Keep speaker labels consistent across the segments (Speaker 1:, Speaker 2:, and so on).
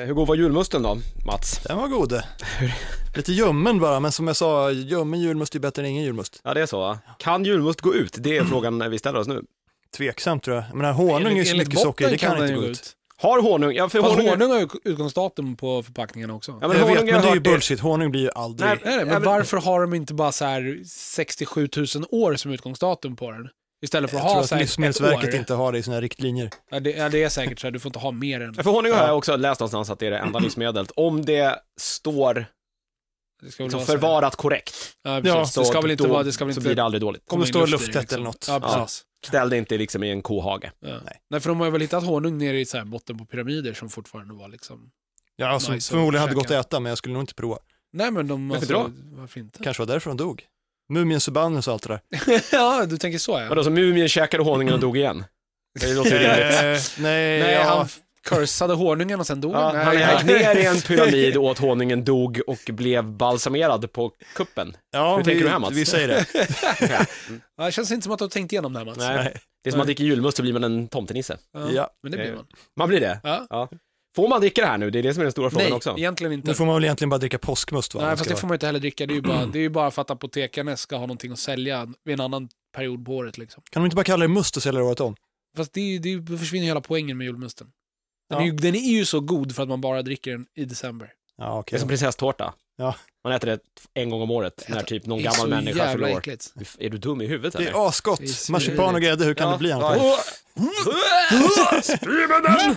Speaker 1: Eh, Hur går var julmusten då, Mats?
Speaker 2: Den var god. Lite ljummen bara, men som jag sa, ljummen julmust är bättre än ingen julmust.
Speaker 1: Ja, det är så va? Kan julmust gå ut? Det är frågan vi ställer oss nu.
Speaker 2: Tveksamt tror jag. Men den här honung är ju så mycket
Speaker 3: botten
Speaker 2: socker, det kan,
Speaker 3: den
Speaker 2: inte
Speaker 3: ju
Speaker 2: gå ut.
Speaker 1: Har honung? Ja, för
Speaker 3: Fast
Speaker 1: honung...
Speaker 3: honung har ju utgångsdatum på förpackningarna också.
Speaker 1: Ja,
Speaker 2: Jag vet, men
Speaker 1: har
Speaker 2: det är ju
Speaker 1: hört
Speaker 2: bullshit. Honung blir ju aldrig...
Speaker 1: Nej,
Speaker 3: Är det? Men
Speaker 1: Ja, men-
Speaker 3: varför har de inte bara så här 67 000 år som utgångsdatum på den? Istället för att
Speaker 2: jag tror
Speaker 3: ha
Speaker 2: att
Speaker 3: så här ett
Speaker 2: Livsmedelsverket
Speaker 3: år.
Speaker 2: inte har det i sina riktlinjer.
Speaker 3: Ja, det, ja, det är säkert så här, du får inte ha mer än...
Speaker 1: Ja, För honung har jag också läst någonstans att det är det enda livsmedlet. Om det står
Speaker 3: Det ska väl
Speaker 1: liksom,
Speaker 3: vara så här-
Speaker 1: förvarat korrekt,
Speaker 3: Ja, precis.
Speaker 1: så,
Speaker 3: det ska väl inte
Speaker 1: då,
Speaker 3: vara... Det ska väl
Speaker 1: så
Speaker 3: inte
Speaker 1: blir det aldrig dåligt.
Speaker 3: komma
Speaker 2: Om det
Speaker 3: in
Speaker 2: står
Speaker 3: luft i det,
Speaker 2: lufttätt eller något.
Speaker 3: liksom. Ja,
Speaker 1: Ja.
Speaker 3: precis.
Speaker 1: Ställ det inte liksom i en kohage.
Speaker 3: Ja.
Speaker 2: Nej.
Speaker 3: Nej. för de har väl hittat honung nere i så här botten på pyramider som fortfarande var liksom...
Speaker 2: Ja, som
Speaker 3: Nice att
Speaker 2: förmodligen hade gått
Speaker 3: käka.
Speaker 2: att äta, men jag skulle nog inte prova.
Speaker 3: Nej men de... alltså-
Speaker 1: Varför då?
Speaker 3: Varför inte?
Speaker 2: Kanske var därför de dog. Mumiens förbannelse och allt det där.
Speaker 3: ja, du tänker så ja.
Speaker 1: Vadå, så mumien käkade honungen och dog igen? Det låter ju rimligt.
Speaker 2: Eh, nej,
Speaker 3: Nej,
Speaker 2: ja.
Speaker 3: han cursade honungen och sen dog
Speaker 1: Ja, han
Speaker 3: Nej,
Speaker 1: gick ner i en pyramid, åt honungen, dog och blev balsamerad på kuppen.
Speaker 2: ja,
Speaker 1: Hur tänker
Speaker 2: vi,
Speaker 1: du här, Mats?
Speaker 2: Vi säger det.
Speaker 3: Ja, det känns inte som att du har tänkt igenom det här Mans.
Speaker 1: Nej. Det är som att dricka julmust så blir man en tomtenisse.
Speaker 3: Ja,
Speaker 2: Ja.
Speaker 3: Men det blir man.
Speaker 1: Man blir det?
Speaker 3: Ja.
Speaker 1: Får man dricka det här nu? Det är det som är den stora frågan
Speaker 3: Nej,
Speaker 1: också.
Speaker 3: egentligen inte.
Speaker 2: Nu får man väl egentligen bara dricka påskmust va?
Speaker 3: Nej, fast det får man inte heller dricka. Det är ju
Speaker 1: Mm.
Speaker 3: bara, det är ju bara för att apotekarna ska ha någonting att sälja vid en annan period på året. Liksom.
Speaker 2: Kan de inte bara kalla det must och sälja det året om?
Speaker 3: Fast det, är ju- det är ju- då försvinner ju hela poängen med julmusten. Den,
Speaker 2: Ja.
Speaker 3: är ju, den är ju så god för att man bara dricker den i december.
Speaker 2: Ja,
Speaker 1: Det är
Speaker 2: okej.
Speaker 1: som prinsesstårta.
Speaker 2: Ja.
Speaker 1: Man äter det en gång om året när typ någon
Speaker 3: Det är så
Speaker 1: gammal människa
Speaker 3: jävla
Speaker 1: fyller år.
Speaker 3: äckligt.
Speaker 1: Du- Är du dum i huvudet
Speaker 2: Det
Speaker 1: eller?
Speaker 2: är asgott.
Speaker 3: Det är svinigt.
Speaker 2: Marsipan och grädde, hur kan
Speaker 1: Ja,
Speaker 2: det bli annat?
Speaker 1: ja. Spy med den!
Speaker 3: Mm.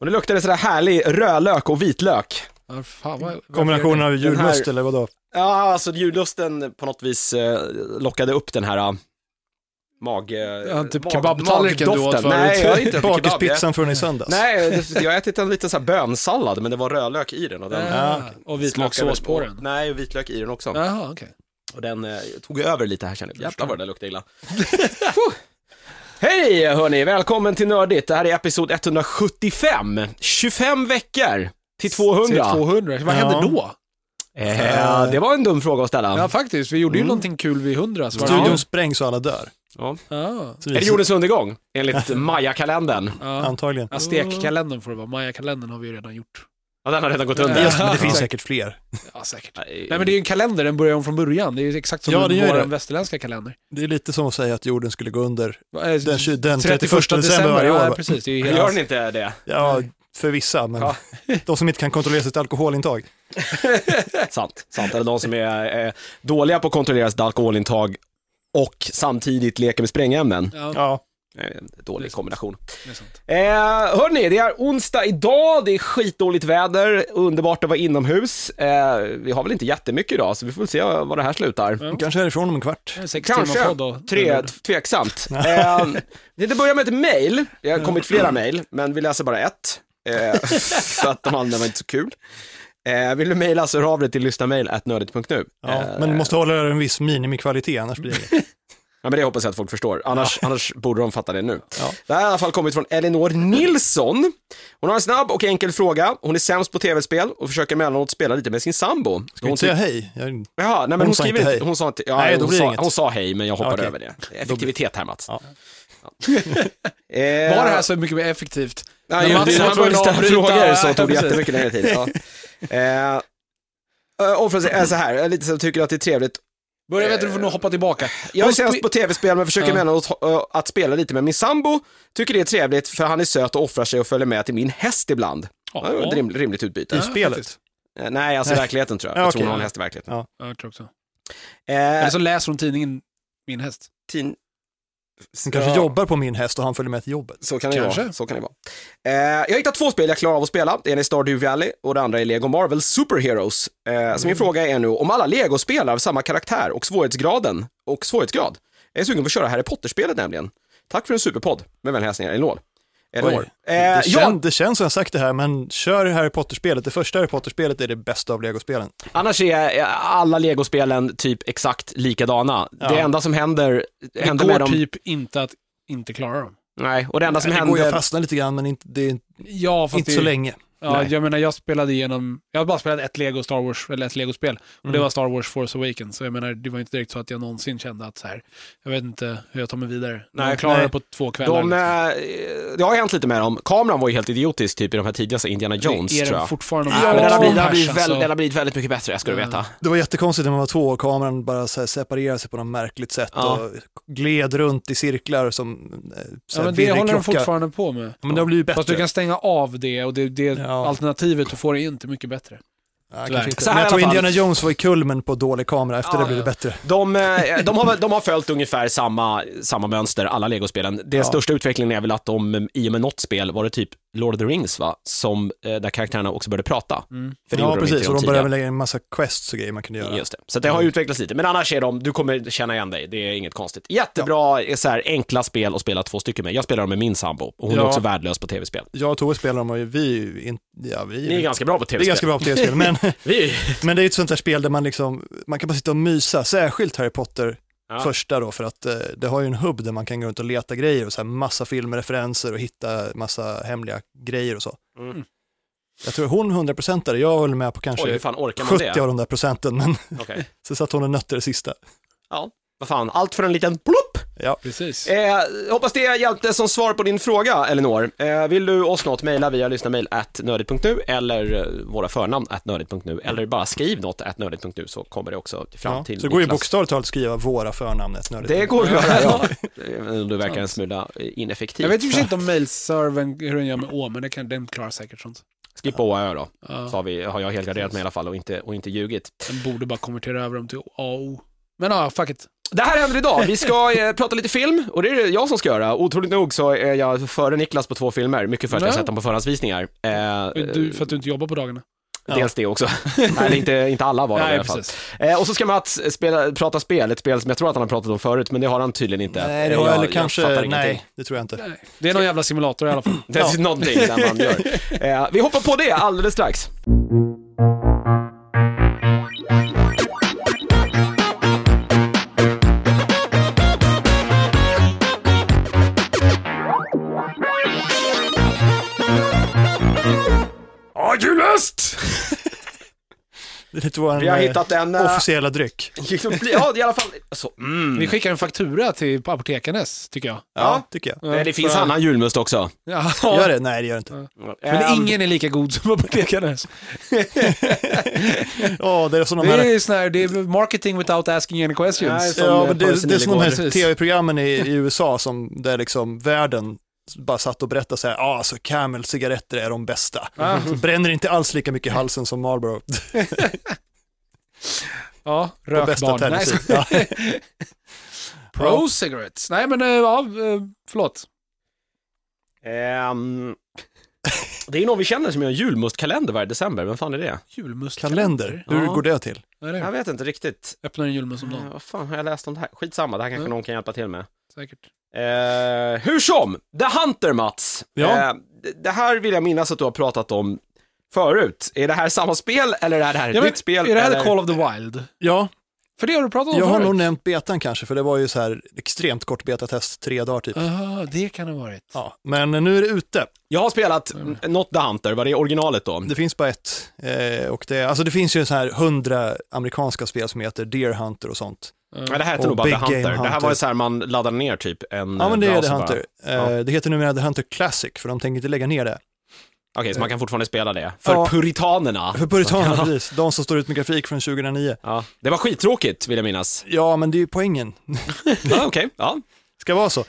Speaker 1: Och nu luktar det sådär härlig rödlök och vitlök.
Speaker 3: Ja, fan, vad,
Speaker 1: Mm.
Speaker 3: varför gör
Speaker 2: Kombinationen
Speaker 3: det?
Speaker 2: av julmust
Speaker 1: här-
Speaker 2: eller vadå?
Speaker 1: Ja, alltså jullusten på något vis eh, lockade upp den här eh, mag... eh,
Speaker 3: Ja, typ
Speaker 1: mag-
Speaker 3: kebabtallriken du åt
Speaker 1: magdoften.
Speaker 3: förut.
Speaker 1: Nej, jag har inte ätit kebab,
Speaker 2: Bakispizzan från i söndags.
Speaker 1: jag- Nej, det- jag har ätit en liten så här bönsallad, men det var rödlök i den och den
Speaker 3: Ja,
Speaker 2: Ja.
Speaker 3: och
Speaker 1: smakade
Speaker 3: vitlökssås
Speaker 1: väl-
Speaker 3: på den.
Speaker 1: Nej, vitlök i den också.
Speaker 3: Jaha, okej.
Speaker 1: Och den eh, tog över lite här känner jag. Jävlar vad det där luktade illa. Puh. Hej hörni, välkommen till Nördigt. Det här är episod 175. 25 veckor till 200.
Speaker 3: Till 200. Vad
Speaker 2: Ja.
Speaker 3: hände då?
Speaker 1: Eh, det var en dum fråga att ställa.
Speaker 3: Ja, faktiskt. Vi gjorde ju
Speaker 1: Mm.
Speaker 3: någonting kul vid 100. Så varför-
Speaker 2: Studion sprängs och alla dör.
Speaker 1: Ja.
Speaker 3: Ja.
Speaker 2: Så
Speaker 1: Är det
Speaker 2: vi,
Speaker 1: jordens undergång? Enligt Maya-kalendern.
Speaker 3: Ja.
Speaker 2: antagligen.
Speaker 3: Ja, stekkalendern får det vara. Mayakalendern har vi ju redan gjort.
Speaker 1: Ja, den har redan gått
Speaker 3: Ja.
Speaker 1: under.
Speaker 2: Yes, men det finns
Speaker 3: Exakt.
Speaker 2: säkert fler.
Speaker 3: Ja, säkert. Nej, men det är ju en kalender. Den börjar om från början. Det är ju exakt som
Speaker 2: Ja, det gör
Speaker 3: vår
Speaker 2: det.
Speaker 3: västerländska kalender.
Speaker 2: Det är lite som att säga att jorden skulle gå under
Speaker 3: Den,
Speaker 2: den, tju- den 31 december varje år.
Speaker 3: Ja,
Speaker 2: va?
Speaker 3: precis. Det är ju
Speaker 1: Gör
Speaker 3: helt...
Speaker 1: den inte det?
Speaker 2: Ja, för vissa, men
Speaker 1: Ja.
Speaker 2: de som inte kan kontrollera sitt alkoholintag.
Speaker 1: Sant. Sant. Eller de som är eh, dåliga på att kontrollera sitt alkoholintag och samtidigt leker med sprängämnen.
Speaker 3: Ja,
Speaker 2: Ja,
Speaker 1: Eh, Dålig kombination.
Speaker 3: det är sant.
Speaker 1: Eh, hörni, det är onsdag idag, det är skitdåligt väder, underbart att vara inomhus. Eh, vi har väl inte jättemycket idag, så vi får väl se var det här slutar.
Speaker 3: Ja.
Speaker 2: kanske härifrån om en kvart.
Speaker 3: Det är en sex timmar
Speaker 1: Kanske
Speaker 3: podd Mm. då.
Speaker 1: tre,
Speaker 3: Eller-
Speaker 1: tveksamt. Eh, vi tänkte börja med ett mejl, det har kommit flera mejl, men vi läser bara ett. Eh, för att de andra var inte så kul. Eh, vill du mejla så hör av dig till lyssnamejl.nördigt.nu.
Speaker 2: Ja, men du måste hålla en viss minimikvalitet, annars blir det...
Speaker 1: Ja, men det hoppas jag att folk förstår. Annars, annars borde de fatta det nu. Det här har i alla fall kommit från Elinor Nilsson. Hon har en snabb och enkel fråga. Hon är sämst på tv-spel och försöker emellanåt spela lite med sin sambo.
Speaker 2: Ska vi
Speaker 1: hon typ-
Speaker 2: inte säga hej? Jag...
Speaker 1: Jaha, nej men hon,
Speaker 2: Hon sa
Speaker 1: skriver
Speaker 2: inte
Speaker 1: inte,
Speaker 2: hej.
Speaker 1: hon sa inte, ja,
Speaker 2: Nej, då
Speaker 1: hon,
Speaker 2: blir det
Speaker 1: sa,
Speaker 2: inget.
Speaker 1: hon sa hej men jag hoppar
Speaker 2: Ja, okej.
Speaker 1: över det. Effektivitet här Mats.
Speaker 2: Ja.
Speaker 1: Ja. Eh,
Speaker 3: Var det här så mycket mer effektivt?
Speaker 1: Nej,
Speaker 3: När
Speaker 1: ju,
Speaker 3: Mats
Speaker 1: det,
Speaker 3: var
Speaker 1: han började
Speaker 3: tvungen att
Speaker 1: ställa
Speaker 3: avbryta.
Speaker 1: frågor så
Speaker 3: Ja,
Speaker 1: tog det
Speaker 3: precis.
Speaker 1: jättemycket längre tid. Ja. Eh, och för att säga så här, jag är lite så tycker att det är trevligt
Speaker 3: Börja med att du får nog hoppa tillbaka.
Speaker 1: Jag är
Speaker 3: Hon
Speaker 1: sämst
Speaker 3: spe-
Speaker 1: på tv-spel men försöker
Speaker 3: Ja.
Speaker 1: emellanåt eh, att spela lite med min sambo. Tycker det är trevligt för han är söt och offrar sig och följer med till min häst ibland. Ja. Det var ett
Speaker 3: Ja.
Speaker 1: rim, rimligt utbyte.
Speaker 2: I
Speaker 3: Ja,
Speaker 2: spelet?
Speaker 3: faktiskt.
Speaker 1: Eh, Nej, alltså i verkligheten tror jag. Jag
Speaker 2: Ja,
Speaker 1: tror
Speaker 2: okej.
Speaker 1: hon har en häst i verkligheten.
Speaker 3: Ja, jag tror också.
Speaker 1: Eh,
Speaker 3: Eller så läser hon tidningen Min häst.
Speaker 1: tin...
Speaker 2: Hon kanske
Speaker 1: Ja,
Speaker 2: jobbar på min häst och han följer med till jobbet.
Speaker 1: Så kan det
Speaker 3: Kanske.
Speaker 1: vara. Så kan det vara. Eh, jag har hittat två spel jag klarar av att spela. Det ena är Stardew Valley och det andra är Lego Marvel Superheroes. Eh,
Speaker 3: Mm.
Speaker 1: så min fråga är nu om alla Lego-spel har samma karaktär och svårighetsgraden och svårighetsgrad. Jag är sugen på att köra Harry Potter-spelet nämligen. Tack för en superpodd. Med vänliga hälsningar, Elinor. Elinor.
Speaker 2: Oj.
Speaker 1: Eh,
Speaker 2: Det,
Speaker 1: ja,
Speaker 2: kän, det känns som jag sagt det här, men kör Harry Potter-spelet. Det första Harry Potter-spelet är det bästa av legospelen.
Speaker 1: annars är eh, alla legospelen typ exakt likadana. Det enda som händer,
Speaker 3: Det
Speaker 1: händer med
Speaker 3: går
Speaker 1: dem...
Speaker 3: typ inte att inte klara dem.
Speaker 1: Nej, och det enda som
Speaker 2: Eh, det går ju att
Speaker 1: händer...
Speaker 2: fastna lite grann, men inte, det är inte
Speaker 3: Ja, fast det,
Speaker 2: så länge.
Speaker 3: Ja,
Speaker 1: Nej.
Speaker 3: jag menar, jag spelade igenom... Jag har bara spelat ett Lego Star Wars, eller ett Lego-spel. Och det
Speaker 2: Mm.
Speaker 3: var Star Wars Force Awakens. Så jag menar, det var inte direkt så att jag någonsin kände att så här, jag vet inte hur jag tar mig vidare. Nej,
Speaker 1: Nej,
Speaker 3: jag klarar
Speaker 2: nej.
Speaker 3: det på två kvällar.
Speaker 1: De, eh,
Speaker 3: liksom.
Speaker 1: det har hänt lite med dem. Kameran var ju helt idiotisk typ i de här tidigaste Indiana Jones,
Speaker 3: Det är
Speaker 1: tror jag.
Speaker 3: fortfarande
Speaker 1: Ja, men den har, blivit, den, har
Speaker 3: Ash,
Speaker 1: blivit väl,
Speaker 3: alltså.
Speaker 1: den har blivit väldigt mycket bättre, ska du
Speaker 3: Ja.
Speaker 1: veta.
Speaker 2: Det var jättekonstigt när man var två och kameran bara så här separerade sig på något märkligt sätt
Speaker 1: Ja.
Speaker 2: och gled runt i cirklar som eh, så
Speaker 3: Ja,
Speaker 2: här
Speaker 3: men det
Speaker 2: virrig
Speaker 3: håller de
Speaker 2: klocka.
Speaker 3: fortfarande på med.
Speaker 2: Ja, men det har blivit
Speaker 3: Fast du
Speaker 2: bättre.
Speaker 3: kan stänga av det och det, det
Speaker 2: Ja.
Speaker 3: alternativet du får är inte mycket bättre.
Speaker 2: Ja,
Speaker 3: tyvärr.
Speaker 2: kanske inte.
Speaker 1: Så här
Speaker 2: Men
Speaker 1: i
Speaker 2: jag tror
Speaker 1: alla fall.
Speaker 2: Indiana Jones var i kulmen på dålig kamera, efter
Speaker 1: Ja,
Speaker 2: det blev
Speaker 3: ja.
Speaker 2: det bättre.
Speaker 1: De, eh, de, har, väl- de har följt ungefär samma, samma mönster, alla legospelen. Den
Speaker 2: Ja.
Speaker 1: största utvecklingen är väl att de, eh, i och med något spel, var det typ Lord of the Rings, va? Som, eh, där karaktärerna också började prata.
Speaker 3: Mm.
Speaker 1: För det
Speaker 2: ja,
Speaker 1: gjorde de
Speaker 2: precis.
Speaker 1: inte i
Speaker 2: och de
Speaker 1: tidiga.
Speaker 2: började väl Mm. lägga in massa quests och grejer man kunde göra.
Speaker 1: Just det. Så det har ju utvecklats lite, men annars är de, du kommer känna igen dig, det är inget konstigt. Jättebra eh, så här, enkla spel att spela två stycken med. Jag spelar dem med min sambo, och hon är
Speaker 2: Ja.
Speaker 1: också värdelös på tv-spel.
Speaker 2: Jag och Tove spelar dem och vi, är ju in, ja, vi,
Speaker 1: Ni är ganska bra på
Speaker 2: vi är
Speaker 1: tv-spel.
Speaker 2: ganska bra på tv-spel, men,
Speaker 1: Vi är-
Speaker 2: men det är ett sånt där spel där man liksom, man kan bara sitta och mysa, särskilt Harry Potter
Speaker 1: Ja.
Speaker 2: första då, för att eh, det har ju en hubb där man kan gå runt och leta grejer och så här massa filmreferenser och hitta massa hemliga grejer och så.
Speaker 1: Mm.
Speaker 2: Jag tror hon 100%are, jag höll med på
Speaker 1: Oj, hur
Speaker 2: kanske
Speaker 1: fan orkar man
Speaker 2: 70
Speaker 1: det?
Speaker 2: av de där procenten, men
Speaker 1: Okej.
Speaker 2: så satt hon och nötte det sista.
Speaker 1: Ja, vad fan, allt för en liten plopp!
Speaker 3: Precis.
Speaker 1: Eh, hoppas det hjälpte som svar på din fråga, Elinor. Eh, vill du oss något, mejla via lyssnarmail at nördigt.nu eller eh, våra förnamn at nördigt.nu eller bara skriv något at nördigt.nu så kommer det också fram
Speaker 2: Ja.
Speaker 1: till
Speaker 2: Så det går ju
Speaker 1: Niklas.
Speaker 2: bokstavligt talat att skriva våra förnamnet nördigt.
Speaker 1: Det går att göra, ja. Eh, Du verkar en smula eh, ineffektiv.
Speaker 3: Jag vet ju för sig
Speaker 1: typ.
Speaker 3: inte om mailservern, hur den gör med Å, men det kan, den klarar säkert sånt.
Speaker 1: Skriv på OAÖ då,
Speaker 3: Ja.
Speaker 1: så har, vi, har jag helgarderat mig i alla fall och inte, och inte ljugit.
Speaker 3: Den borde bara konvertera över dem till AO. Men ja, fuck it.
Speaker 1: Det här händer idag. Vi ska eh, prata lite film och det är det jag som ska göra. Otroligt nog så är jag före Niklas på två filmer, mycket för att jag
Speaker 3: Nej.
Speaker 1: sett dem på förhandsvisningar. Eh,
Speaker 3: Du, för att du inte jobbar på dagarna.
Speaker 2: Ja.
Speaker 1: Dels det också. Nej, det är inte, inte alla var det i alla fall. Eh, och så ska Mats spela, prata spel, ett spel som jag tror att han har pratat om förut, men det har han tydligen inte.
Speaker 2: Nej, det
Speaker 1: Eh,
Speaker 2: var,
Speaker 1: jag,
Speaker 2: eller
Speaker 1: jag
Speaker 2: kanske,
Speaker 1: fattar ingenting.
Speaker 2: nej, det tror jag inte.
Speaker 3: Nej. Det är någon jävla simulator i alla fall.
Speaker 1: Det är någonting där man gör. Eh, vi hoppar på det alldeles strax. Har du lust?
Speaker 2: Det är lite vår
Speaker 1: Vi har hittat en... eh,
Speaker 2: officiella dryck.
Speaker 1: Ja, i alla fall. Så, mm.
Speaker 3: Vi skickar en faktura till Apotekarnes, tycker jag.
Speaker 2: Ja, tycker jag.
Speaker 1: Nej, Eh, det finns annan julmust också.
Speaker 3: Ja.
Speaker 2: Gör det? Nej, det gör det inte.
Speaker 1: Eh,
Speaker 3: Men ingen är lika god som Apotekarnes.
Speaker 2: Ja, det är som de
Speaker 3: Det är
Speaker 2: här...
Speaker 3: ju sån här, det är marketing without asking any questions.
Speaker 1: som
Speaker 2: Ja, men det,
Speaker 1: polisen
Speaker 2: det är som eh, de
Speaker 1: igår.
Speaker 2: här tv-programmen i, i USA som, där liksom världen bara satt och berättade så här, ja, ah, så Camel-cigaretter är de bästa. Så bränner inte alls lika mycket i halsen som Marlboro.
Speaker 3: Ja,
Speaker 2: På
Speaker 3: rök
Speaker 2: bästa
Speaker 3: barn. Nej,
Speaker 2: tennis. Ja.
Speaker 3: Pro cigarettes. Nej, men eh, ja, eh, förlåt.
Speaker 1: Ehm, det är någon vi känner som gör en julmustkalender varje december, vem fan är det?
Speaker 2: Kalender,
Speaker 3: Julmustkalender.
Speaker 2: hur
Speaker 1: Ja.
Speaker 2: går det till?
Speaker 3: Vad är
Speaker 1: Jag
Speaker 3: det?
Speaker 1: vet inte riktigt.
Speaker 3: Öppnar en julmust om
Speaker 1: Eh,
Speaker 3: dagen,
Speaker 1: vad fan har jag läst om det här? Skitsamma, det här kanske
Speaker 3: Mm.
Speaker 1: någon kan hjälpa till med.
Speaker 3: säkert.
Speaker 1: Eh, hur som, The Hunter Mats.
Speaker 2: Ja.
Speaker 1: Eh, d- det här vill jag minnas att du har pratat om förut. Är det här samma spel eller är det här ett
Speaker 3: Ja, men,
Speaker 1: nytt spel?
Speaker 3: Är det här
Speaker 1: eller?
Speaker 3: The Call of the Wild?
Speaker 2: Ja,
Speaker 3: För det har du
Speaker 1: Oh,
Speaker 3: pratat om
Speaker 2: jag har
Speaker 3: förut.
Speaker 2: nog nämnt betan kanske, för det var ju så här extremt kort betatest, tre dagar typ.
Speaker 3: Aha, det kan det ha varit.
Speaker 2: Ja, men nu är det ute.
Speaker 1: Jag har spelat mm. något The Hunter, var det originalet då?
Speaker 2: Det finns bara ett. Eh, och det, alltså det finns ju så här hundra amerikanska spel som heter Deer Hunter och sånt.
Speaker 1: Nej, det här hette
Speaker 2: Och
Speaker 1: nog bara The
Speaker 2: Big Game
Speaker 1: Hunter. Det här
Speaker 2: Hunter.
Speaker 1: var ju så här man laddade ner typ en
Speaker 2: Ja, men det
Speaker 1: eh,
Speaker 2: är The
Speaker 1: browser bara.
Speaker 2: Hunter.
Speaker 1: Ja.
Speaker 2: Eh, Det heter numera The Hunter Classic, för de tänker inte lägga ner det.
Speaker 1: Okej, så man kan fortfarande spela det. För
Speaker 2: Ja.
Speaker 1: puritanerna.
Speaker 2: För puritanerna, precis. De som står ut med grafik från 2009.
Speaker 1: Ja. Det var skittråkigt, vill jag minnas.
Speaker 2: Ja, men det är ju poängen.
Speaker 1: Ja, Okej, ja.
Speaker 2: Ska vara så.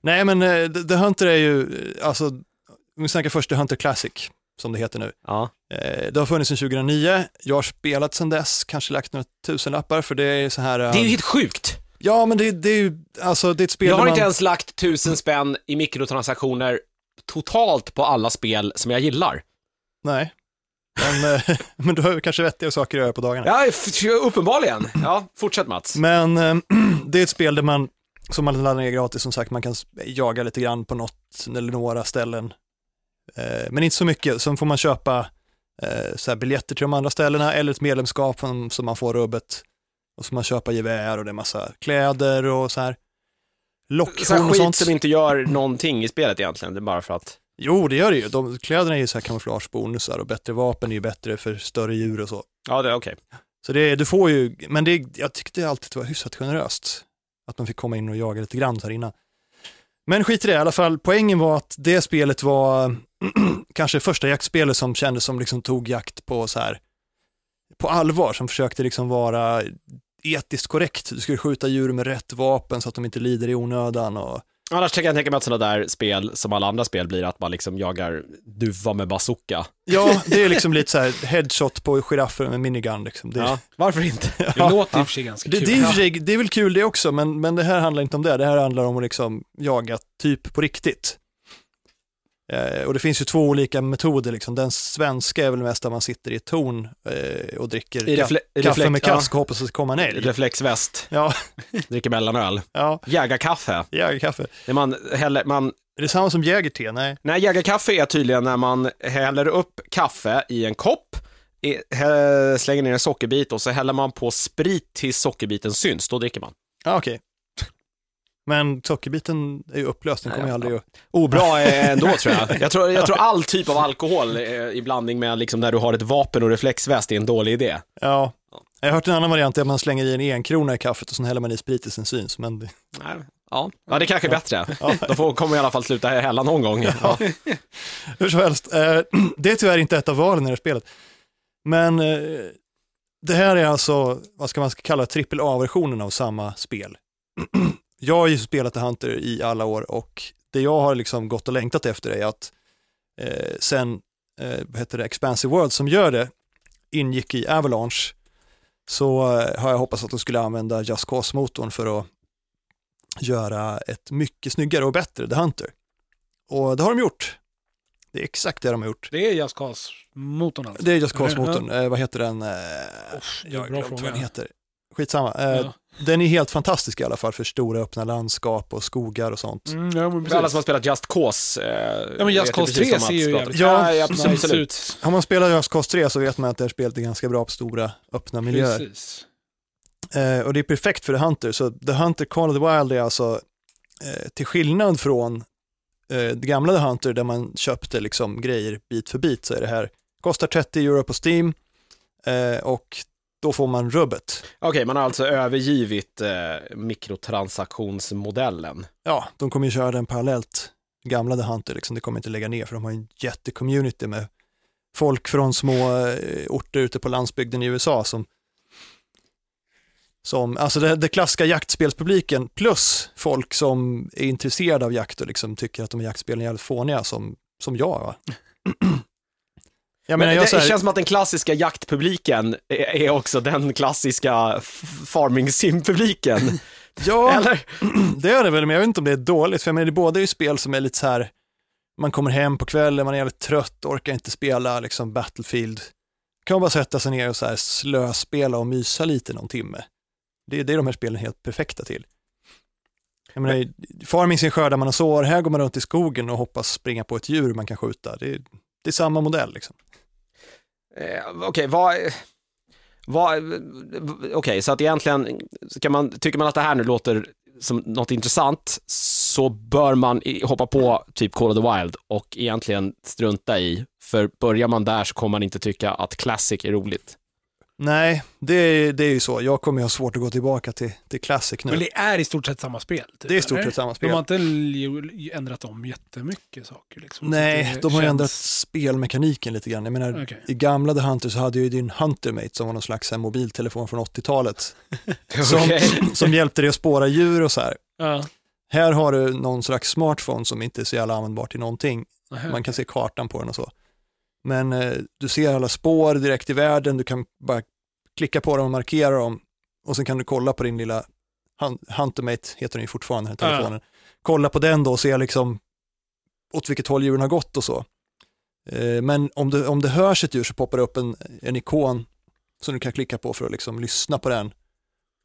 Speaker 2: Nej, men eh, The The Hunter är ju, eh, alltså, om vi snackar först The Hunter Classic, som det heter nu.
Speaker 1: ja.
Speaker 2: Eh, Det har funnits sedan 2009, jag har spelat sedan dess, kanske lagt några tusenlappar, för det är så här... eh,
Speaker 1: Det är ju helt sjukt.
Speaker 2: Ja, men det, det är ju, alltså det är ett spel
Speaker 1: Jag
Speaker 2: där
Speaker 1: har
Speaker 2: man...
Speaker 1: inte ens lagt tusen spänn i mikrotransaktioner totalt på alla spel som jag gillar.
Speaker 2: Nej. Men, eh, men du har ju kanske vettigare saker att göra på dagarna.
Speaker 1: Ja, f- uppenbarligen. Ja, fortsätt Mats.
Speaker 2: Men eh, det är ehm, ett spel där man Som man laddar ner gratis, som sagt, man kan s- eh, jaga lite grann på något eller några ställen. Eh, men inte så mycket, sen får man köpa eh, så här biljetter till de andra ställena eller ett medlemskap som, som man får rubbet. Och så får man köpa gevär och det är massa kläder och så här.
Speaker 1: Så här
Speaker 2: Lockhorn och
Speaker 1: skit
Speaker 2: sånt.
Speaker 1: som inte gör någonting i spelet egentligen, det är bara för att...
Speaker 2: Jo, det gör det ju. De, kläderna är ju så här kamouflagebonusar och bättre vapen är ju bättre för större djur och så.
Speaker 1: Ja, det är okej.
Speaker 2: Så det, du får ju, men det, jag tyckte alltid det var hyfsat generöst. Att man fick komma in och jaga lite grann så här innan. Men skit i det i alla fall, poängen var att det spelet var kanske första jaktspelet som kändes som liksom tog jakt på så här på allvar, som försökte liksom vara etiskt korrekt. Du skulle skjuta djur med rätt vapen så att de inte lider i onödan och
Speaker 1: Annars kan jag tänka mig att sådana där spel, som alla andra spel, blir att man liksom jagar duva med bazooka.
Speaker 2: ja, det är liksom lite så här headshot på giraffer med minigun liksom. Det,
Speaker 1: Ja, varför inte?
Speaker 3: Det låter i och för sig ganska
Speaker 2: Det,
Speaker 3: kul.
Speaker 2: det, är i och för sig- det är väl kul det också, men, men det här handlar inte om det. Det här handlar om att liksom jaga typ på riktigt. Eh, och det finns ju två olika metoder. Liksom. Den svenska är väl mest där man sitter i ett torn eh, och dricker
Speaker 1: I
Speaker 2: ka-
Speaker 1: refle- i
Speaker 2: kaffe
Speaker 1: reflekt-
Speaker 2: med
Speaker 1: ja.
Speaker 2: kask och hoppas att det kommer en älg.
Speaker 1: Reflexväst,
Speaker 2: Ja,
Speaker 1: dricker mellanöl,
Speaker 2: ja,
Speaker 1: jägarkaffe.
Speaker 2: jägarkaffe.
Speaker 1: När man häller, man,
Speaker 2: Är det samma som jägerte? Nej.
Speaker 1: nej, jägarkaffe är tydligen när man häller upp kaffe i en kopp, i- hä- slänger ner en sockerbit och så häller man på sprit tills sockerbiten syns, då dricker man.
Speaker 2: Ja, okej. Men sockerbiten är ju upplöst, den
Speaker 1: Nej,
Speaker 2: kommer ju
Speaker 1: ja,
Speaker 2: aldrig att... Oh,
Speaker 1: Obra eh, ändå tror jag. Jag tror, jag tror all typ av alkohol eh, i blandning med liksom när du har ett vapen och reflexväst är en dålig idé.
Speaker 2: Ja. Jag har hört en annan variant, det är att man slänger i en enkrona i kaffet och sen häller man i sprit tills den syns. Men det...
Speaker 1: Nej, ja. ja, det kanske är bättre.
Speaker 2: ja.
Speaker 1: Då får, kommer i alla fall sluta hälla någon gång. Ja.
Speaker 2: Hur som helst, eh, det är tyvärr inte ett av valen i det här spelet. Men eh, det här är alltså, vad ska man kalla trippel A-versionen av samma spel. jag har ju spelat The Hunter i alla år och det jag har liksom gått och längtat efter är att eh, sen, eh, vad heter det, Expansive World som gör det, ingick i Avalanche, så eh, har jag hoppats att de skulle använda Just Cause-motorn för att göra ett mycket snyggare och bättre The Hunter. Och det har de gjort. Det är exakt det de har gjort.
Speaker 3: Det är Just Cause-motorn alltså.
Speaker 2: Det är Just Cause-motorn. Eh, vad heter den? Eh,
Speaker 3: Oh, det är
Speaker 2: jag har
Speaker 3: en bra
Speaker 2: glömt vad
Speaker 3: fråga.
Speaker 2: den heter. Skitsamma. Eh,
Speaker 3: Ja.
Speaker 2: Den är helt fantastisk i alla fall för stora öppna landskap och skogar och sånt.
Speaker 3: Mm, ja, men
Speaker 1: Alla som har
Speaker 3: precis.
Speaker 1: spelat Just Cause. Eh,
Speaker 3: Ja, men Just
Speaker 1: vet
Speaker 3: Cause
Speaker 1: precis
Speaker 3: 3
Speaker 1: vad
Speaker 3: ser
Speaker 1: Mats
Speaker 3: ju
Speaker 1: pratar om.
Speaker 3: jävligt
Speaker 1: ja, ja, absolut.
Speaker 3: nice
Speaker 1: absolut.
Speaker 3: ut.
Speaker 2: Har man spelat Just Cause 3 så vet man att det här spelet är ganska bra på stora öppna miljöer.
Speaker 3: Precis.
Speaker 2: Eh, och det är perfekt för The Hunter. Så The Hunter Call of the Wild är alltså, eh, till skillnad från eh, det gamla The Hunter där man köpte liksom grejer bit för bit så är det här, kostar 30 euro på Steam eh, och då får man rubbet.
Speaker 1: Okej, man har alltså övergivit eh, mikrotransaktionsmodellen.
Speaker 2: Ja, de kommer ju köra den parallellt, gamla The Hunter, liksom, det kommer inte lägga ner för de har en jättecommunity med folk från små eh, orter ute på landsbygden i USA som, som alltså det, det klassiska jaktspelspubliken plus folk som är intresserade av jakt och liksom tycker att de här jaktspelen är jävligt fåniga som, som jag. Va? Jag menar,
Speaker 1: men
Speaker 2: jag,
Speaker 1: det
Speaker 2: så här,
Speaker 1: känns som att den klassiska jaktpubliken är, är också den klassiska f- farming sim-publiken.
Speaker 2: ja,
Speaker 1: Eller?
Speaker 2: det är det väl, men jag vet inte om det är dåligt, för jag menar, det båda är ju spel som är lite så här, man kommer hem på kvällen, man är jävligt trött, orkar inte spela liksom Battlefield. Kan man bara sätta sig ner och så här slöspela och mysa lite någon timme. Det är det är de här spelen helt perfekta till. Jag menar, i- farming sin skördar man och sår, här går man runt i skogen och hoppas springa på ett djur man kan skjuta. Det är, det är samma modell liksom.
Speaker 1: Eh, Okej, vad... vad Okej, så att egentligen, ska man, tycker man att det här nu låter som något intressant så bör man i- hoppa på typ Call of the Wild och egentligen strunta i, för börjar man där så kommer man inte tycka att Classic är roligt.
Speaker 2: Nej, det är, det är ju så. Jag kommer ju ha svårt att gå tillbaka till, till Classic nu.
Speaker 3: Men
Speaker 2: det,
Speaker 3: det är i stort sett samma spel. Typ,
Speaker 2: är i stort
Speaker 3: eller?
Speaker 2: sett samma spel.
Speaker 3: De har inte l- ändrat om jättemycket saker liksom. Så
Speaker 2: Nej,
Speaker 3: det
Speaker 2: de har
Speaker 3: känns- Mm.
Speaker 2: ändrat spelmekaniken lite grann. Jag menar,
Speaker 3: Okej.
Speaker 2: i gamla The Hunter så hade ju din Huntermate som var någon slags så här mobiltelefon från 80-talet som,
Speaker 1: Okej.
Speaker 2: som hjälpte dig att spåra djur och så här.
Speaker 3: Ja.
Speaker 2: Här har du någon slags smartphone som inte är så jävla användbar till någonting.
Speaker 3: Nähä.
Speaker 2: Man kan se kartan på den och så. Men eh, du ser alla spår direkt i världen, du kan bara klicka på dem och markera dem och sen kan du kolla på din lilla Hun- Huntermate, heter den ju fortfarande, den här
Speaker 3: Ja.
Speaker 2: telefonen. Kolla på den då och se liksom åt vilket håll djuren har gått och så. Eh, men om, du, om det hörs ett djur så poppar det upp en, en ikon som du kan klicka på för att liksom lyssna på den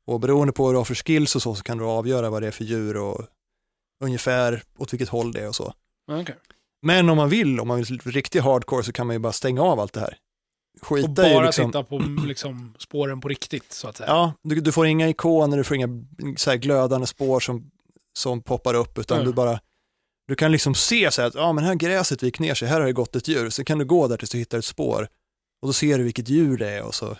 Speaker 2: Och beroende på vad du har för skills och så, så kan du avgöra vad det är för djur och ungefär åt vilket håll det är och så.
Speaker 3: Ja, okej.
Speaker 2: Men om man vill, om man vill riktigt hardcore så kan man ju bara stänga av allt det här. Skita
Speaker 3: Och bara
Speaker 2: i liksom,
Speaker 3: titta på liksom, spåren på riktigt, så att säga.
Speaker 2: Ja, du, du får inga ikoner, du får inga så här glödande spår som, som poppar upp, utan
Speaker 3: Mm.
Speaker 2: du bara, du kan liksom se så här att, ja men här gräset gick ner sig, här har det gått ett djur, så kan du gå där tills du hittar ett spår, och då ser du vilket djur det är och så.
Speaker 3: Mm.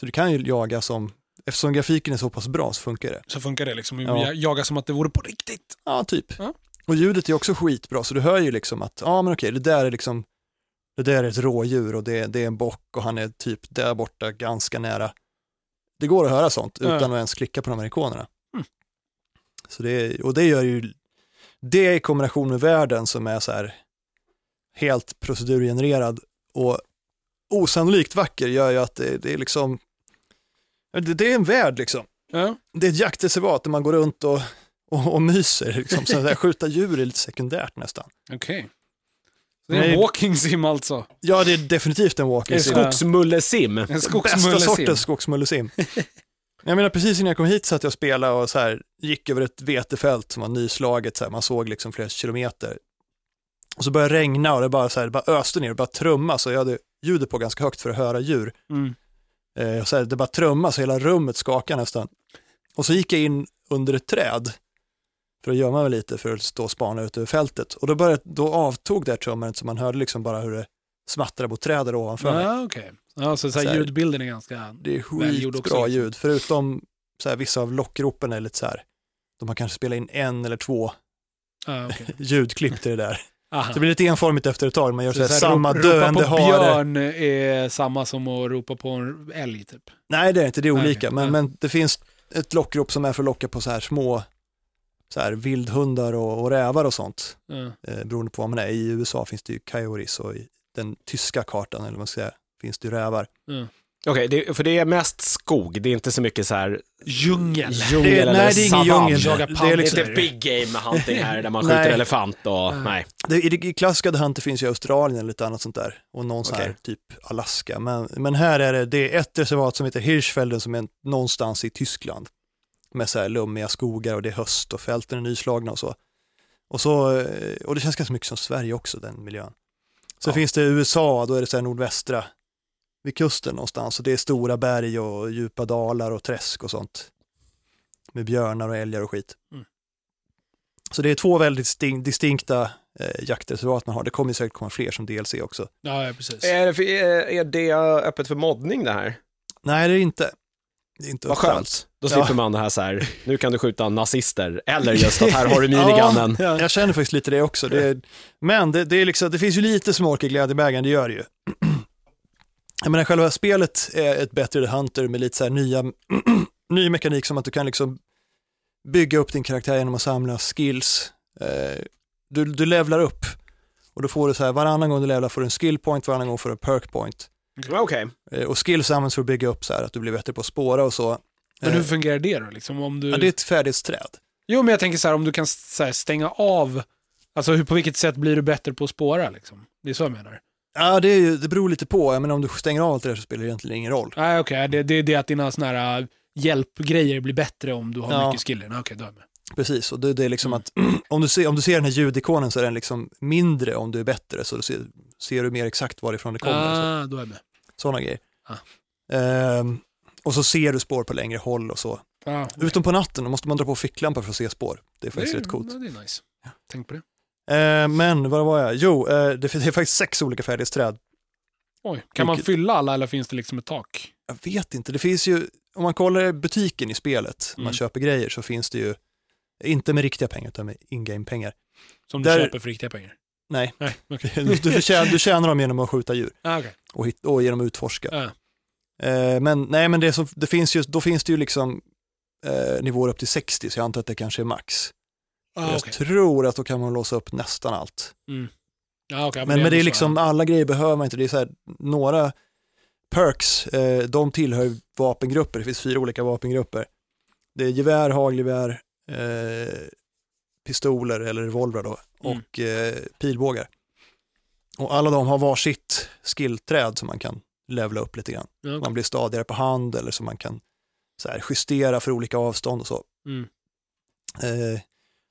Speaker 2: Så du kan ju jaga som, eftersom grafiken är så pass bra så funkar det.
Speaker 3: Så funkar det liksom.
Speaker 2: Ja.
Speaker 3: Jag- Jaga som att det vore på riktigt.
Speaker 2: Ja, typ.
Speaker 3: Ja.
Speaker 2: Och ljudet är också skitbra, så du hör ju liksom att, ja men okej, det där är liksom, det där är ett rådjur och det, det är en bock och han är typ där borta ganska nära. Det går att höra sånt
Speaker 3: Ja.
Speaker 2: utan att ens klicka på de här ikonerna.
Speaker 3: Mm.
Speaker 2: Så det, och det gör ju, det i kombination med världen som är så här helt procedurgenererad och osannolikt vacker gör ju att det, det är liksom, det, det är en värld liksom
Speaker 3: Ja.
Speaker 2: det är ett jaktreservat där man går runt och, och, och myser. Liksom. Så där, skjuta djur är lite sekundärt nästan.
Speaker 3: Okej. Så Det är
Speaker 2: Nej.
Speaker 3: en walking sim alltså.
Speaker 2: Ja, det är definitivt en walking
Speaker 3: Är
Speaker 2: sim.
Speaker 3: det
Speaker 1: Skogsmullesim.
Speaker 3: En
Speaker 2: Bästa
Speaker 3: skogsmullesim.
Speaker 2: sortens skogsmullesim. Jag menar precis innan jag kom hit satt jag och spelade och så här, gick över ett vetefält som var nyslaget, så här, man såg liksom flera kilometer. Och så började det regna och det bara, så här, det bara öste ner, det bara trumma så jag hade ljudet på ganska högt för att höra djur.
Speaker 3: Mm.
Speaker 2: Eh, och så här, det bara trumma så hela rummet skakade nästan. Och så gick jag in under ett träd för att gömma mig lite för att stå och spana ut över fältet. Och då, började, då avtog det här trummandet så man hörde liksom bara hur det smattrade mot trädet ovanför mig.
Speaker 3: Ja, okej. Ja, så, så här,
Speaker 2: Så här.
Speaker 3: ljudbilden är ganska...
Speaker 2: Det är
Speaker 3: Välgjord också,
Speaker 2: skitbra
Speaker 3: liksom.
Speaker 2: ljud, förutom så här, vissa av lockropen är lite så här, de har kanske spelat in en eller två
Speaker 3: Ja, okej.
Speaker 2: ljudklipp till det där.
Speaker 3: Aha.
Speaker 2: Så det blir lite enformigt efter ett tag, man gör så, här,
Speaker 3: så här,
Speaker 2: samma
Speaker 3: rop-
Speaker 2: döende
Speaker 3: Ropa på
Speaker 2: hare.
Speaker 3: björn är samma som att ropa på en älg, typ.
Speaker 2: Nej det är inte, det är
Speaker 3: Nej,
Speaker 2: olika,
Speaker 3: okej.
Speaker 2: men,
Speaker 3: Ja.
Speaker 2: men det finns ett lockrop som är för att locka på så här små så här, vildhundar och, och rävar och sånt.
Speaker 3: Ja.
Speaker 2: eh, beroende på vad man är. I USA finns det ju coyotes och i den tyska kartan, eller vad man ska säga, finns det ju rävar.
Speaker 1: Okej, det- för det är mest skog, det är inte så mycket så här
Speaker 3: Djungel.
Speaker 1: djungel
Speaker 2: Det är-
Speaker 1: eller
Speaker 2: nej, det är ingen
Speaker 1: savann.
Speaker 2: djungel.
Speaker 3: Jaga
Speaker 2: Det är
Speaker 3: pandor.
Speaker 1: Det
Speaker 2: liksom-
Speaker 1: är inte big game hunting här där man skjuter
Speaker 2: Nej.
Speaker 1: elefant och,
Speaker 3: Nej.
Speaker 1: nej.
Speaker 2: Det, I det i klassiska The Hunter finns ju i Australien eller lite annat sånt där och någon sån här
Speaker 1: Okej.
Speaker 2: typ Alaska. Men, men här är det, det är ett reservat som heter Hirschfelden som är någonstans i Tyskland med så här lummiga skogar och det är höst och fälten är nyslagna och så. Och, så, eh, och det känns ganska mycket som Sverige också, den miljön. Sen
Speaker 1: Ja.
Speaker 2: finns det USA, då är det så här nordvästra vid kusten någonstans och det är stora berg och djupa dalar och träsk och sånt. Med björnar och älgar och skit.
Speaker 3: Mm.
Speaker 2: Så det är två väldigt distin- distinkta eh, jaktreservat man har. Det kommer ju säkert komma fler som DLC också.
Speaker 3: Ja, ja, precis.
Speaker 2: Eh,
Speaker 1: Är det, för- är- är det öppet för moddning det här?
Speaker 2: Nej, det är det inte. Det är inte
Speaker 1: Vad
Speaker 2: öppet alls.
Speaker 1: skönt. Då
Speaker 2: Ja.
Speaker 1: slipper man det här så här, nu kan du skjuta nazister, eller just att här har du minigunnen.
Speaker 3: Ja.
Speaker 2: Jag känner faktiskt lite det också. Det är, men det, det, är liksom, det finns ju lite smolk i glädjebägaren, det gör det ju. Jag menar, själva spelet är ett bättre The Hunter med lite så här nya, ny mekanik som att du kan liksom bygga upp din karaktär genom att samla skills. Eh, Du, du levlar upp och då får du så här, varannan gång du levlar får du en skill point, varannan gång får du en perk point.
Speaker 1: Okej,
Speaker 2: Eh, Och skills används för att bygga upp så här, att du blir bättre på att spåra och så.
Speaker 3: Men
Speaker 2: Eh,
Speaker 3: hur fungerar det då? Liksom, om du...
Speaker 2: ja, det är ett färdighetsträd.
Speaker 3: Jo, men jag tänker så här, om du kan så här, stänga av, alltså hur, på vilket sätt blir du bättre på att spåra liksom? Det är så jag menar.
Speaker 2: Ja, det, är ju- det beror lite på. Jag menar, om du stänger av allt det där så spelar det egentligen ingen roll.
Speaker 3: Nej, okej, det, det är det att dina såna här äh, hjälpgrejer blir bättre om du har
Speaker 2: Ja.
Speaker 3: mycket skillen. Okej, då är jag med.
Speaker 2: Precis, och det, det är liksom
Speaker 3: Mm.
Speaker 2: att om du, ser, om du ser den här ljudikonen så är den liksom mindre om du är bättre, så du ser, ser du mer exakt varifrån det kommer. alltså. och Så,
Speaker 3: ah, då är jag med.
Speaker 2: sådana grejer.
Speaker 3: Ah.
Speaker 2: Ehm, och så ser du spår på längre håll och så.
Speaker 3: Ah,
Speaker 2: Utom på natten, då måste man dra på ficklampa för att se spår. Det är faktiskt
Speaker 3: det, är-
Speaker 2: rätt coolt.
Speaker 3: Det är nice. Tänk på det.
Speaker 2: Ehm, men, vad var jag? Jo, eh, det, fin- det är faktiskt sex olika färdighetsträd.
Speaker 3: Oj, kan man
Speaker 2: Vilket-
Speaker 3: fylla alla eller finns det liksom ett tak?
Speaker 2: Jag vet inte, det finns ju, om man kollar i butiken i spelet, när man
Speaker 3: Mm.
Speaker 2: köper grejer, så finns det ju, inte med riktiga pengar, utan med in-game-pengar.
Speaker 3: Som du
Speaker 2: Där-
Speaker 3: köper för riktiga pengar?
Speaker 2: Nej,
Speaker 3: Nej, okej.
Speaker 2: du, du, tjänar, du tjänar dem genom att skjuta djur.
Speaker 3: Ah, okej.
Speaker 2: och, hit, och genom att utforska.
Speaker 3: Ja.
Speaker 2: Eh, men nej, men det, som, det finns ju, då finns det ju liksom eh, nivåer upp till 60, så jag antar att det kanske är max.
Speaker 3: Ah,
Speaker 2: jag
Speaker 3: okej.
Speaker 2: tror att då kan man låsa upp nästan allt.
Speaker 3: Ah, okej,
Speaker 2: men, men det är
Speaker 3: ändå
Speaker 2: liksom,
Speaker 3: så,
Speaker 2: alla grejer behöver man inte. Det är så här, några perks, eh, de tillhör ju vapengrupper. Det finns fyra olika vapengrupper. Det är gevär, hagelgevär, eh, pistoler eller revolver då,
Speaker 3: Mm.
Speaker 2: och eh, pilbågar. Och alla de har varsitt skillträd som man kan levla upp lite grann
Speaker 3: ja. Ja, okej.
Speaker 2: man blir stadigare på hand eller så man kan så här, justera för olika avstånd och så.
Speaker 3: Mm.
Speaker 2: Eh,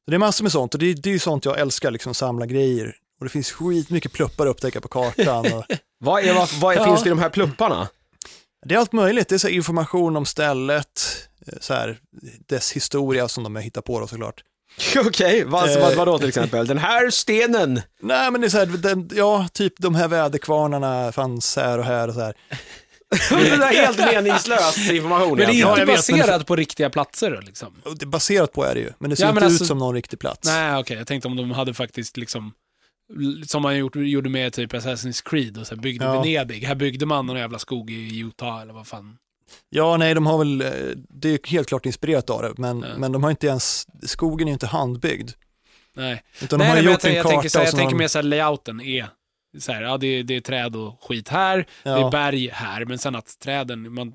Speaker 2: så det är massor med sånt och det, det är ju sånt jag älskar, liksom samla grejer. Och det finns skitmycket pluppar att upptäcka på kartan. Och
Speaker 1: Vad, är, vad, vad är,
Speaker 3: Ja.
Speaker 1: finns det i de här plupparna?
Speaker 2: det är allt möjligt, det är så här information om stället, eh, så här, dess historia som de hittar på då såklart.
Speaker 1: Okej, vad,
Speaker 2: Eh.
Speaker 1: vad, vadå till exempel? Den här stenen!
Speaker 2: Nej men det är så här, den, ja, typ de här väderkvarnarna fanns här och här och så här.
Speaker 1: det där är helt meningslös information
Speaker 3: Men det är
Speaker 1: egentligen.
Speaker 3: inte
Speaker 2: jag vet,
Speaker 3: baserat på riktiga platser då, liksom?
Speaker 2: Och det är baserat på är det ju, men det ser
Speaker 3: Ja,
Speaker 2: inte
Speaker 3: men
Speaker 2: ut
Speaker 3: alltså-
Speaker 2: som någon riktig plats.
Speaker 3: Nej, okej. Jag tänkte om de hade faktiskt liksom l- som man gjort, gjorde med typ Assassin's Creed och så här byggde
Speaker 2: Ja.
Speaker 3: Venedig. Här byggde man någon jävla skog i Utah eller vad fan.
Speaker 2: Ja, nej, de har väl, eh, det är ju helt klart inspirerat av det, men,
Speaker 3: Ja.
Speaker 2: men de har inte ens, skogen är ju inte handbyggd.
Speaker 3: Nej,
Speaker 2: Utan
Speaker 3: nej,
Speaker 2: de har
Speaker 3: nej men jag,
Speaker 2: gjort
Speaker 3: tänker-
Speaker 2: en
Speaker 3: jag
Speaker 2: karta
Speaker 3: tänker, så här,
Speaker 2: och
Speaker 3: jag
Speaker 2: så
Speaker 3: tänker
Speaker 2: har de-
Speaker 3: mer så här layouten är så här, ja det är, det är träd och skit här, det är
Speaker 2: ja,
Speaker 3: berg här, men sen att träden, man,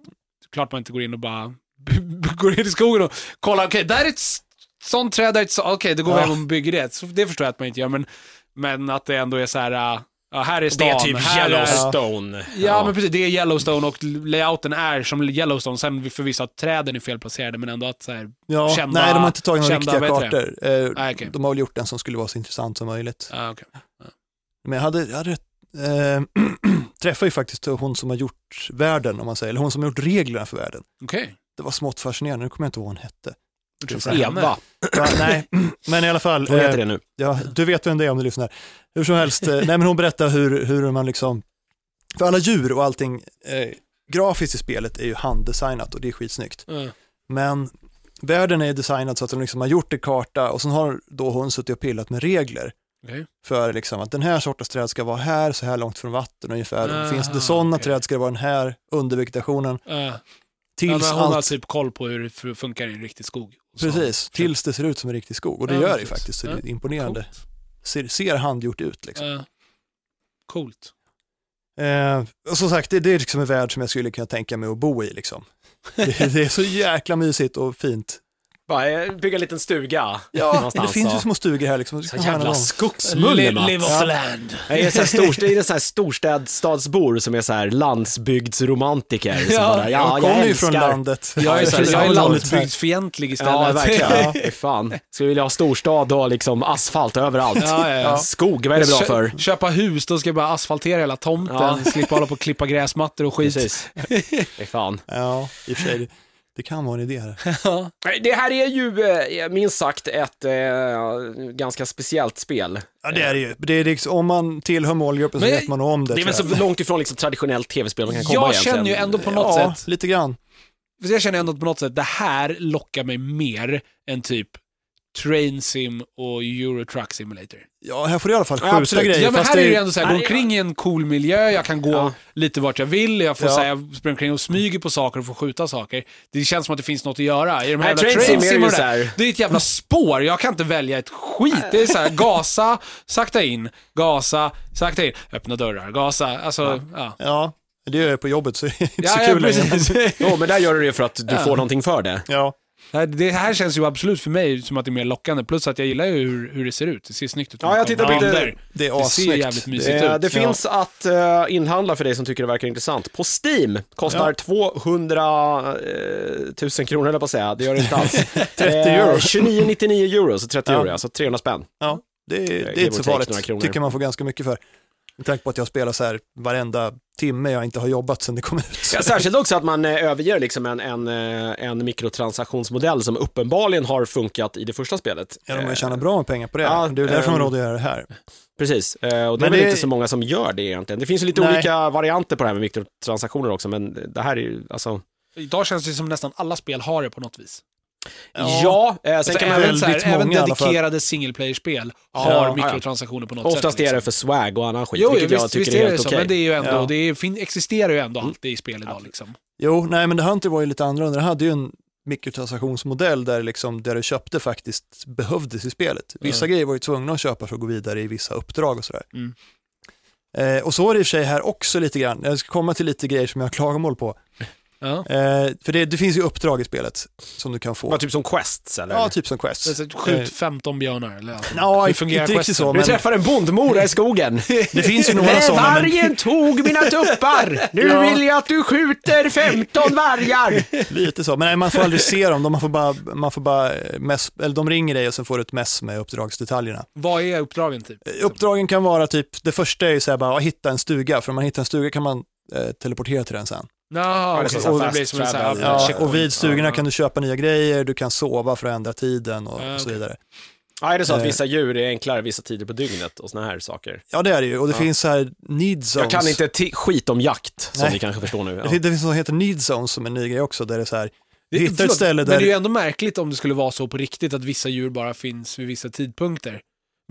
Speaker 3: klart man inte går in och bara går in i skogen och kollar, okej, där är ett s- sånt träd, där är ett så- okej, då går
Speaker 2: Ja.
Speaker 3: vi hem och bygger det. Så det förstår jag att man inte gör, men, men att det ändå är så här, äh, ja, här är stan, här är
Speaker 1: typ Yellowstone.
Speaker 3: Ja, men precis. Det är Yellowstone och layouten är som Yellowstone. Sen förvisso att träden är felplacerade, men ändå att så här,
Speaker 2: ja,
Speaker 3: kända-
Speaker 2: nej, de har inte tagit några
Speaker 3: kända,
Speaker 2: riktiga
Speaker 3: vad heter
Speaker 2: kartor. Eh,
Speaker 3: Nej, okej.
Speaker 2: De har väl gjort den som skulle vara så intressant som möjligt.
Speaker 3: ah, okej.
Speaker 2: Men jag hade, jag hade eh, träffade ju faktiskt hon som har gjort världen, om man säger, eller hon som har gjort reglerna för världen.
Speaker 3: Okej.
Speaker 2: Det var smått fascinerande, nu kommer jag inte ihåg vad hon hette.
Speaker 3: Okay.
Speaker 1: Eva,
Speaker 2: Va, nej, men i alla fall.
Speaker 1: hon
Speaker 2: eh,
Speaker 1: heter det nu.
Speaker 2: Ja, du vet vem det är om du lyssnar. Hur som helst, eh, nej men hon berättar hur, hur man liksom, för alla djur och allting eh, grafiskt i spelet är ju handdesignat och det är skitsnyggt.
Speaker 3: Ah,
Speaker 2: Men världen är designad så att de liksom har gjort en karta och sen har då hon suttit och pillat med regler
Speaker 3: Okej.
Speaker 2: för liksom att den här sortens träd ska vara här, så här långt från vatten ungefär.
Speaker 3: Ah,
Speaker 2: Finns det sådana
Speaker 3: okej.
Speaker 2: träd ska det vara den här under vegetationen.
Speaker 3: Ja, men
Speaker 2: Tills
Speaker 3: hon har
Speaker 2: allt,
Speaker 3: typ koll på hur det f- funkar i en riktig skog. Så.
Speaker 2: precis, tills det ser ut som en riktig skog. Och det
Speaker 3: Ja,
Speaker 2: gör det ju
Speaker 3: precis.
Speaker 2: faktiskt, så det
Speaker 3: Ja,
Speaker 2: är imponerande.
Speaker 3: Coolt.
Speaker 2: Ser, ser handgjort ut liksom.
Speaker 3: Ja. Coolt.
Speaker 2: Eh, och som sagt, det, det är liksom en värld som jag skulle kunna tänka mig att bo i. Liksom. Det, det är så jäkla mysigt och fint.
Speaker 1: Bara eh, bygga en liten stuga.
Speaker 2: Ja, det
Speaker 1: någonstans,
Speaker 2: finns ju
Speaker 1: ja.
Speaker 2: små stugor här. Liksom.
Speaker 1: Så
Speaker 2: Man kan ha
Speaker 1: jävla
Speaker 2: någon-
Speaker 1: skogsmulle,
Speaker 3: Li- Live
Speaker 1: Mats.
Speaker 3: off
Speaker 2: Ja.
Speaker 3: the land.
Speaker 1: Jag är så här storst- det är så här storstadsbor som är så här landsbygdsromantiker. Som
Speaker 3: Ja,
Speaker 1: bara, ja,
Speaker 2: jag
Speaker 1: jag,
Speaker 2: kommer ju
Speaker 1: älskar...
Speaker 2: från landet.
Speaker 3: Jag är, så här,
Speaker 2: Precis,
Speaker 3: jag är
Speaker 2: har landet
Speaker 3: landsbygdsfientlig istället.
Speaker 1: Ja, verkligen.
Speaker 2: Ja.
Speaker 1: Ja. fy fan. Skulle vilja ha storstad och liksom asfalt överallt.
Speaker 3: Ja, ja, ja.
Speaker 1: Skog, vad är det bra
Speaker 3: Kö-
Speaker 1: för?
Speaker 3: Köpa hus, då ska jag bara asfaltera hela tomten,
Speaker 1: Ja.
Speaker 3: slippa hålla på och klippa gräsmattor och skit.
Speaker 1: Precis. Fy fan.
Speaker 2: här. Ja, i och för sig. det- Det kan vara en idé här.
Speaker 3: Ja.
Speaker 1: Nej, Det här är ju eh, minst sagt ett eh, ganska speciellt spel.
Speaker 2: Ja, det är det ju. Det är liksom, om man tillhör målgruppen så
Speaker 3: Men jag-
Speaker 2: vet man om det.
Speaker 1: Det är väl så
Speaker 2: tror jag.
Speaker 1: långt ifrån liksom traditionellt tv-spel man kan komma
Speaker 3: Jag
Speaker 1: egentligen.
Speaker 3: känner ju ändå på något
Speaker 2: Ja,
Speaker 3: sätt,
Speaker 2: lite grann.
Speaker 3: för jag känner ändå på något sätt, det här lockar mig mer än typ Train Sim och Euro Truck Simulator.
Speaker 2: Ja, här får du i alla fall
Speaker 1: Ja,
Speaker 2: skjuta
Speaker 1: absolut.
Speaker 2: grejer.
Speaker 3: Ja men
Speaker 2: fast
Speaker 3: här är det ju
Speaker 2: ju-
Speaker 3: ändå såhär, gå
Speaker 1: Nej,
Speaker 3: omkring i en cool miljö, jag kan gå
Speaker 1: Ja.
Speaker 3: lite vart jag vill, jag får
Speaker 2: Ja.
Speaker 3: säga, springa omkring och smyga på saker och få skjuta saker. Det känns som att det finns något att göra. I de här
Speaker 1: Nej,
Speaker 3: jävla
Speaker 1: Train Sim är
Speaker 3: Sim
Speaker 1: ju
Speaker 3: och det,
Speaker 1: så
Speaker 3: där,
Speaker 1: här.
Speaker 3: det är ett jävla spår, jag kan inte välja ett skit. Det är såhär, gasa, sakta in, gasa, sakta in, öppna dörrar, gasa, alltså, ja.
Speaker 2: Ja, det gör jag på jobbet så det är inte
Speaker 3: Ja,
Speaker 2: så
Speaker 3: ja,
Speaker 2: kul längre.
Speaker 3: precis.
Speaker 1: Jo, men där gör du det ju för att du får någonting för det.
Speaker 2: Ja,
Speaker 3: Det här- Det här känns ju absolut för mig som att det är mer lockande, plus att jag gillar ju hur, hur det ser ut. Det ser snyggt ut.
Speaker 1: Ja, jag tittar på lite-
Speaker 3: bilder.
Speaker 2: det är
Speaker 3: Det ser ju
Speaker 2: assnyggt.
Speaker 3: jävligt mysigt
Speaker 2: Det är-
Speaker 1: Eh,
Speaker 3: ut.
Speaker 1: det
Speaker 2: Ja.
Speaker 1: finns att eh, inhandla för dig som tycker det verkar intressant. På Steam kostar 200 eh, 000 kronor, eller på att säga. Det gör det inte alls.
Speaker 2: 30 euro.
Speaker 1: 29,99 euro, så 30
Speaker 2: Ja.
Speaker 1: euro, alltså 300 spänn.
Speaker 2: Ja, det, är- det
Speaker 1: give
Speaker 2: är
Speaker 1: or
Speaker 2: inte så
Speaker 1: take några
Speaker 2: farligt.
Speaker 1: kronor.
Speaker 2: tycker man får ganska mycket för. Med tanke på att jag spelar så här varenda timme jag inte har jobbat sedan det kom ut.
Speaker 1: Ja, särskilt också att man eh, överger liksom en, en, eh, en mikrotransaktionsmodell som uppenbarligen har funkat i det första spelet.
Speaker 2: Ja, de har
Speaker 1: Eh,
Speaker 2: ju tjänat bra med pengar på det.
Speaker 1: ja,
Speaker 2: det är ju därför man
Speaker 3: eh,
Speaker 1: ehm,
Speaker 2: har råd att göra det här.
Speaker 1: Precis, eh, och det
Speaker 2: Men
Speaker 1: är väl
Speaker 2: det-
Speaker 1: inte så många som gör det egentligen. Det finns ju lite
Speaker 2: Nej.
Speaker 1: olika varianter på det här med mikrotransaktioner också, men det här är ju alltså...
Speaker 3: Idag känns det som nästan alla spel har det på något vis.
Speaker 1: Ja, eh, sen
Speaker 3: Alltså,
Speaker 1: kan man
Speaker 3: även,
Speaker 1: väl...
Speaker 3: så här,
Speaker 2: väldigt
Speaker 3: även
Speaker 2: många i alla fall.
Speaker 3: dedikerade single player-spel
Speaker 1: ja,
Speaker 3: har
Speaker 1: ja.
Speaker 3: mikrotransaktioner på något sätt.
Speaker 1: Oftast är det
Speaker 3: liksom.
Speaker 1: för swag och annan skit,
Speaker 3: Jo,
Speaker 1: vilket
Speaker 3: visst,
Speaker 1: jag tycker
Speaker 3: visst
Speaker 1: är
Speaker 3: är det
Speaker 1: helt
Speaker 3: så,
Speaker 1: okej. Mm.
Speaker 3: men det är ju ändå,
Speaker 2: Ja.
Speaker 3: det är, fin, existerar ju ändå alltid i spel idag liksom.
Speaker 2: Jo, nej men det Hunter var ju lite annorlunda. Det hade ju en mikrotransaktionsmodell där, liksom, där du köpte faktiskt behövdes i spelet. Vissa grejer var ju tvungna att köpa för att gå vidare i vissa uppdrag och sådär.
Speaker 3: Mm.
Speaker 2: Eh, och så är det i och för sig här också lite grann. Jag ska komma till lite grejer som jag har klagomål på.
Speaker 3: Ja.
Speaker 2: Eh, för det, det finns ju uppdrag i spelet som du kan få.
Speaker 1: Var typ som quests eller?
Speaker 2: Ja, typ som Quest.
Speaker 3: Det är så
Speaker 1: Eh.
Speaker 3: att Skjut 15 björnar. Eller, alltså.
Speaker 2: Ja,
Speaker 3: Hur fungerar
Speaker 2: inte riktigt
Speaker 3: questen?
Speaker 2: så,
Speaker 1: Vi
Speaker 2: men
Speaker 1: träffar en bondmora i skogen.
Speaker 2: det finns ju några sådana. Men
Speaker 1: Vargen tog mina tuppar! Nu
Speaker 2: Ja.
Speaker 1: vill jag att du skjuter 15 vargar!
Speaker 2: lite så. Men nej, man får aldrig se dem, de, man får bara, man får bara eh, mess, eller de ringer dig och sen får du ett mess med uppdragsdetaljerna.
Speaker 3: Vad är uppdragen typ?
Speaker 2: Eh, Uppdragen kan vara typ, det första är ju så här bara, att hitta en stuga, för om man hittar en stuga kan man eh, teleportera till den sen.
Speaker 3: Jaha,
Speaker 1: det
Speaker 3: okej.
Speaker 1: är så
Speaker 3: Och
Speaker 1: här
Speaker 3: det blir
Speaker 1: fast
Speaker 3: som en sån här
Speaker 1: travel.
Speaker 2: Ja,
Speaker 3: checkpoint.
Speaker 2: och vid stugorna
Speaker 3: Ja.
Speaker 2: kan du köpa nya grejer, du kan sova för att ändra tiden och,
Speaker 3: Ja,
Speaker 2: och så
Speaker 3: okej.
Speaker 2: vidare.
Speaker 1: Ja, är det så att vissa djur är enklare vissa tider på dygnet och såna här saker?
Speaker 2: Ja, det är det ju. Och det finns så här need zones.
Speaker 1: Jag kan inte ti- skit om jakt, som
Speaker 2: Nej.
Speaker 1: ni kanske förstår nu.
Speaker 2: Det
Speaker 1: Ja.
Speaker 2: finns, det finns något som heter need zones som är en ny grej också, där det är så här, du
Speaker 3: Det-
Speaker 2: hittar ett
Speaker 3: förlåt,
Speaker 2: ställe
Speaker 3: Men det är ju
Speaker 2: där...
Speaker 3: ändå märkligt om det skulle vara så på riktigt att vissa djur bara finns vid vissa tidpunkter.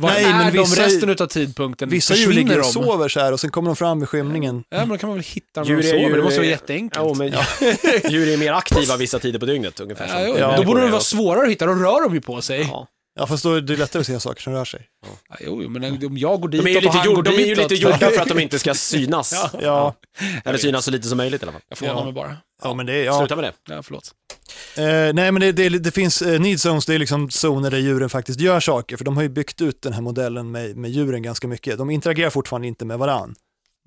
Speaker 3: Vad
Speaker 2: Nej,
Speaker 3: är
Speaker 2: men
Speaker 3: de
Speaker 2: vissa-
Speaker 3: resten av tidpunkten?
Speaker 2: Vissa djur
Speaker 3: Försvinner
Speaker 2: ligger och
Speaker 3: de?
Speaker 2: sover så här och sen kommer de fram i skymningen.
Speaker 3: Ja, men då kan man väl hitta dem
Speaker 1: Djur
Speaker 3: när de
Speaker 1: är ju-
Speaker 3: sover. Det måste vara jätteenkelt.
Speaker 1: Ja, men djur är mer aktiva vissa tider på dygnet, ungefär som
Speaker 3: Ja, jo,
Speaker 1: människor
Speaker 3: Då borde
Speaker 1: är
Speaker 3: det vara
Speaker 1: också.
Speaker 3: svårare att hitta, då rör de ju på sig.
Speaker 1: Ja.
Speaker 3: Ja.
Speaker 2: Ja, fast då är det lättare att se saker som rör sig.
Speaker 3: jo, jo, men om jag går
Speaker 1: De
Speaker 3: ditåt
Speaker 1: är ju
Speaker 3: och
Speaker 1: lite,
Speaker 3: han går
Speaker 1: gjord, de är ju
Speaker 3: ditåt,
Speaker 1: lite gjorda för att de inte ska synas.
Speaker 2: Ja,
Speaker 1: Eller synas så lite som möjligt i alla fall.
Speaker 3: Jag förlånar mig bara.
Speaker 2: ja men det är... Ja.
Speaker 1: Sluta med det.
Speaker 3: Ja, förlåt.
Speaker 2: Eh, nej, men det, det, det finns eh, need zones, det är liksom zoner där djuren faktiskt gör saker, för de har ju byggt ut den här modellen med, med djuren ganska mycket. De interagerar fortfarande inte med varann.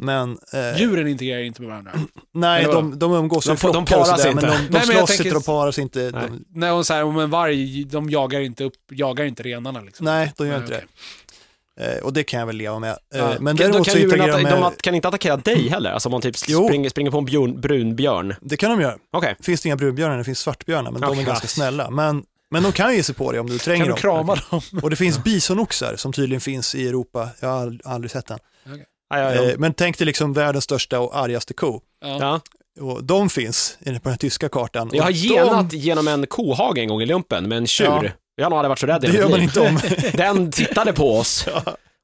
Speaker 2: Men, eh,
Speaker 3: Djuren integrerar inte med varandra.
Speaker 2: nej,
Speaker 3: Eller vadå?
Speaker 2: de, de umgås
Speaker 1: De
Speaker 2: i
Speaker 1: får- de
Speaker 2: flockar och
Speaker 1: paras
Speaker 2: sådär,
Speaker 1: inte.
Speaker 2: men de, de
Speaker 3: Nej, men jag
Speaker 2: slåss
Speaker 3: tänker-
Speaker 2: inte, de paras inte.
Speaker 1: Nej.
Speaker 2: De,
Speaker 3: Nej, och så här, om en varg, de jagar inte upp, jagar inte renarna liksom.
Speaker 2: nej, de gör inte
Speaker 3: okej.
Speaker 2: det. Eh, och det kan jag väl leva med. Eh,
Speaker 3: Ja.
Speaker 2: Men
Speaker 1: Då
Speaker 2: däremot
Speaker 1: kan
Speaker 2: så
Speaker 1: djuren
Speaker 2: interagerar de
Speaker 1: atta- de
Speaker 2: med,
Speaker 1: att- kan inte attackera dig heller? Alltså om man typ
Speaker 2: Jo.
Speaker 1: springer, springer på en björn, brun björn.
Speaker 2: det kan de göra.
Speaker 1: Okej.
Speaker 2: Finns det inga brunbjörnar, det finns svartbjörnar, men de
Speaker 1: Okej.
Speaker 2: är ganska snälla. Men, men de kan ju ge sig på dig om du tränger
Speaker 3: Kan du
Speaker 2: dem.
Speaker 3: krama dem?
Speaker 2: Och det finns bisonoxar som tydligen finns i Europa, jag har ald- aldrig sett den.
Speaker 1: Ja, ja, ja.
Speaker 2: Eh, Men tänk dig liksom världens största och argaste ko.
Speaker 3: Ja.
Speaker 1: Ja.
Speaker 2: Och de finns i den- på den här tyska kartan.
Speaker 1: Jag har
Speaker 2: Och
Speaker 1: genat genom en kohage en gång i lumpen med en tjur.
Speaker 2: Ja.
Speaker 1: Jag har nog aldrig varit så rädd i
Speaker 2: De, det
Speaker 1: hela
Speaker 2: gör
Speaker 1: mitt
Speaker 2: man
Speaker 1: liv.
Speaker 2: inte om.
Speaker 1: Den tittade på oss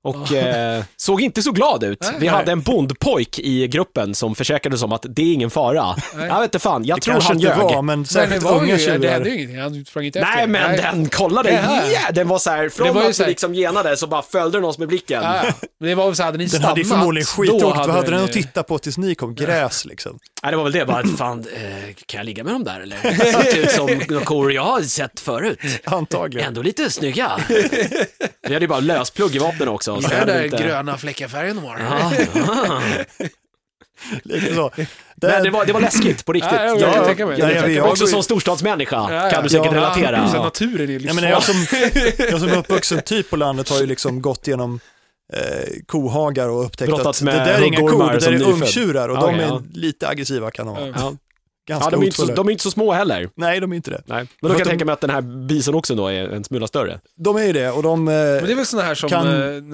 Speaker 1: och eh, såg inte så glad ut.
Speaker 3: Nej,
Speaker 1: Vi
Speaker 3: nej.
Speaker 1: hade en bondpojk i gruppen som försäkrade oss om att det är ingen fara.
Speaker 3: Nej.
Speaker 1: Jag vet inte fan, jag
Speaker 2: Det
Speaker 1: tror
Speaker 2: kanske
Speaker 1: han
Speaker 2: inte
Speaker 1: ljög.
Speaker 2: var, men särskilt
Speaker 3: var
Speaker 2: unga
Speaker 3: ju, det hände
Speaker 2: tjurar.
Speaker 3: ju ingenting, han sprang inte efter
Speaker 1: Nej
Speaker 3: dig.
Speaker 1: men den kollade,
Speaker 3: Det här.
Speaker 1: yeah, den var så här, från
Speaker 3: Det var ju
Speaker 1: att
Speaker 3: så
Speaker 1: vi
Speaker 3: här-
Speaker 1: liksom genade så bara följde den oss med blicken.
Speaker 3: Ja, ja. Men det var väl så här, hade ni
Speaker 2: Den
Speaker 3: stannat,
Speaker 2: hade ju förmodligen
Speaker 3: då
Speaker 2: skitont. Vad hade den
Speaker 3: ju-
Speaker 2: att titta på tills ni kom? Gräs liksom.
Speaker 1: Nej, det var väl det, bara att fan, eh, kan jag ligga med dem där eller? Det ser ut som de kor jag har sett förut.
Speaker 2: Antagligen.
Speaker 1: Ändå lite snygga. Vi hade ju bara lösplugg i vapnen också. så
Speaker 3: Gillar
Speaker 1: det
Speaker 3: den
Speaker 1: hade
Speaker 3: där
Speaker 1: inte-
Speaker 3: gröna fläckiga färgen de har.
Speaker 1: Ja, ja.
Speaker 2: Lite så.
Speaker 1: Men
Speaker 2: Den-
Speaker 1: det var, det var läskigt på riktigt.
Speaker 3: Ja, jag
Speaker 1: Jag-
Speaker 3: kan tänka mig.
Speaker 1: jag-
Speaker 2: Nej,
Speaker 1: jag-
Speaker 2: jag-
Speaker 1: också som storstadsmänniska
Speaker 3: Ja, ja.
Speaker 1: kan du säkert
Speaker 2: Ja,
Speaker 1: relatera.
Speaker 3: Så här,
Speaker 1: Ja.
Speaker 3: naturen är ju
Speaker 2: Nej,
Speaker 3: liksom...
Speaker 2: men jag, som, jag som är uppvuxen typ på landet har ju liksom gått igenom eh, kohagar och upptäckt
Speaker 1: Brottats
Speaker 2: att det
Speaker 1: med
Speaker 2: där är inga
Speaker 1: huggormar
Speaker 2: kor, det där
Speaker 1: som
Speaker 2: är
Speaker 1: nyfödd.
Speaker 2: ungtjurar och de
Speaker 1: Okej,
Speaker 2: är
Speaker 1: ja.
Speaker 2: lite aggressiva kan de vara.
Speaker 3: Ja.
Speaker 1: Ja.
Speaker 2: Ganska
Speaker 1: de, är inte så,
Speaker 2: hotfulla.
Speaker 1: de är inte så små heller.
Speaker 2: Nej, de är inte det.
Speaker 1: Nej. Men då kan
Speaker 2: För
Speaker 1: jag
Speaker 2: att de-
Speaker 1: tänka mig att den här bison också då är en smula större.
Speaker 2: De är ju det och de... eh,
Speaker 3: Men det är väl såna här som,
Speaker 2: Kan-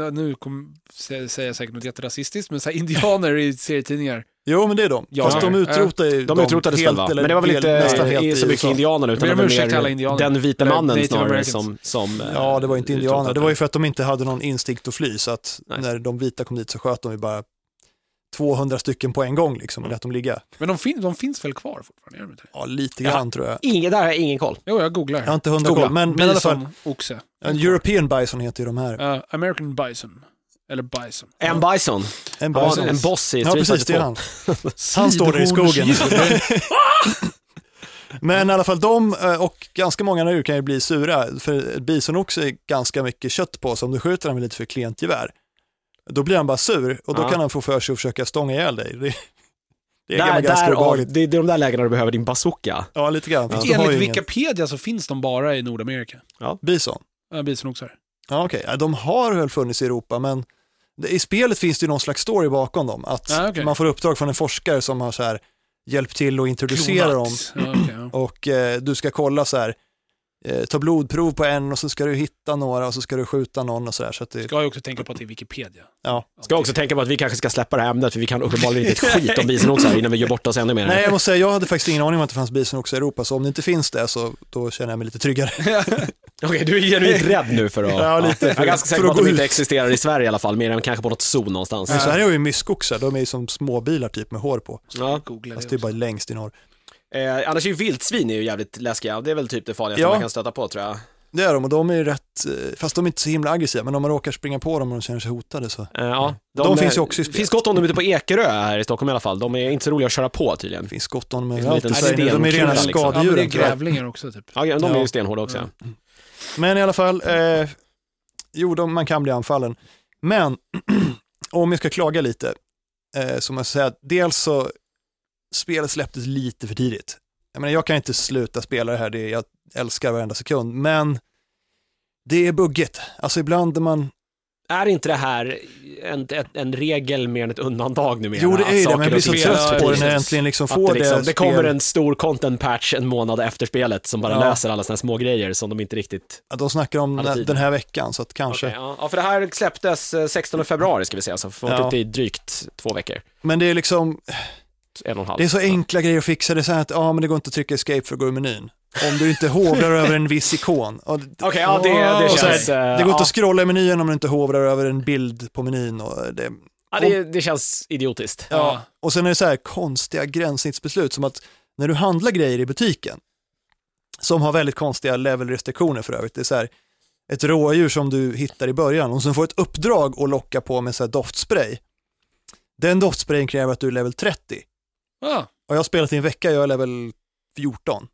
Speaker 3: eh, nu kom, sä- säger jag säkert något jätterasistiskt, men så här, indianer i serietidningar.
Speaker 2: Jo, men det är de.
Speaker 3: Ja,
Speaker 2: Fast de
Speaker 3: ja.
Speaker 2: utrotar ju
Speaker 1: De utrotades väl va?
Speaker 2: eller
Speaker 1: Men det var väl
Speaker 2: del- nästan
Speaker 1: inte
Speaker 2: helt
Speaker 1: i- så
Speaker 2: i
Speaker 1: mycket
Speaker 2: USA.
Speaker 1: indianer utan
Speaker 3: ber
Speaker 1: det
Speaker 3: om
Speaker 1: var
Speaker 3: ursäkt till alla
Speaker 1: mer
Speaker 3: indianer.
Speaker 1: den vita
Speaker 3: Eller
Speaker 1: mannen
Speaker 3: Native
Speaker 1: snarare
Speaker 3: Americans.
Speaker 1: som... som eh,
Speaker 2: Ja, det var inte indianer.
Speaker 1: utrotade
Speaker 2: Det var ju för att de inte hade någon instinkt att fly så att
Speaker 1: Nej.
Speaker 2: när de vita kom dit så sköt de ju bara 200 stycken på en gång liksom och lät dem ligga.
Speaker 3: Men de, fin, de finns väl kvar fortfarande? Gör de inte det?
Speaker 2: Ja, lite grann tror jag.
Speaker 1: Ingen, där har jag ingen koll.
Speaker 3: Jo, jag googlar.
Speaker 2: Jag har inte hundra
Speaker 1: Skola.
Speaker 2: koll, men, men i alla fall.
Speaker 3: Bison, oxe.
Speaker 2: En European bison heter ju de här.
Speaker 3: Eh, American bison. Eller bison.
Speaker 1: En bison.
Speaker 2: En
Speaker 1: Han var
Speaker 2: bison.
Speaker 1: en boss i
Speaker 2: Ja,
Speaker 1: Street
Speaker 2: precis, det är
Speaker 1: 42.
Speaker 2: han. Han står där i skogen. Men i alla fall de eh, och ganska många andra djur kan ju bli sura, för ett bison också är ganska mycket kött på, så om du skjuter han med lite för klent gevär, då blir han bara sur och då
Speaker 1: Ja.
Speaker 2: kan han få för sig att försöka stånga ihjäl dig. Det, det är
Speaker 1: Där,
Speaker 2: ganska
Speaker 1: därav,
Speaker 2: obehagligt.
Speaker 1: det är de där lägena du behöver din bazooka.
Speaker 2: Ja, lite grann. Fast de har ju
Speaker 3: Enligt
Speaker 2: ingen
Speaker 3: Wikipedia så finns de bara i Nordamerika.
Speaker 2: bison.
Speaker 3: Uh, Bisonoxar.
Speaker 2: Ja, okej. Ja, De har väl funnits i Europa, men det- i spelet finns det ju någon slags story bakom dem, att
Speaker 3: Ja, okej.
Speaker 2: man får uppdrag från en forskare som har så här, hjälpt till att introducera dem
Speaker 3: Klonax. Ja, okej, ja.
Speaker 2: och eh, du ska kolla så här, eh, ta blodprov på en och så ska du hitta några och så ska du skjuta någon och så där. Så att det,
Speaker 3: Ska ju också tänka på att det är Wikipedia.
Speaker 2: ja.
Speaker 1: Ska också tänka på att vi kanske ska släppa det här ämnet, för vi kan uppenbarligen inte ett skit om bison också här innan vi gör bort oss ännu mer.
Speaker 2: Nej, jag måste säga, jag hade faktiskt ingen aning om att det fanns bison också i Europa, så om det inte finns det så då känner jag mig lite tryggare.
Speaker 1: Okej, du är genuint rädd nu för att...
Speaker 2: Ja, lite.
Speaker 1: Jag är ganska säker
Speaker 2: För
Speaker 1: på att
Speaker 2: att
Speaker 1: de
Speaker 2: gå
Speaker 1: inte
Speaker 2: ut.
Speaker 1: existerar i Sverige i alla fall, mer än kanske på något zoo någonstans.
Speaker 2: Men så här är ju myskoxar, de är ju som småbilar typ med hår på.
Speaker 1: Ja.
Speaker 3: Googla det.
Speaker 2: Fast det är bara längst i norr.
Speaker 1: Eh, annars är ju vildsvin är ju jävligt läskiga, det är väl typ det farligaste
Speaker 2: Ja.
Speaker 1: man kan stöta på tror jag.
Speaker 2: Det är de och de är ju rätt, eh, fast de är inte så himla aggressiva, men om man råkar springa på dem och de känner sig hotade så
Speaker 1: Eh, Ja,
Speaker 2: De finns ju också i spelet.
Speaker 1: finns gott om dem ute på Ekerö här i Stockholm i alla fall. De är inte så roliga att köra på tydligen.
Speaker 2: det finns gott om dem
Speaker 1: Det är
Speaker 2: överallt.
Speaker 1: en liten
Speaker 2: du säger nu. De är
Speaker 1: stenkula,
Speaker 2: rena
Speaker 1: liksom. Ja,
Speaker 3: Ja, men det är
Speaker 2: skadedjuren. tyvärr.
Speaker 3: grävlingar också typ.
Speaker 1: Ja, de är
Speaker 2: Ja.
Speaker 1: ju stenhårda också.
Speaker 3: Mm.
Speaker 2: men i alla fall, eh, jo, de, man kan bli anfallen. Men om jag ska klaga lite, eh, så måste jag säga att dels så, spelet släpptes lite för tidigt. Jag menar, jag kan inte sluta spela det här, det, jag älskar varenda sekund, men det är buggigt. Alltså ibland när man
Speaker 1: Är inte det här en, en, en regel mer än ett undantag numera?
Speaker 2: Jo, det
Speaker 1: Att
Speaker 2: är ju det,
Speaker 1: saker
Speaker 2: men jag blir
Speaker 1: och
Speaker 2: så
Speaker 1: ting-
Speaker 2: trött på det när jag
Speaker 1: Precis.
Speaker 2: äntligen liksom
Speaker 1: Att
Speaker 2: får
Speaker 1: det,
Speaker 2: det.
Speaker 1: liksom, det
Speaker 2: spel-
Speaker 1: kommer en stor content patch en månad efter spelet som bara
Speaker 2: Ja.
Speaker 1: löser alla såna här små grejer som de inte riktigt...
Speaker 2: att De snackar om
Speaker 1: Alla
Speaker 2: den-
Speaker 1: tider.
Speaker 2: den här veckan, så att kanske.
Speaker 1: Okej, ja. ja, för det här släpptes eh, 16 februari ska vi säga, så får
Speaker 2: Ja.
Speaker 1: ja. det i drygt två veckor.
Speaker 2: Men det är liksom,
Speaker 1: En och en halv.
Speaker 2: det är så enkla grejer att fixa. Det är så här att, ja men det går inte att trycka escape för att gå ur menyn. Om du inte hovrar över en viss ikon. Och,
Speaker 1: Okej, ja det, det
Speaker 2: och så här,
Speaker 1: känns... eh,
Speaker 2: det går inte
Speaker 1: ja.
Speaker 2: att scrolla i menyn om du inte hovrar över en bild på menyn. Och, det,
Speaker 1: ja, det, det känns idiotiskt.
Speaker 3: Ja.
Speaker 2: och sen är det så här konstiga gränssnittsbeslut, som att när du handlar grejer i butiken, som har väldigt konstiga levelrestriktioner för övrigt, det är så här, ett rådjur som du hittar i början och som får ett uppdrag att locka på med så här doftspray. Den doftsprayen kräver att du är level 30.
Speaker 3: Ja.
Speaker 2: Och jag har spelat i en vecka, jag är level 14.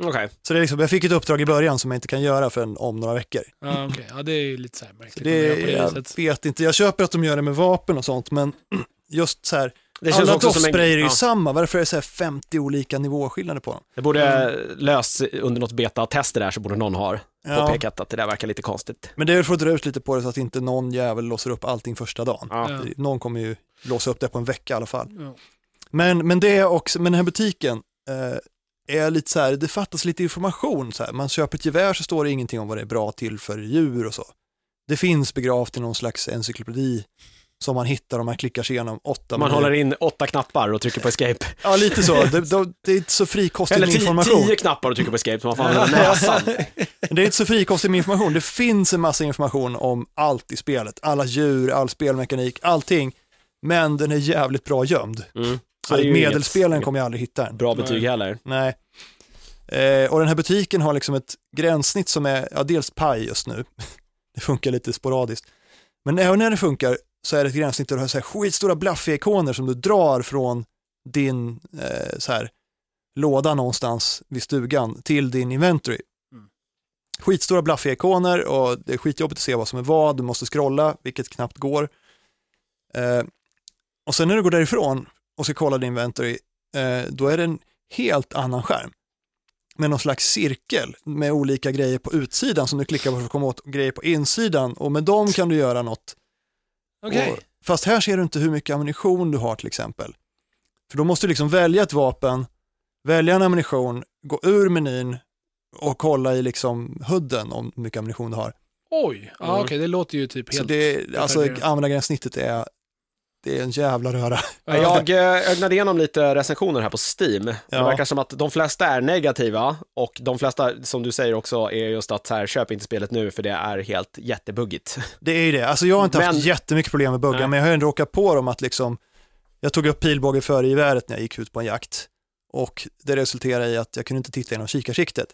Speaker 1: Okej.
Speaker 2: Så det är liksom, jag fick ett uppdrag i början som jag inte kan göra förrän om några veckor.
Speaker 3: Ja, okej. ja, det är ju lite så här märkligt.
Speaker 2: Det,
Speaker 3: att göra på det
Speaker 2: jag
Speaker 3: viset.
Speaker 2: vet inte, jag köper att de gör det med vapen och sånt, men just så här,
Speaker 1: Det
Speaker 2: alla
Speaker 1: också som en-
Speaker 2: doftsprayer är ju
Speaker 1: ja.
Speaker 2: samma, varför är det så här 50 olika nivåskillnader på dem?
Speaker 1: Det borde eh, lösts under något betatest det där så borde någon ha
Speaker 2: Mm. Ja,
Speaker 1: påpekat att det där verkar lite konstigt.
Speaker 2: men det är väl för att dra ut lite på det så att inte någon jävel låser upp allting första dagen.
Speaker 1: Ja.
Speaker 3: Ja.
Speaker 2: Någon kommer ju låsa upp det på en vecka i alla fall.
Speaker 3: Ja.
Speaker 2: Men, men, det är också, men den här butiken eh, är lite så här, det fattas lite information. Så här. Man köper ett gevär så står det ingenting om vad det är bra till för djur och så. Det finns begravt i någon slags encyklopedi som man hittar om man klickar sig igenom åtta
Speaker 1: Man
Speaker 2: menyer.
Speaker 1: håller in åtta knappar och trycker på escape.
Speaker 2: Ja, lite så. Det, det, det är inte så frikostigt
Speaker 1: Eller
Speaker 2: med
Speaker 1: tio,
Speaker 2: information.
Speaker 1: tio knappar och trycker på escape så man får använda näsan.
Speaker 2: Det är inte så frikostigt med information. Det finns en massa information om allt i spelet. Alla djur, all spelmekanik, allting. Men den är jävligt bra gömd.
Speaker 1: Mm.
Speaker 2: Så
Speaker 1: Ja, det är ju inget-
Speaker 2: medelspelaren
Speaker 1: inget
Speaker 2: kommer jag aldrig hitta den.
Speaker 1: Bra betyg heller.
Speaker 2: Nej. Eh, och den här butiken har liksom ett gränssnitt som är ja, dels paj just nu. Det funkar lite sporadiskt. Men även när det funkar så är det ett gränssnitt där du har så här skitstora blaffiga ikoner som du drar från din eh, så här, låda någonstans vid stugan till din inventory.
Speaker 3: Mm.
Speaker 2: Skitstora blaffiga ikoner och det är skitjobbigt att se vad som är vad. Du måste scrolla, vilket knappt går. Eh, och sen när du går därifrån och ska kolla din inventory, eh, då är det en helt annan skärm med någon slags cirkel med olika grejer på utsidan som du klickar på för att komma åt grejer på insidan och med dem kan du göra något.
Speaker 3: Okej.
Speaker 2: Och, fast här ser du inte hur mycket ammunition du har till exempel. För då måste du liksom välja ett vapen, välja en ammunition, gå ur menyn och kolla i liksom hudden om hur mycket ammunition du har.
Speaker 3: Oj, ja, okej, det låter ju typ
Speaker 2: Så
Speaker 3: helt...
Speaker 2: det, alltså
Speaker 3: detaljerat.
Speaker 2: användargränssnittet är, det är en jävla röra.
Speaker 1: Ja, Jag eh, ögnade igenom lite recensioner här på Steam. Det
Speaker 2: Ja.
Speaker 1: verkar som att de flesta är negativa och de flesta, som du säger också, är just att så här, köp inte spelet nu för det är helt jättebuggigt.
Speaker 2: Det är ju det. Alltså jag har inte
Speaker 1: Men-
Speaker 2: haft jättemycket problem med buggar,
Speaker 1: Nej.
Speaker 2: men jag har ändå råkat på dem att liksom, jag tog upp pilbågen före geväret när jag gick ut på en jakt och det resulterade i att jag kunde inte titta genom kikarsiktet.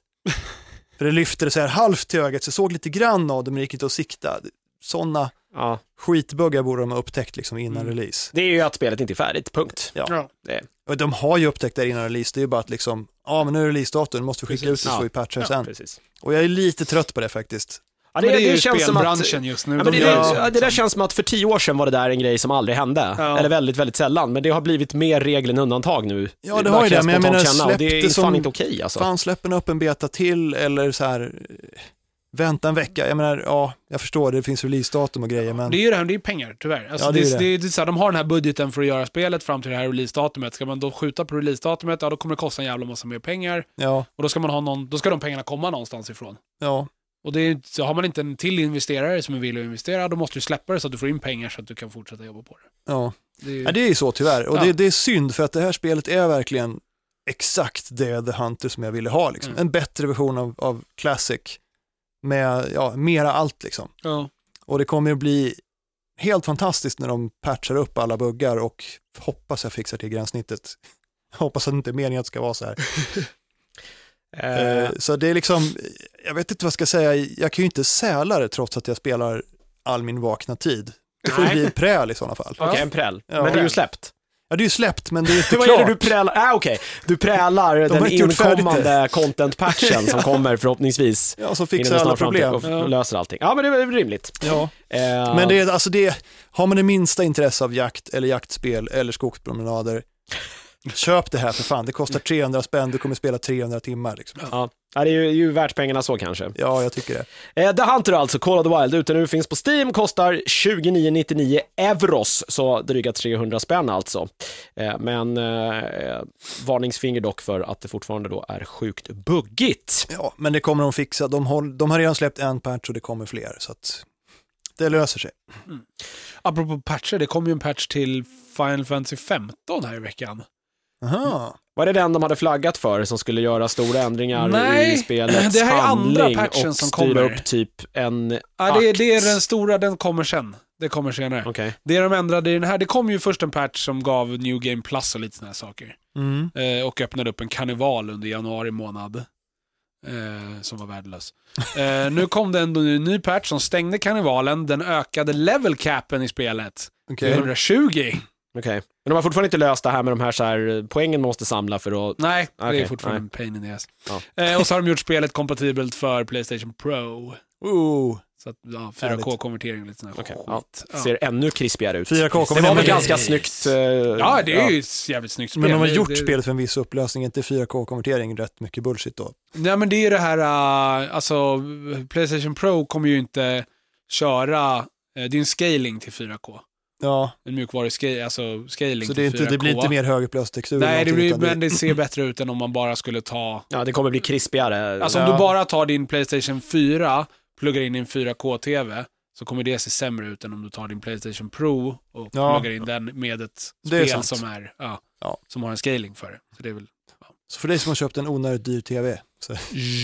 Speaker 2: För det lyfte så här halvt till ögat, så jag såg lite grann av det, men det gick inte att sikta. Sådana
Speaker 1: Ja.
Speaker 2: skitbuggar borde de ha upptäckt liksom innan
Speaker 1: Mm.
Speaker 2: release.
Speaker 1: Det är ju att spelet inte är färdigt, punkt.
Speaker 3: Ja.
Speaker 2: Och de har ju upptäckt det innan release, det är ju bara att liksom, ja men nu är releasedatum, nu måste vi skicka
Speaker 3: Precis.
Speaker 2: ut det så
Speaker 1: Ja.
Speaker 2: vi patchar
Speaker 3: Ja,
Speaker 2: sen.
Speaker 1: Precis.
Speaker 2: Och jag är lite trött på det faktiskt.
Speaker 1: Ja,
Speaker 3: det,
Speaker 1: det,
Speaker 3: men det är
Speaker 1: det
Speaker 3: ju
Speaker 1: känns som att...
Speaker 3: spelbranschen just nu.
Speaker 1: Ja, men det,
Speaker 3: de
Speaker 1: där,
Speaker 3: gör
Speaker 2: Ja.
Speaker 3: ju
Speaker 1: ja,
Speaker 3: sånt
Speaker 1: det där
Speaker 3: som-
Speaker 1: känns som att för tio år sedan var det där en grej som aldrig hände.
Speaker 3: Ja.
Speaker 1: Eller väldigt, väldigt sällan. Men det har blivit mer regel än undantag nu.
Speaker 2: Ja, det har ju
Speaker 1: verkar
Speaker 2: det, men jag
Speaker 1: spontant
Speaker 2: menar,
Speaker 1: känna, och det är
Speaker 2: släppte
Speaker 1: fan
Speaker 2: som-
Speaker 1: inte okej alltså.
Speaker 2: Fan, släpp en öppen beta till eller så här, eh, vänta en vecka. Jag menar, ja, jag förstår, det finns releasedatum och grejer, men
Speaker 3: Det är ju det här, det är ju pengar tyvärr. Alltså,
Speaker 2: Ja,
Speaker 3: det
Speaker 2: det är
Speaker 3: är,
Speaker 2: det.
Speaker 3: det är, så här, de har den här budgeten för att göra spelet fram till det här releasedatumet. Ska man då skjuta på releasedatumet, ja då kommer det kosta en jävla massa mer pengar.
Speaker 2: ja,
Speaker 3: Och då ska, man ha någon, då ska de pengarna komma någonstans ifrån.
Speaker 2: ja,
Speaker 3: Och det är, så har man inte en till investerare som är villig att investera, då måste du släppa det så att du får in pengar så att du kan fortsätta jobba på det.
Speaker 2: ja.
Speaker 3: Det är ju,
Speaker 2: ja det är ju så tyvärr. Och
Speaker 3: Ja.
Speaker 2: det, det är synd, för att det här spelet är verkligen exakt det The Hunter som jag ville ha. Liksom.
Speaker 3: Mm.
Speaker 2: En bättre version av, av Classic med ja, mera allt liksom.
Speaker 3: ja.
Speaker 2: Och det kommer att bli helt fantastiskt när de patchar upp alla buggar och hoppas jag fixar till gränssnittet. Hoppas att det inte är meningen att det ska vara så här.
Speaker 1: Eh,
Speaker 2: Eh, Så det är liksom, jag vet inte vad jag ska säga, jag kan ju inte säla det trots att jag spelar all min vakna tid. Det får ju
Speaker 1: Nej.
Speaker 2: bli en präl i sådana fall.
Speaker 1: Okej, en präl.
Speaker 2: Ja.
Speaker 1: Men det är ju släppt.
Speaker 2: Ja, det är ju släppt men det är inte
Speaker 1: Vad är det
Speaker 2: klart.
Speaker 1: du prälar? Ah, okej. Du prälar den
Speaker 2: har inte gjort färdigt
Speaker 1: inkommande content-patchen som kommer förhoppningsvis.
Speaker 2: Ja, som
Speaker 1: inom
Speaker 2: fixar
Speaker 1: en snar
Speaker 2: alla
Speaker 1: framtid
Speaker 2: problem.
Speaker 1: Och f-
Speaker 3: Ja.
Speaker 1: löser allting. Ja, men det är väl rimligt.
Speaker 2: Ja.
Speaker 1: Eh,
Speaker 2: Men det är, alltså det, har man det minsta intresse av jakt eller jaktspel eller skogspromenader, köp det här för fan. Det kostar 300 spänn, du kommer spela 300 timmar. Liksom.
Speaker 1: Ja, Ja, det är ju, ju värt pengarna så kanske.
Speaker 2: Ja, jag tycker det.
Speaker 1: Eh, The Hunter alltså, Call of the Wild, ute nu, finns på Steam, kostar 29,99 euros, så dryga 300 spänn alltså. Eh, men eh, eh, varningsfinger dock för att det fortfarande då är sjukt buggigt.
Speaker 2: Ja, men det kommer de fixa. De, håll, de har redan släppt en patch och det kommer fler. Så att det löser sig.
Speaker 3: Apropå patcher, det kom ju en patch till Final Fantasy 15 här i veckan.
Speaker 2: Aha.
Speaker 1: Var det den de hade flaggat för som skulle göra stora ändringar
Speaker 3: Nej,
Speaker 1: i spelets
Speaker 3: det här är andra
Speaker 1: handling
Speaker 3: patchen
Speaker 1: och
Speaker 3: som
Speaker 1: styra
Speaker 3: kommer.
Speaker 1: upp typ en...
Speaker 3: Ja, det, är-
Speaker 1: Akt.
Speaker 3: det är den stora, den kommer sen. Det kommer senare.
Speaker 1: Okej.
Speaker 3: Det de ändrade i den här, det kom ju först en patch som gav New Game Plus och lite sådana här saker.
Speaker 2: Mm.
Speaker 3: Eh, och öppnade upp en karneval under januari månad. Eh, som var värdelös. Eh, nu kom det ändå en ny patch som stängde karnevalen, den ökade level capen i spelet. till
Speaker 2: Okej.
Speaker 3: 120.
Speaker 1: Okej. Men de har fortfarande inte löst det här med de här, så här poängen man måste samla för att...
Speaker 3: Nej, det är
Speaker 1: Okej,
Speaker 3: fortfarande
Speaker 1: nej.
Speaker 3: en pain in the ass. Eh, och så har de gjort spelet kompatibelt för Playstation Pro.
Speaker 2: Ooh.
Speaker 3: Så att, ja,
Speaker 2: Härligt.
Speaker 3: 4K-konvertering och lite sån här
Speaker 1: Okej,
Speaker 3: skit.
Speaker 1: ja.
Speaker 3: Ja.
Speaker 1: Ser ännu krispigare ut.
Speaker 2: 4K
Speaker 1: Det
Speaker 2: kommer
Speaker 1: var väl
Speaker 2: nämligen-
Speaker 1: ganska snyggt. eh,
Speaker 3: Ja, det är ju ett jävligt snyggt spel.
Speaker 2: Men de har
Speaker 3: Det-
Speaker 2: gjort
Speaker 3: det,
Speaker 2: spelet för en viss upplösning, inte 4K-konvertering, rätt mycket bullshit då.
Speaker 3: Nej, men det är ju det här, eh, alltså Playstation Pro kommer ju inte köra, eh, det är en scaling till 4K.
Speaker 2: Ja,
Speaker 3: En mjukvaru-scaling, alltså scaling
Speaker 2: så det, är
Speaker 3: till
Speaker 2: inte,
Speaker 3: 4K.
Speaker 2: det blir inte mer högupplöst textur. eller
Speaker 3: Nej, det
Speaker 2: någonting,
Speaker 3: blir,
Speaker 2: utan det-
Speaker 3: men det ser bättre ut än om man bara skulle ta
Speaker 1: Ja, det kommer bli krispigare.
Speaker 3: Alltså om du bara tar din Playstation 4, pluggar in i en 4K-TV, så kommer det se sämre ut än om du tar din Playstation Pro och
Speaker 2: Ja.
Speaker 3: pluggar in den med ett
Speaker 2: Det är
Speaker 3: spel
Speaker 2: sant.
Speaker 3: som, är, ja,
Speaker 2: Ja.
Speaker 3: som har en scaling för det. Så det är väl,
Speaker 2: Så för dig som har köpt en onödigt dyr tv, så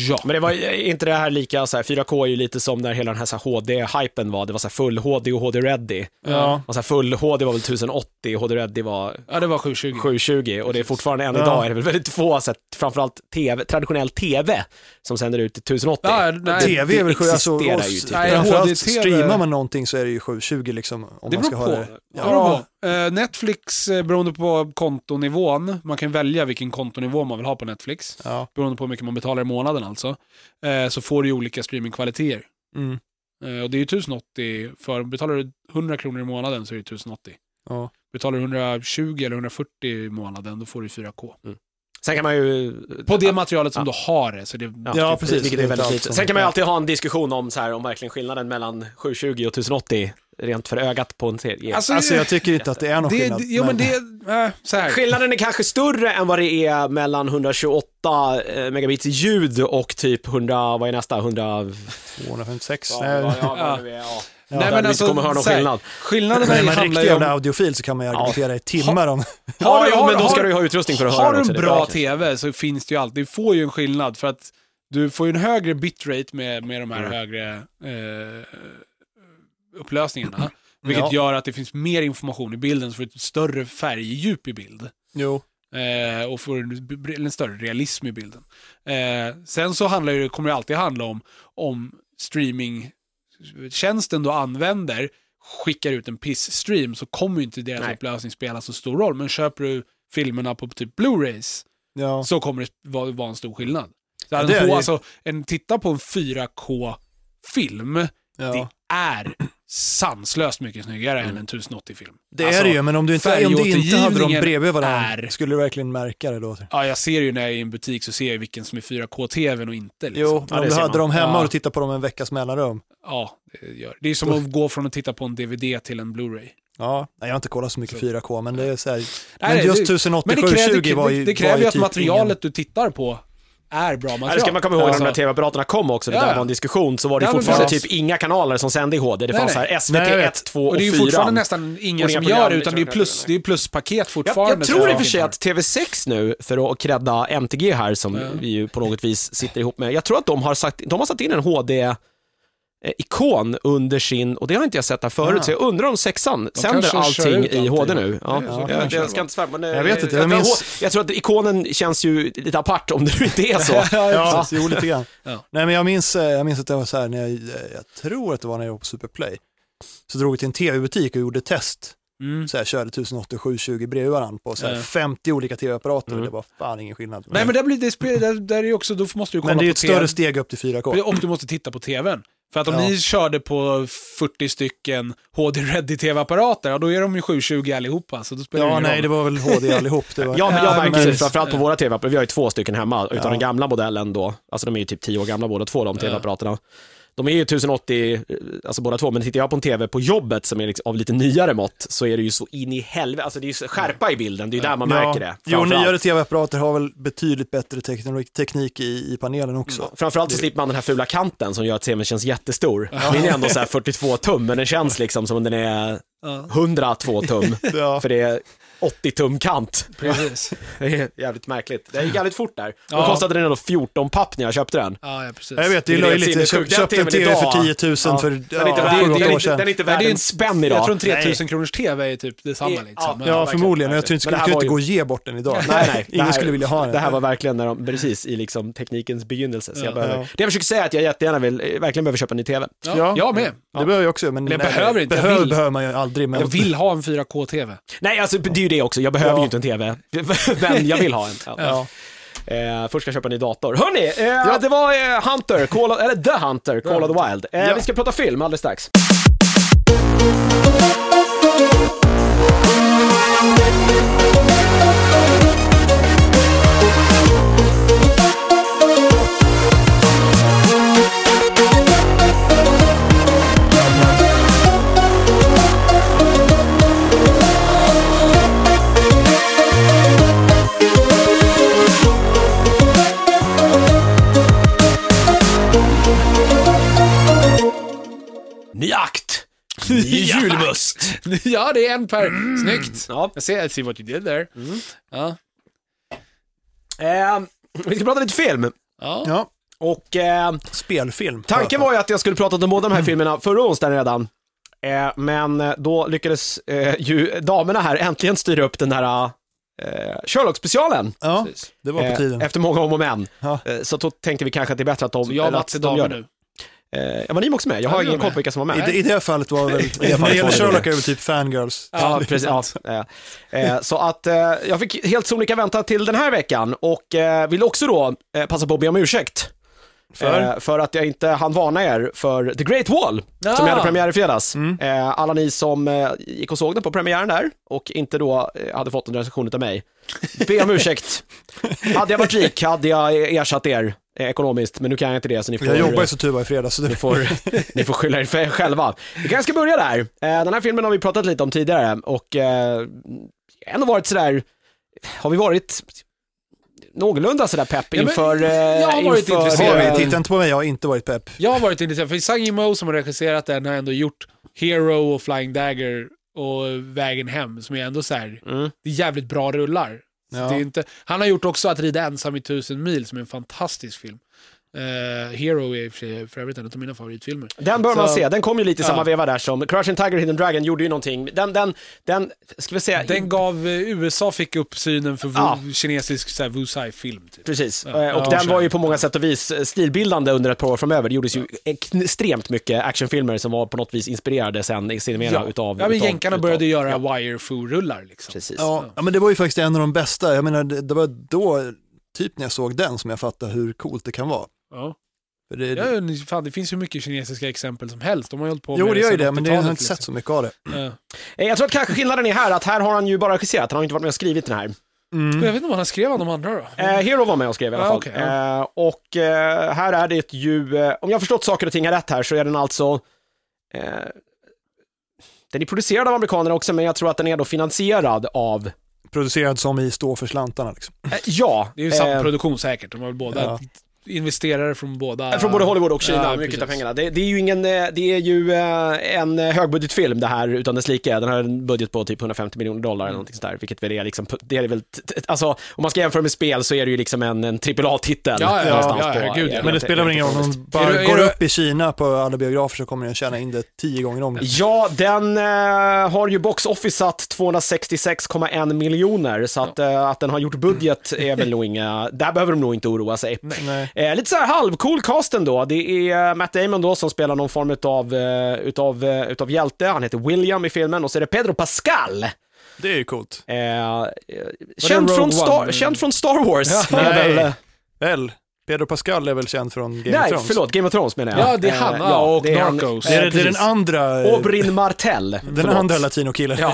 Speaker 3: ja.
Speaker 1: Men det var är inte det här lika, så här, 4K är ju lite som när hela den här, så här HD-hypen var, det var så här full HD och HD-ready.
Speaker 2: Ja.
Speaker 1: Och så här, full HD var väl 1080, HD-ready var
Speaker 3: ja, det var 720.
Speaker 1: 720 och det är fortfarande, än
Speaker 2: Ja.
Speaker 1: idag är det väl väldigt få, så här, framförallt TV, traditionell TV, som sänder ut i 1080.
Speaker 3: Ja, nej,
Speaker 1: Det-
Speaker 2: tv är väl sju, alltså,
Speaker 1: existerar
Speaker 2: och-
Speaker 1: ju typ.
Speaker 3: Nej,
Speaker 2: framförallt
Speaker 3: HD-TV.
Speaker 2: streamar man någonting så är det ju 720 liksom. Om
Speaker 3: det
Speaker 2: man
Speaker 3: beror
Speaker 2: ska
Speaker 3: på.
Speaker 2: ha det.
Speaker 3: Det beror på. Eh, Netflix, eh, beroende på kontonivån, man kan välja vilken kontonivå man vill ha på Netflix,
Speaker 2: Ja.
Speaker 3: beroende på hur mycket man betalar i månaden alltså, eh, så får du ju olika streamingkvaliteter.
Speaker 2: Mm.
Speaker 3: Eh, Och det är ju 1080, för betalar du 100 kronor i månaden så är det 1080.
Speaker 2: Ja.
Speaker 3: Betalar du 120 eller 140 i månaden då får du 4K.
Speaker 1: Sen kan man ju...
Speaker 3: På det materialet som
Speaker 1: Ja. typ,
Speaker 3: du har det. Så det ja.
Speaker 2: Ja, precis.
Speaker 1: Vilket
Speaker 2: Det
Speaker 1: är
Speaker 2: är
Speaker 1: väldigt
Speaker 2: allt
Speaker 1: lite.
Speaker 2: som-
Speaker 1: Sen kan man ju
Speaker 2: ja.
Speaker 1: alltid ha en diskussion om, så här, om verkligen skillnaden mellan 720 och 1080, rent för ögat på en serie.
Speaker 3: Alltså,
Speaker 2: Alltså jag tycker inte att det är någon
Speaker 3: det,
Speaker 2: skillnad.
Speaker 3: det, jo, men det, äh, så här.
Speaker 1: Skillnaden är kanske större än vad det är mellan 128 eh, megabits i ljud och typ 100, vad är nästa, 100...
Speaker 2: 256.
Speaker 1: Ja,
Speaker 2: Nej.
Speaker 1: ja, ja,
Speaker 3: Ja.
Speaker 1: vad det är, ja.
Speaker 2: Ja,
Speaker 3: Nej,
Speaker 1: där
Speaker 3: men
Speaker 1: vi
Speaker 3: alltså,
Speaker 1: inte kommer höra någon
Speaker 3: så här,
Speaker 1: skillnad.
Speaker 3: Skillnaden
Speaker 2: Men är man
Speaker 3: handlar
Speaker 2: riktig
Speaker 3: ju om...
Speaker 2: jävla audiofil så kan man ju argumentera i timmar om...
Speaker 1: Ja,
Speaker 3: du-
Speaker 1: jo, men då ska du ju ha utrustning för att höra
Speaker 3: Har
Speaker 1: den
Speaker 3: du
Speaker 1: också,
Speaker 3: en
Speaker 1: det är
Speaker 3: bra
Speaker 1: klart.
Speaker 3: TV så finns det ju alltid, du får ju en skillnad för att du får ju en högre bitrate med, med de här
Speaker 1: Mm.
Speaker 3: högre eh,
Speaker 1: Mm.
Speaker 3: upplösningarna. Vilket
Speaker 2: Ja.
Speaker 3: gör att det finns mer information i bilden så får du ett större färgdjup i bild.
Speaker 2: Jo.
Speaker 3: Eh, och får en, b- en större realism i bilden. Eh, sen så handlar det, kommer det alltid handla om om streamingtjänsten du använder skickar ut en piss-stream så kommer ju inte deras
Speaker 1: Nej.
Speaker 3: upplösning spela så stor roll. Men köper du filmerna på typ Blu-rays
Speaker 2: Ja.
Speaker 3: så kommer det vara, vara en stor skillnad. Så
Speaker 2: Ja,
Speaker 3: en,
Speaker 2: det är
Speaker 3: H-
Speaker 2: det ju.
Speaker 3: alltså, en, titta på en 4K-film, det
Speaker 2: ja. Mm.
Speaker 3: är sanslöst mycket snyggare än en 1080-film.
Speaker 2: Det är det ju, men om du inte, om du inte hade dem bredvid varandra,
Speaker 3: Alltså, är-
Speaker 2: skulle du verkligen märka det då?
Speaker 3: Ja, jag ser ju när jag är i en butik så ser jag vilken som är 4K-tvn och inte. Liksom.
Speaker 2: Jo,
Speaker 1: Ja,
Speaker 2: men om
Speaker 1: det
Speaker 2: du
Speaker 1: ser
Speaker 2: hade
Speaker 1: man.
Speaker 2: dem hemma
Speaker 3: Ja.
Speaker 2: och du tittar på dem en veckas mellanrum.
Speaker 3: Ja, det gör det. är som att gå från att titta på en DVD till en Blu-ray.
Speaker 2: Ja, nej, jag har inte kollat så mycket
Speaker 3: Så.
Speaker 2: 4K, men det är så här,
Speaker 3: Nej,
Speaker 2: men
Speaker 3: det-
Speaker 2: just
Speaker 3: Men det
Speaker 2: 1080
Speaker 3: kräver, det,
Speaker 2: 720 var ju
Speaker 3: det kräver
Speaker 2: var
Speaker 3: ju att
Speaker 2: typ
Speaker 3: materialet du tittar på är bra
Speaker 1: Ja,
Speaker 3: material.
Speaker 1: det ska man komma ihåg när de
Speaker 3: Alltså,
Speaker 1: där tv-apparaterna kom också, det
Speaker 3: Ja, ja.
Speaker 1: där var en diskussion, så var det
Speaker 3: Ja, men
Speaker 1: fortfarande
Speaker 3: precis.
Speaker 1: typ inga kanaler som sände i HD. Det
Speaker 3: Nej,
Speaker 1: fanns så
Speaker 3: nej.
Speaker 1: här
Speaker 2: Nej, jag
Speaker 1: SVT
Speaker 2: vet.
Speaker 1: 1, 2 och
Speaker 3: och det är ju
Speaker 1: 4.
Speaker 3: fortfarande nästan ingen
Speaker 1: Och
Speaker 3: som
Speaker 1: inga
Speaker 3: gör
Speaker 1: program,
Speaker 3: det, utan det är,
Speaker 1: liksom,
Speaker 3: plus, det är pluspaket
Speaker 1: Jag,
Speaker 3: fortfarande.
Speaker 1: jag tror i och för
Speaker 3: som
Speaker 1: sig
Speaker 3: finns.
Speaker 1: att TV6 nu, för att credda MTG här som vi ju på något vis sitter ihop med, jag tror att de har, sagt, de har satt in en HD, eh, ikon under sin, och det har inte jag sett här förut,
Speaker 2: Ah.
Speaker 1: så jag undrar om sexan sänder
Speaker 3: kanske kör
Speaker 1: allting
Speaker 3: ut
Speaker 1: i
Speaker 3: allting.
Speaker 1: HD nu. Ja.
Speaker 3: Ja, så kan
Speaker 1: jag,
Speaker 3: det
Speaker 1: jag ska
Speaker 3: vara.
Speaker 1: inte svära, men... eh,
Speaker 2: Jag vet inte,
Speaker 1: jag,
Speaker 2: jag minns-
Speaker 1: jag tror att ikonen känns ju lite apart om det nu inte är så.
Speaker 2: Ja, precis, jo lite grann.
Speaker 3: Ja.
Speaker 2: Nej, men jag minns, eh, jag minns att det var så här, när jag, eh, jag tror att det var när jag jobbade på Superplay, så drog vi till en tv-butik och gjorde test.
Speaker 3: Mm.
Speaker 2: Så här, körde 1080 720 bredvid varandra på så här,
Speaker 3: Ja.
Speaker 2: 50 olika tv-apparater och
Speaker 1: Mm.
Speaker 2: det var fan ingen skillnad.
Speaker 3: Nej men där blir det spel, där, där är ju också, då måste du kolla
Speaker 2: men det är
Speaker 3: på
Speaker 2: ju ett större
Speaker 3: TV.
Speaker 2: steg upp till 4K.
Speaker 3: Och du måste titta på tvn. För att om
Speaker 2: Ja.
Speaker 3: ni körde på 40 stycken HD-ready tv-apparater, ja, då är de ju 720 allihopa. Så då spelar
Speaker 2: Ja,
Speaker 3: ingen
Speaker 2: nej,
Speaker 3: roll.
Speaker 2: det var väl HD allihop. Det var...
Speaker 1: Ja, men
Speaker 3: Ja,
Speaker 1: jag
Speaker 3: men
Speaker 1: märker det
Speaker 3: precis.
Speaker 1: framförallt på våra tv-apparater. Vi har ju två stycken hemma utav
Speaker 2: Ja.
Speaker 1: den gamla modellen då. Alltså de är ju typ tio år gamla båda två, de tv-apparaterna. De är ju 1080, eh, alltså båda två, men tittar jag på en tv på jobbet som är liksom av lite nyare mått så är det ju så in i helvete, alltså det är ju så skärpa i bilden, det är ju där man märker det.
Speaker 2: Jo,
Speaker 1: framförallt.
Speaker 2: nyare tv-apparater har väl betydligt bättre teknik, teknik i, i panelen också.
Speaker 1: Framförallt så slipper man den här fula kanten som gör att tvn känns jättestor. Min är ändå så här 42 tum, men den känns liksom som om den är 102 tum.
Speaker 2: Ja.
Speaker 1: För det är 80 tum kant.
Speaker 3: Precis.
Speaker 1: Det är jävligt märkligt. Det gick jävligt fort där. Då
Speaker 3: Ja.
Speaker 1: kostade den ändå 14 papp när jag köpte den.
Speaker 3: Ja, ja, precis.
Speaker 2: Jag vet, det är
Speaker 1: Det är
Speaker 2: löjligt.
Speaker 1: helt
Speaker 2: Jag köp,
Speaker 1: sinnessjukt. Den
Speaker 2: köpte en
Speaker 1: TVn
Speaker 2: tv för
Speaker 1: idag.
Speaker 2: 10 000
Speaker 1: Ja.
Speaker 2: för
Speaker 1: Den är inte
Speaker 2: ja,
Speaker 1: värd-
Speaker 2: sju,
Speaker 1: den
Speaker 2: åtta
Speaker 1: är
Speaker 2: år
Speaker 1: inte-
Speaker 2: sedan.
Speaker 1: Den är inte
Speaker 3: Nej,
Speaker 1: värd
Speaker 3: det är
Speaker 1: en spänn idag.
Speaker 3: Jag tror en 3000
Speaker 2: Nej.
Speaker 3: kronors tv är typ detsamma
Speaker 1: Ja,
Speaker 3: liksom.
Speaker 1: men-
Speaker 2: Ja,
Speaker 1: verkligen,
Speaker 2: förmodligen. Jag tror
Speaker 1: verkligen.
Speaker 2: inte,
Speaker 1: Men det
Speaker 2: skulle,
Speaker 1: här
Speaker 2: kunde inte
Speaker 1: var
Speaker 2: gå att ge bort den idag.
Speaker 1: Nej, nej. Det
Speaker 2: Ingen
Speaker 1: här-
Speaker 2: skulle vilja ha den.
Speaker 1: Det här var verkligen när de, precis i liksom teknikens begynnelse. Så jag
Speaker 3: Ja.
Speaker 1: behöver,
Speaker 2: Ja.
Speaker 1: Det jag försöker säga är att jag jättegärna vill, eh, verkligen behöver köpa en ny TV.
Speaker 3: Ja,
Speaker 2: Ja.
Speaker 3: Jag med.
Speaker 2: Det behöver jag också, men
Speaker 3: Jag behöver inte, jag
Speaker 2: Behöver,
Speaker 3: vill.
Speaker 2: behöver man ju aldrig. Men
Speaker 3: Jag vill ha en 4K-tv.
Speaker 1: Nej, alltså det är ju det också. Jag behöver
Speaker 2: Ja.
Speaker 1: ju inte en TV, men jag vill ha en. Ja.
Speaker 2: Ja.
Speaker 1: Eh, först ska jag köpa en ny dator. Hörni, eh, det var eh, Hunter, Call of, eller The Hunter, Call of the Wild. Eh,
Speaker 2: Ja.
Speaker 1: Vi ska prata film alldeles strax. Ny akt! Julmust!
Speaker 3: ja, det är en per. Snyggt.
Speaker 1: Ja.
Speaker 3: Jag ser, I see what you did there. Ja.
Speaker 1: Eh, vi ska prata lite film.
Speaker 3: Ja.
Speaker 2: Ja,
Speaker 1: Och eh,
Speaker 2: spelfilm. Mm.
Speaker 1: tanken var ju att jag skulle prata om båda de här filmerna förra onsdagen redan. Eh, men eh, då lyckades eh, ju damerna här äntligen styra upp den här eh, Sherlock-specialen.
Speaker 2: Ja, det var på
Speaker 1: Eh,
Speaker 2: tiden.
Speaker 1: Efter många om och men.
Speaker 2: Ja.
Speaker 1: Eh, Så då tänkte vi kanske att det är bättre att de,
Speaker 3: Så jag och
Speaker 1: eller att
Speaker 3: Mats är
Speaker 1: de
Speaker 3: damer
Speaker 1: gör
Speaker 3: nu.
Speaker 1: det. Eh, Ja, var ni också med? Jag har
Speaker 3: Ja, jag
Speaker 1: ingen
Speaker 3: med.
Speaker 1: koll på vilka som var
Speaker 2: I,
Speaker 1: med.
Speaker 2: det, I det här fallet var väl...
Speaker 1: fallet
Speaker 2: När det
Speaker 1: var
Speaker 2: gäller
Speaker 1: det
Speaker 2: Sherlock
Speaker 1: det.
Speaker 2: är väl typ fangirls.
Speaker 1: Ja, precis. Ja, eh, eh, så att eh, jag fick helt sonika vänta till den här veckan och eh, vill också då eh, passa på att be om ursäkt.
Speaker 2: För?
Speaker 1: Eh, för att jag inte hann varna er för The Great Wall, som
Speaker 3: Ah.
Speaker 1: jag hade premiär i fredags.
Speaker 2: Mm.
Speaker 1: Eh, alla ni som eh, gick och såg den på premiären där och inte då eh, hade fått en recension av mig, be om ursäkt. hade jag varit rik hade jag ersatt er eh, ekonomiskt, men nu kan jag inte det så ni får...
Speaker 2: Jag jobbar ju så tuba i fredags. Så
Speaker 1: Ni
Speaker 2: det,
Speaker 1: får, ni får skylla er för- själva. Vi kanske ska börja där. Eh, Den här filmen har vi pratat lite om tidigare och eh, ändå varit sådär, har vi varit någorlunda sådär pepp
Speaker 3: men
Speaker 1: inför... eh,
Speaker 3: jag har varit
Speaker 1: inför,
Speaker 3: intresserad.
Speaker 1: eh,
Speaker 2: har vi, titta inte på mig, jag har inte varit pepp.
Speaker 3: Jag har varit intresserad, för Sang Mo som har regisserat den har ändå gjort Hero och Flying Dagger och Vägen Hem, som är ändå så här,
Speaker 1: Mm.
Speaker 3: det är jävligt bra rullar. Så
Speaker 2: Ja.
Speaker 3: Det är inte, han har gjort också Att rida ensam i tusen mil, som är en fantastisk film. Eh, Hero är i och för, sig, för övrigt en av mina favoritfilmer.
Speaker 1: Den bör man
Speaker 3: Så-
Speaker 1: se, den kom ju lite i
Speaker 3: Ja.
Speaker 1: samma veva där som Crouching Tiger Hidden Dragon gjorde ju någonting, den, den, den, ska vi säga,
Speaker 3: Den gav, eh, USA fick upp synen för
Speaker 1: Ja.
Speaker 3: vo- kinesisk så här, Wusai-film. Typ.
Speaker 1: Precis,
Speaker 3: Ja.
Speaker 1: Eh, och
Speaker 3: Ja,
Speaker 1: den
Speaker 3: kanske.
Speaker 1: var ju på många sätt och vis eh, stilbildande under ett par år framöver. Det gjordes ju extremt mycket actionfilmer som var på något vis inspirerade sen i sedermera utav...
Speaker 3: ja, men
Speaker 1: utav,
Speaker 3: jänkarna
Speaker 1: utav-
Speaker 3: började göra wire foo rullar liksom.
Speaker 1: Precis.
Speaker 2: Ja, ja, men det var ju faktiskt en av de bästa. Jag menar, det, det var då, typ när jag såg den, som jag fattade hur coolt det kan vara.
Speaker 3: Ja.
Speaker 2: För det,
Speaker 3: Ja, ni- fan, det finns hur mycket kinesiska exempel som helst. De har ju hållit på
Speaker 2: jo,
Speaker 3: med
Speaker 2: det gör ju
Speaker 3: sedan
Speaker 2: det, men det jag har
Speaker 3: 80-talet,
Speaker 2: inte sett
Speaker 3: liksom.
Speaker 2: så mycket av det.
Speaker 3: Ja.
Speaker 1: Eh, Jag tror att kanske skillnaden är här att här har han ju bara regisserat, han har inte varit med och skrivit den här.
Speaker 2: Mm.
Speaker 3: Men Jag vet inte om han har skrev om de andra då.
Speaker 1: Eh, Hero var med och skrev i alla
Speaker 3: Ja,
Speaker 1: fall.
Speaker 3: Ah, okej,
Speaker 1: eh, och eh, här är det ju, eh, om jag har förstått saker och ting rätt här så är den alltså, eh, den är producerad av amerikanerna också men jag tror att den är då finansierad av,
Speaker 2: Producerad som i Stå för slantarna. Liksom.
Speaker 1: eh, ja.
Speaker 3: Det är ju samma
Speaker 1: eh,
Speaker 3: produktion säkert. De har väl båda
Speaker 2: Ja.
Speaker 3: investerare från båda...
Speaker 1: Eh, Från både Hollywood och Kina,
Speaker 3: Ja,
Speaker 1: mycket
Speaker 3: precis.
Speaker 1: av pengarna. Det, det är ju ingen, eh, det är ju eh, en eh, högbudgetfilm det här, utan dess like. Den har en budget på typ 150 miljoner
Speaker 3: Mm.
Speaker 1: dollar eller någonting sådär, vilket väl är liksom, det är väl, t- t- alltså om man ska jämföra med spel så är det ju liksom en, en AAA-titel.
Speaker 3: Ja, ja, ja,
Speaker 1: någonstans
Speaker 3: ja,
Speaker 1: på-
Speaker 3: herregud, ja.
Speaker 1: eh,
Speaker 2: Men det
Speaker 1: rent-
Speaker 2: spelar väl ingen roll, om
Speaker 1: ekonomiskt.
Speaker 2: de bara
Speaker 3: Är du- är
Speaker 2: går
Speaker 3: du-
Speaker 2: upp i Kina på alla biografer så kommer den tjäna in det tio gånger om.
Speaker 1: Ja, den eh, har ju box officeat 266,1 miljoner, så att, eh, att den har gjort budget är väl nog inga, där behöver de nog inte oroa sig.
Speaker 2: Nej.
Speaker 1: Eh, lite så här halvcool cast ändå. Det är eh, Matt Damon då som spelar någon form utav, eh, utav, eh, utav hjälte. Han heter William i filmen och så är det Pedro Pascal. Eh,
Speaker 2: Det är ju coolt.
Speaker 1: eh, känd,
Speaker 3: Rogue
Speaker 1: från Star,
Speaker 3: One?
Speaker 1: känd från Star Wars.
Speaker 2: Ja.
Speaker 1: är
Speaker 2: Nej.
Speaker 1: väl-
Speaker 2: Väl, Pedro Pascal är väl känd från Game of
Speaker 1: Nej,
Speaker 2: Thrones?
Speaker 1: förlåt, Game of Thrones menar jag.
Speaker 3: Ja, det är han, ja, och
Speaker 1: det är han.
Speaker 3: Narcos.
Speaker 2: Det är,
Speaker 1: Eh,
Speaker 2: det är den
Speaker 1: precis.
Speaker 2: andra,
Speaker 1: Oberyn Martell.
Speaker 2: den
Speaker 1: Förlåt.
Speaker 2: andra latinokillen.
Speaker 1: Ja.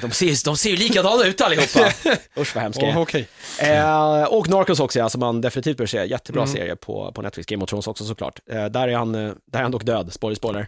Speaker 1: de, ser, ju- de ser ju likadana ut allihopa. Usch vad hemska jag är.
Speaker 3: Åh, okej.
Speaker 1: Eh, och Mm. Narcos också, ja, som man definitivt bör se. Jättebra serie på, på Netflix. Game of Thrones också såklart. Eh, där, är han, eh, där är han dock död, spoiler, spoiler.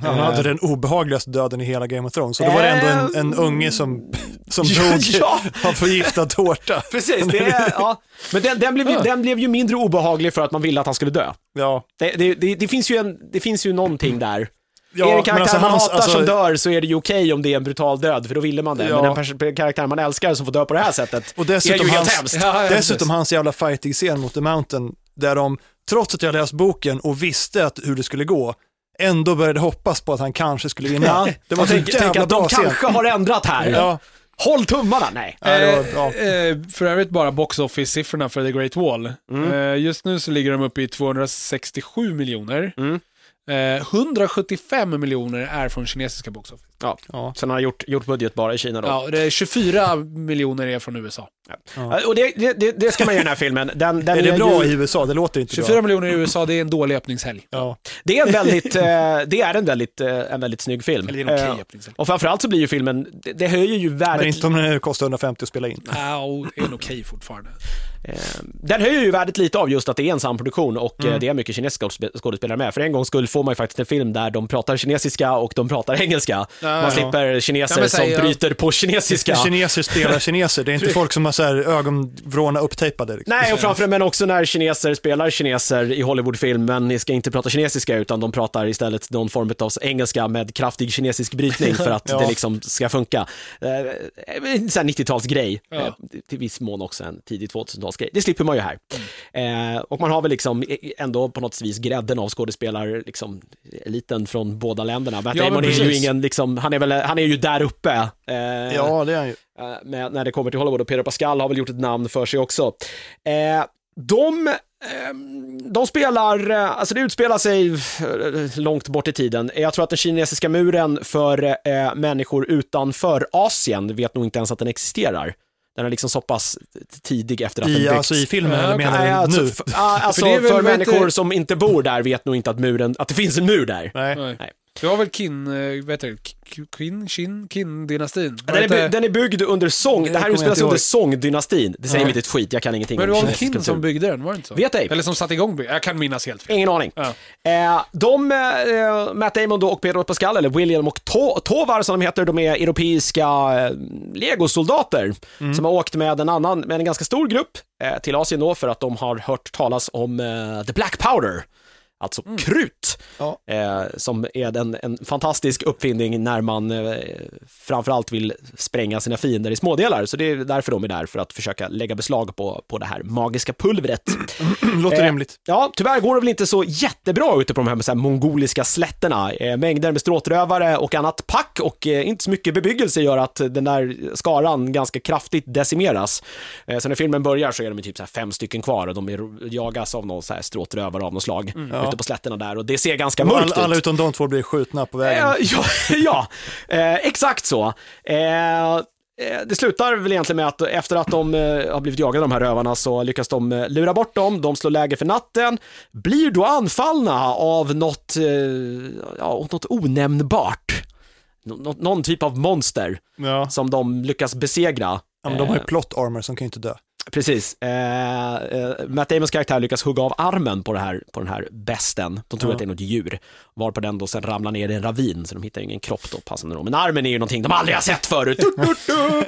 Speaker 2: Han
Speaker 1: Eh.
Speaker 2: hade den obehagligaste döden i hela Game of Thrones. Så då var det ändå en, en unge som, som
Speaker 1: Ja,
Speaker 2: dog
Speaker 1: ja.
Speaker 2: av förgiftad tårta.
Speaker 1: Precis, det är, ja. Men den, den, blev, ju- den blev ju mindre obehaglig för att man ville att han skulle dö.
Speaker 2: Ja.
Speaker 1: Det, det, det, det, finns, ju en, det finns ju någonting där.
Speaker 2: Ja,
Speaker 1: är det en
Speaker 2: men
Speaker 1: karaktär
Speaker 2: alltså
Speaker 1: man
Speaker 2: hans-
Speaker 1: hatar
Speaker 2: alltså-
Speaker 1: som dör så är det ju okej om det är en brutal död, för då ville man det.
Speaker 2: Ja.
Speaker 1: Men en pers- karaktär man älskar som får dö på det här sättet
Speaker 2: Och dessutom
Speaker 1: är ju helt
Speaker 2: hans-
Speaker 1: hemskt.
Speaker 3: Ja, ja,
Speaker 2: Dessutom hans jävla fighting-scen mot The Mountain, där de, trots att jag läst boken och visste att, hur det skulle gå, ändå började hoppas på att han kanske skulle vinna.
Speaker 1: Ja.
Speaker 2: Det var
Speaker 1: Och
Speaker 2: så
Speaker 1: tänk, tänk
Speaker 2: jävla
Speaker 1: att de
Speaker 2: bra scen.
Speaker 1: kanske har ändrat här.
Speaker 2: Ja.
Speaker 1: Håll tummarna! Nej.
Speaker 2: Ja, det var, ja.
Speaker 3: Eh, eh, för övrigt bara box office-siffrorna för The Great Wall. Eh, just nu så ligger de uppe i 267 miljoner. Eh, 175 miljoner är från kinesiska box office.
Speaker 1: Ja.
Speaker 2: Ja.
Speaker 1: Sen har han gjort, gjort budget bara i Kina då.
Speaker 3: Ja, det är 24 miljoner är från USA.
Speaker 1: Ja, Och det, det- det, det ska man göra i den här filmen. Den, den
Speaker 2: Är det bra
Speaker 1: ju,
Speaker 2: i USA? Det låter inte
Speaker 3: 24
Speaker 2: bra.
Speaker 3: miljoner i USA, det är en dålig öppningshelg.
Speaker 2: Ja.
Speaker 1: Det är en väldigt, eh, det är en väldigt, eh, en väldigt snygg film.
Speaker 3: Eller det är en okej
Speaker 1: Eh,
Speaker 3: öppningshelg.
Speaker 1: Och framförallt så blir ju filmen, det, det höjer ju
Speaker 2: Men
Speaker 1: värdet,
Speaker 2: inte om det kostar 150 att spela in.
Speaker 3: Ja, och det är en okej fortfarande.
Speaker 1: eh, den höjer ju värdet lite av just att det är en samproduktion och
Speaker 3: Mm.
Speaker 1: eh, det är mycket kinesiska skådespe- skådespelare med. För en gångs skull får man ju faktiskt en film där de pratar kinesiska och de pratar engelska. man
Speaker 3: ja.
Speaker 1: slipper kineser
Speaker 3: Ja, men
Speaker 1: som
Speaker 3: säg, ja.
Speaker 1: bryter på kinesiska.
Speaker 2: Kineser spelar kineser, det är inte folk som har så här ögonvråna upptejpade. Liksom.
Speaker 1: Nej, och framför men också när kineser spelar kineser i Hollywoodfilm, men ni ska inte prata kinesiska utan de pratar istället någon form av engelska med kraftig kinesisk brytning för att
Speaker 2: Ja.
Speaker 1: det liksom ska funka. Eh, En sån här 90-talsgrej,
Speaker 3: Ja.
Speaker 1: eh, till viss mån också en tidig 2000-talsgrej. Det slipper man ju här. Eh, Och man har väl liksom ändå på något vis grädden av skådespelare, liksom eliten från båda länderna. Matt
Speaker 3: Ja, men
Speaker 1: Damon är ju
Speaker 3: precis.
Speaker 1: ingen, liksom, han är väl, han är ju där uppe. eh,
Speaker 2: Ja, det är han ju.
Speaker 1: eh, med, när det kommer till Hollywood och Pedro Pascal har väl gjort ett namn för sig också. Eh, de, ehm, de spelar, eh, alltså det utspelar sig eh, långt bort i tiden. Jag tror att den kinesiska muren för eh, människor utanför Asien vet nog inte ens att den existerar. Den är liksom så pass tidig efter att den
Speaker 2: I,
Speaker 1: byggts.
Speaker 2: alltså i filmen,
Speaker 3: Ja,
Speaker 2: eller
Speaker 3: okej.
Speaker 2: menar
Speaker 1: Nej,
Speaker 2: du
Speaker 1: alltså,
Speaker 2: nu?
Speaker 1: f- ah, alltså
Speaker 3: För det är
Speaker 1: för,
Speaker 3: väl- vet du-
Speaker 1: människor som inte bor där vet nog inte att, muren, att det finns en mur där.
Speaker 2: Nej.
Speaker 3: Nej.
Speaker 1: Nej.
Speaker 3: Du har väl Kin, eh, vad heter det, K- Kin, Kin, Kin-dynastin?
Speaker 1: Den
Speaker 3: Vad
Speaker 1: är,
Speaker 3: heter-
Speaker 1: by- den är byggd under Song,
Speaker 2: Det
Speaker 1: det här
Speaker 2: kommer jag
Speaker 1: utspelar sig
Speaker 2: inte
Speaker 1: under
Speaker 2: ihåg.
Speaker 1: Song-dynastin. Det säger mig inte ett skit, jag kan ingenting
Speaker 3: Men det var väl
Speaker 1: kinesisk
Speaker 3: Kin
Speaker 1: kultur.
Speaker 3: som byggde den, var det inte så?
Speaker 1: Vet ej.
Speaker 3: Eller som satte igång by- Jag kan minnas helt fel.
Speaker 1: Ingen aning.
Speaker 3: Ja.
Speaker 1: Eh, de, eh, Matt Damon då och Pedro Pascal, eller William och to- Tovar som de heter, de är europeiska eh, legosoldater som har åkt med en annan, med en ganska stor grupp eh, till Asien då för att de har hört talas om eh, the black powder. Alltså krut,
Speaker 2: Ja.
Speaker 1: eh, som är en, en fantastisk uppfinning när man eh, framförallt vill spränga sina fiender i smådelar. Så det är därför de är där, för att försöka lägga beslag på, på det här magiska pulvret.
Speaker 2: Låter
Speaker 1: Eh,
Speaker 2: rimligt.
Speaker 1: Ja, tyvärr går det väl inte så jättebra ute på de här, så här mongoliska slätterna. Eh, mängder med stråtrövare och annat pack och eh, inte så mycket bebyggelse gör att den där skaran ganska kraftigt decimeras. Eh, så när filmen börjar så är de ju typ så här fem stycken kvar och de är, jagas av någon så här stråtrövare av något slag
Speaker 2: Mm.
Speaker 1: ute på slätterna där och det ser ganska mörkt
Speaker 2: Alla,
Speaker 1: ut.
Speaker 2: alla utom de två blir skjutna på vägen.
Speaker 1: Eh, ja, ja eh, exakt så. Eh, eh, det slutar väl egentligen med att efter att de eh, har blivit jagade de här rövarna så lyckas de eh, lura bort dem, de slår läger för natten, blir då anfallna av något, eh, ja, något onämnbart. Nå- nå- någon typ av monster
Speaker 2: Ja.
Speaker 1: som de lyckas besegra.
Speaker 2: Ja, men de har ju
Speaker 1: Eh,
Speaker 2: plot armor som kan ju inte dö.
Speaker 1: Precis. Eh, eh, Matt Damons karaktär lyckas hugga av armen på, det här, på den här besten. De tror
Speaker 2: Ja.
Speaker 1: att det är något djur. Varpå den då sen ramlar ner i en ravin, så de hittar ju ingen kropp då passande nog. Men armen är ju någonting de aldrig har sett förut. Du, du, du.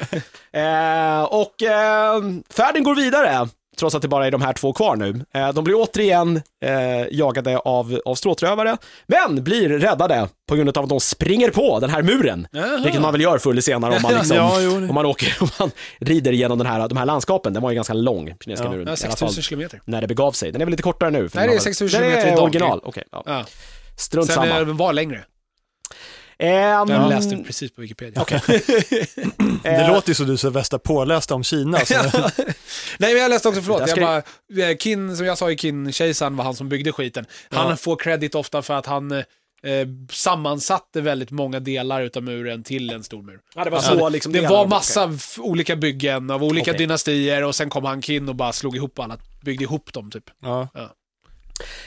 Speaker 1: eh, och eh, färden går vidare. trots att det bara är de här två kvar nu. Eh, De blir återigen eh, jagade av, av stråtrövare, men blir räddade på grund av att de springer på den här muren.
Speaker 3: Jaha.
Speaker 1: Vilket man väl gör förr eller senare om man, liksom,
Speaker 2: Ja, jo, det-
Speaker 1: om man, åker, om man rider genom den här, de här landskapen. Den var ju ganska lång, kinesiska
Speaker 2: Ja.
Speaker 1: muren.
Speaker 3: Ja,
Speaker 1: i alla fall
Speaker 3: 6000 kilometer.
Speaker 1: när det begav sig. Den är väl lite kortare nu? för
Speaker 3: Nej,
Speaker 1: den
Speaker 3: det är
Speaker 1: har väl-
Speaker 3: 6 000
Speaker 1: Den
Speaker 3: kilometer i
Speaker 1: är
Speaker 3: dag.
Speaker 1: original, okej. ja.
Speaker 3: Ja.
Speaker 1: Strunt
Speaker 3: Sen
Speaker 1: samma.
Speaker 3: eh, var längre.
Speaker 1: Ehm,
Speaker 3: Den läste vi precis på Wikipedia.
Speaker 2: Det
Speaker 1: eh,
Speaker 2: låter ju som du är så värsta påläst om Kina. alltså. Så
Speaker 3: Nej men jag läste också, förlåt,
Speaker 1: Där ska
Speaker 3: jag bara, eh, Kin, som jag sa i Kin-kejsaren var han som byggde skiten. Han
Speaker 2: Ja.
Speaker 3: får credit ofta för att han eh, eh, sammansatte väldigt många delar utav muren till en stor mur.
Speaker 1: Ja, det var
Speaker 3: Alltså,
Speaker 1: så liksom
Speaker 3: det
Speaker 1: det
Speaker 3: var
Speaker 1: handlade om.
Speaker 3: massa f- olika byggen av olika
Speaker 1: Okej.
Speaker 3: dynastier och sen kom han Kin och bara slog ihop alla, byggde ihop dem typ.
Speaker 2: ja.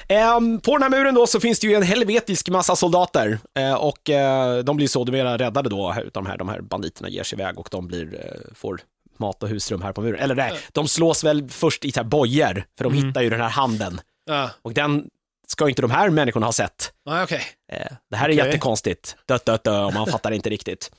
Speaker 1: Ehm, på den här muren då så finns det ju en helvetisk massa soldater eh, och eh, de blir sådana räddade då här- utav de här, de här banditerna ger sig iväg och de blir, eh, får mat och husrum här på muren. Eller nej, de slås väl först i så här bojor, för de hittar ju den här handen
Speaker 3: Ja,
Speaker 1: och den ska ju inte de här människorna ha sett.
Speaker 3: Nej, okej.
Speaker 1: Eh, Det här är
Speaker 2: Okej.
Speaker 1: jättekonstigt. Dött, dött, dött, och man fattar inte riktigt.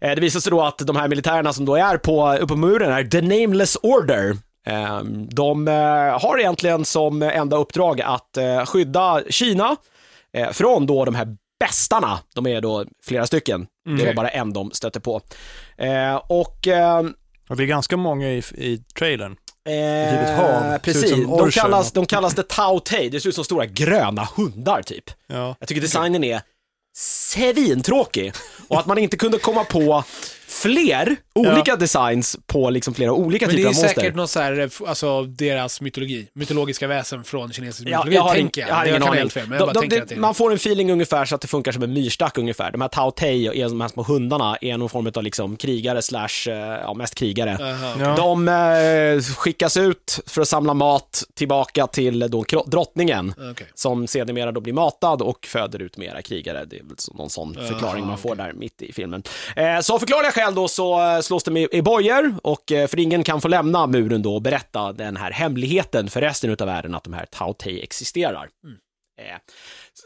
Speaker 1: Eh, Det visar sig då att de här militärerna som då är på, uppe på muren är The Nameless Order. Eh, De eh, har egentligen som enda uppdrag att eh, skydda Kina eh, från då de här bästarna. De är då flera stycken. Det var
Speaker 2: Mm.
Speaker 1: bara en de stötte på. Eh, Och... eh,
Speaker 2: Och det är ganska många i, i trailern.
Speaker 1: Eh,
Speaker 2: Ett litet hav. Ser ut som
Speaker 1: Precis, de
Speaker 2: orcher
Speaker 1: kallas,
Speaker 2: eller
Speaker 1: de kallas The Tao Tei. Det ser ut som stora gröna hundar typ.
Speaker 2: Ja.
Speaker 1: Jag tycker designen är svintråkig. Och att man inte kunde komma på fler olika designs på liksom flera olika
Speaker 3: Men det
Speaker 1: typer av
Speaker 3: är
Speaker 1: monster.
Speaker 3: säkert någon så här, eh, f- alltså deras mytologi, mytologiska väsen från kinesisk
Speaker 1: Ja,
Speaker 3: mytologi, tänker
Speaker 1: ing-
Speaker 3: jag. jag kan ha helt fel, men jag
Speaker 1: De-
Speaker 3: bara
Speaker 1: de-
Speaker 3: tänker
Speaker 1: det-
Speaker 3: att det är
Speaker 1: man får en feeling ungefär så att det funkar som en myrstack ungefär. De här Tao Tei, och de här små hundarna, är någon form av liksom krigare slash, eh, ja mest krigare.
Speaker 3: Aha.
Speaker 2: Ja.
Speaker 1: De eh, skickas ut för att samla mat tillbaka till eh, då kro- drottningen.
Speaker 3: okej.
Speaker 1: som sedermera då blir matad och föder ut mera krigare. Det är väl så- någon sån
Speaker 2: Ah,
Speaker 1: förklaring man
Speaker 3: okej.
Speaker 1: får där mitt i filmen. Eh, så av förklarliga skäl då så eh, slås de i, i bojor och eh, för ingen kan få lämna muren då och berätta den här hemligheten för resten utav världen att de här Tao Tei existerar.
Speaker 2: Mm.
Speaker 1: Eh,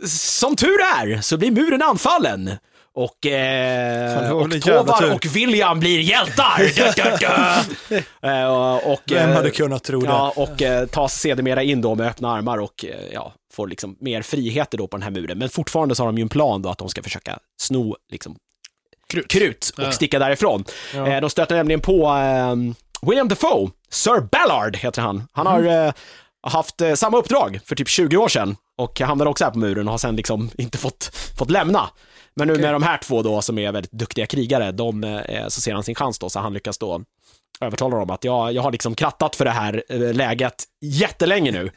Speaker 1: s- som tur är så blir muren anfallen. Och,
Speaker 2: Fan, det
Speaker 1: eh,
Speaker 2: var väl
Speaker 1: och
Speaker 2: en jävla
Speaker 1: Tovar
Speaker 2: tur.
Speaker 1: och William blir hjältar! Dö, dö, dö. Eh, och,
Speaker 2: Vem
Speaker 1: eh,
Speaker 2: hade kunnat tro det?
Speaker 1: Ja, och eh, tas sedermera in då med öppna armar och eh, ja, får liksom mer friheter då på den här muren. Men fortfarande så har de ju en plan då att de ska försöka sno liksom krut, och
Speaker 3: Ja.
Speaker 1: sticka därifrån. Eh, de stöter nämligen på eh, William Defoe, Sir Ballard heter han. Han
Speaker 3: Mm.
Speaker 1: har eh, haft eh, samma uppdrag för typ 20 år sedan och hamnade också här på muren och har sen liksom inte fått, fått lämna. Men nu med de här två då som är väldigt duktiga krigare, de, eh, så ser han sin chans då, så han lyckas då övertalar dem att jag, jag har liksom krattat för det här eh, läget jättelänge nu.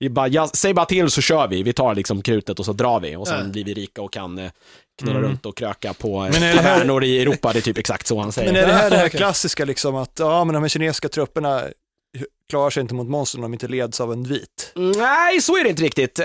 Speaker 1: Vi bara, jag, säg bara till så kör vi, vi tar liksom krutet och så drar vi och sen
Speaker 3: Ja.
Speaker 1: blir vi rika och kan eh, knulla runt och kröka på eh,
Speaker 2: Mm. Men är det här-
Speaker 1: tavernor i Europa, det är typ exakt så han säger.
Speaker 2: Men är det här det här
Speaker 3: Okej.
Speaker 2: klassiska liksom att ja, men de här kinesiska trupperna klarar sig inte mot monstren om de inte leds av en vit?
Speaker 1: Nej, så är det inte riktigt.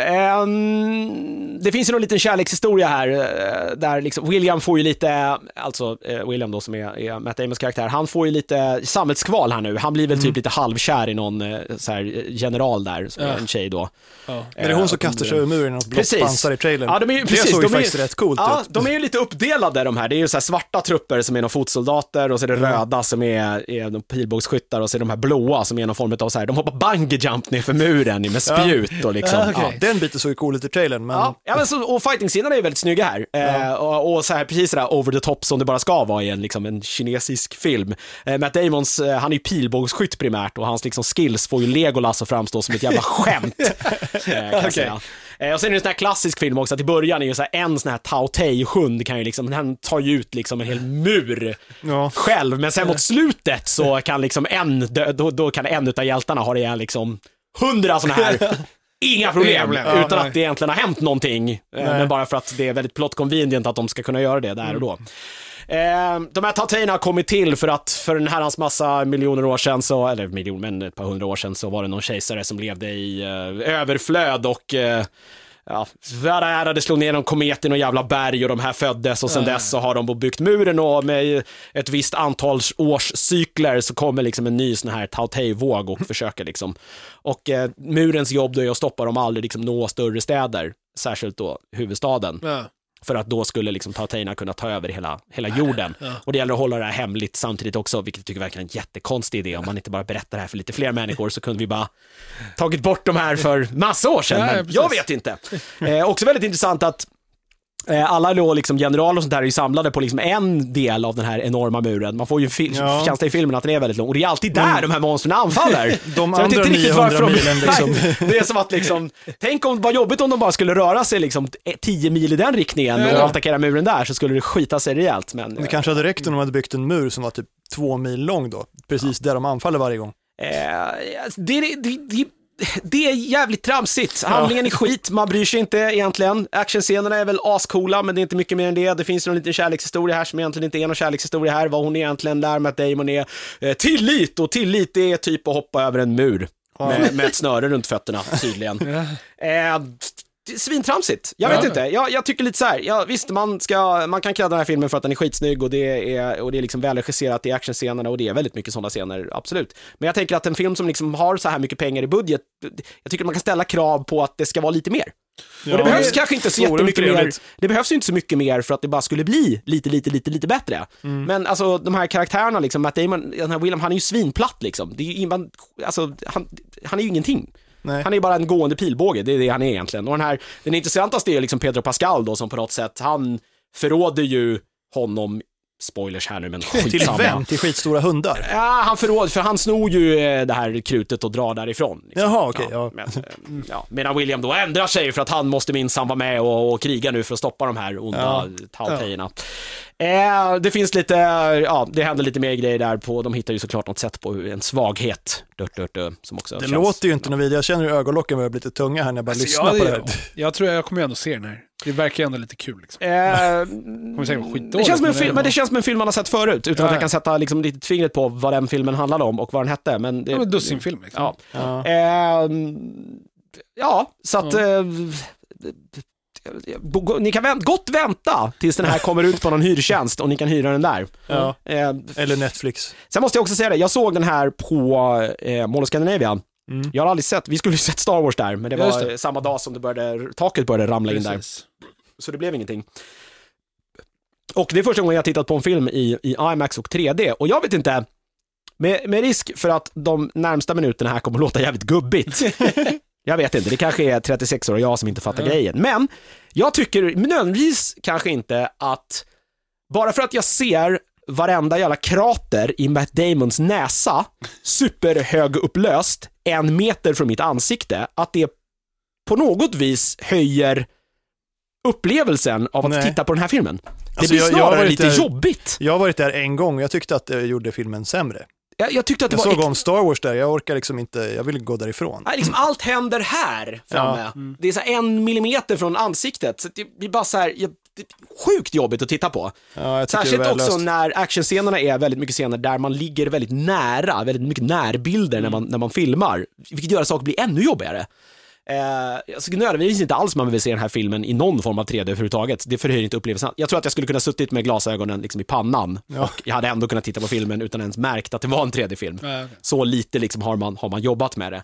Speaker 1: Ehm, det finns ju någon liten kärlekshistoria här, eh, där liksom William får ju lite, alltså eh, William då som är, är Matt Damons karaktär, han får ju lite sammetskval här nu. Han blir väl
Speaker 2: Mm.
Speaker 1: typ lite halvkär i någon eh, så här, eh, general där, som är
Speaker 3: Ja.
Speaker 1: en tjej då.
Speaker 3: Ja.
Speaker 2: Men det är hon som
Speaker 1: Eh,
Speaker 2: kastar sig över muren och blått
Speaker 1: Precis.
Speaker 2: pansar i trailern.
Speaker 1: Ja, de är ju,
Speaker 2: det
Speaker 1: precis,
Speaker 2: såg
Speaker 1: de
Speaker 2: ju
Speaker 1: är,
Speaker 2: faktiskt rätt coolt
Speaker 1: ja,
Speaker 2: ut.
Speaker 1: De är ju lite uppdelade de här. Det är ju så här svarta trupper som är någon fotsoldater och så är
Speaker 2: Mm.
Speaker 1: det röda som är, är de pilbågsskyttar och så är det de här blåa som är någon form av så här, de hoppar bungee jump ner för muren med spjut och liksom.
Speaker 3: Ja, okej.
Speaker 1: ja.
Speaker 2: Den biten såg ju cool ut i trailern, men
Speaker 1: Ja, ja men så, och fighting-scenerna är ju väldigt snygga här. Eh, och, och så här, precis sådär over the top som det bara ska vara i en, liksom, en kinesisk film. Eh, Matt Damons, eh, han är ju pilbågsskytt primärt och hans liksom, skills får ju Legolas att framstå som ett jävla skämt. eh, kan jag säga. Eh, och sen är det en sån här klassisk film också, att i början är ju så här, en sån här Tao Tei-hund kan ju liksom, han tar ju ut liksom en hel mur
Speaker 2: Ja.
Speaker 1: själv, men sen mot slutet så kan liksom en, dö- då, då kan en utav hjältarna ha ihjäl liksom hundra sådana här Inga problem,
Speaker 3: Inga problem.
Speaker 1: utan
Speaker 3: Ja,
Speaker 1: att det egentligen har hänt någonting. eh, Men bara för att det är väldigt plot convenient att de ska kunna göra det där och då.
Speaker 3: Mm.
Speaker 1: Eh, De här Tateina har kommit till för att för en herrans massa miljoner år sedan, så, eller miljon, men ett par hundra år sedan, så var det någon kejsare som levde i eh, överflöd och eh, Ja, värda ära, det slog ner någon komet i någon jävla berg och de här föddes och sen dess så har de byggt muren och med ett visst antal årscykler så kommer liksom en ny sån här Tao Tei-våg och försöker liksom. Och eh, murens jobb då är att stoppa dem aldrig liksom nå större städer, särskilt då huvudstaden.
Speaker 3: Ja.
Speaker 1: För att då skulle liksom Tauteina kunna ta över hela, hela jorden.
Speaker 3: Ja.
Speaker 1: Och det gäller att hålla det här hemligt samtidigt också, vilket jag tycker verkar en jättekonstig idé. Om man inte bara berättar det här för lite fler människor så kunde vi bara tagit bort de här för massa år sedan.
Speaker 3: Ja, ja,
Speaker 1: men
Speaker 3: precis.
Speaker 1: jag vet inte. Eh, också väldigt intressant att eh, alla då liksom generaler och sånt där är ju samlade på liksom en del av den här enorma muren. Man får ju en fil-
Speaker 2: Ja.
Speaker 1: känsla i filmen att den är väldigt lång. Och det är alltid där de här monstren anfaller.
Speaker 2: De
Speaker 1: Så jag vet
Speaker 2: andra
Speaker 1: inte riktigt varför
Speaker 2: 900
Speaker 1: de-
Speaker 2: milen liksom.
Speaker 1: Nej, Det är som att liksom, tänk om, vad jobbigt om de bara skulle röra sig liksom 10 mil i den riktningen
Speaker 3: Ja.
Speaker 1: och attackera muren där så skulle det skita sig rejält. Men,
Speaker 2: Det kanske hade räckt om de hade byggt en mur som var typ två mil lång då, precis där de anfaller varje gång.
Speaker 1: Eh, alltså, det, det, det, det är jävligt tramsigt. Handlingen är skit, man bryr sig inte egentligen. Actionscenerna är väl ascoola, men det är inte mycket mer än det. Det finns någon liten kärlekshistoria här som egentligen inte är någon kärlekshistoria här. Vad hon egentligen lär med att Damon är eh, tillit, och tillit det är typ att hoppa över en mur. Med, med ett snöre runt fötterna, tydligen. Eh, det är Svintramsigt. Jag vet
Speaker 3: Ja.
Speaker 1: inte. Jag, jag tycker lite så här. Ja, visst, man, ska, man kan krädda den här filmen för att den är skitsnygg och det är, och det är liksom välregisserat i actionscenerna och det är väldigt mycket sådana scener, absolut. Men jag tänker att en film som liksom har så här mycket pengar i budget, jag tycker man kan ställa krav på att det ska vara lite mer. och det
Speaker 2: Ja.
Speaker 1: behövs kanske inte så
Speaker 2: Svårare och
Speaker 1: jättemycket mer.
Speaker 2: trevligt.
Speaker 1: Det behövs ju inte så mycket mer för att det bara skulle bli lite, lite, lite, lite bättre.
Speaker 2: Mm.
Speaker 1: Men alltså de här karaktärerna liksom, Matt Damon, den här William, han är ju svinplatt liksom. Det är ju, man, alltså, han, han är ju ingenting.
Speaker 2: Nej.
Speaker 1: Han är ju bara en gående pilbåge, det är det han är egentligen. Och den här, den intressantaste är ju liksom Pedro Pascal då som på något sätt, han förråder ju honom, spoilers här nu men
Speaker 2: Till
Speaker 1: skitsamma.
Speaker 2: vem? Till skitstora hundar?
Speaker 1: Ja, han förråder, för han snor ju eh, det här krutet och drar därifrån. Liksom.
Speaker 2: Jaha, okej. ja.
Speaker 1: Men, eh, ja. Medan William då ändrar sig för att han måste minsann vara med och, och kriga nu för att stoppa de här onda Tautejerna. Eh, det finns lite, ja, det händer lite mer grejer där på, de hittar ju såklart något sätt på hur- en svaghet, dört, dört, dört, som också
Speaker 2: Det
Speaker 1: känns-
Speaker 2: låter ju inte något vidare. Jag känner hur ögonlocken börjar bli lite tunga här när jag bara lyssnar
Speaker 3: jag,
Speaker 2: på det här.
Speaker 3: jag tror jag kommer ju ändå se den här. Det verkar ju ändå lite kul liksom.
Speaker 1: Eh,
Speaker 3: Kommer säkert vara skitdåligt.
Speaker 1: det, känns som en
Speaker 3: men
Speaker 1: film, men det känns som en film man har sett förut, utan
Speaker 3: Ja,
Speaker 1: att
Speaker 3: ja.
Speaker 1: jag kan sätta liksom lite fingret på vad den filmen handlade om och vad den hette. Men det,
Speaker 3: Ja, men dussinfilm liksom.
Speaker 1: ja.
Speaker 2: Ja.
Speaker 1: Ehm, ja, så att... eh, bo- ni kan vänt, gott vänta tills den här kommer ut på någon hyrtjänst och ni kan hyra den där.
Speaker 2: Ja.
Speaker 1: Eh,
Speaker 2: Eller Netflix.
Speaker 1: sen måste jag också säga det, jag såg den här på eh, Mall of Scandinavia.
Speaker 2: Mm.
Speaker 1: Jag har aldrig sett, vi skulle ju sett Star Wars där, men det
Speaker 3: Ja, just
Speaker 1: var
Speaker 3: det.
Speaker 1: samma dag som det började, taket började ramla in där.
Speaker 3: Precis.
Speaker 1: Så det blev ingenting. Och det är första gången jag tittat på en film i, i IMAX och 3D och jag vet inte, med, med risk för att de närmsta minuterna här kommer låta jävligt gubbigt. jag vet inte, det kanske är 36 år och jag som inte fattar
Speaker 3: Ja.
Speaker 1: grejen. Men jag tycker nödvändigtvis kanske inte att, bara för att jag ser varenda jävla krater i Matt Damons näsa superhögupplöst en meter från mitt ansikte, att det på något vis höjer upplevelsen av att
Speaker 2: Nej.
Speaker 1: titta på den här filmen. Det
Speaker 2: Alltså,
Speaker 1: blir
Speaker 2: jag- jag
Speaker 1: snarare
Speaker 2: har varit
Speaker 1: lite
Speaker 2: där-
Speaker 1: jobbigt.
Speaker 2: Jag har varit där en gång och jag tyckte att det gjorde filmen sämre.
Speaker 1: Jag, jag tyckte att det
Speaker 2: Jag
Speaker 1: var...
Speaker 2: såg
Speaker 1: äk-
Speaker 2: om Star Wars där, jag orkar liksom inte, jag vill gå därifrån.
Speaker 1: Nej, liksom allt händer här framme.
Speaker 2: Mm.
Speaker 1: Det är så här en millimeter från ansiktet. Så det blir bara så här, jag, det är sjukt jobbigt att titta på.
Speaker 2: Ja, jag tycker det är
Speaker 1: Särskilt
Speaker 2: väl
Speaker 1: också
Speaker 2: löst.
Speaker 1: när actionscenerna är väldigt mycket scener där man ligger väldigt nära, väldigt mycket närbilder
Speaker 2: Mm.
Speaker 1: när, man, när man filmar, vilket gör att saker blir ännu jobbigare. Eh, jag tycker nödvändigtvis inte alls man vill se den här filmen i någon form av 3D överhuvudtaget. Det förhöjer inte upplevelsen. Jag tror att jag skulle kunna suttit med glasögonen liksom i pannan och jag hade ändå kunnat titta på filmen utan ens märkt att det var en 3D-film.
Speaker 3: Ja, okej.
Speaker 1: Så lite liksom har man, har man jobbat med det.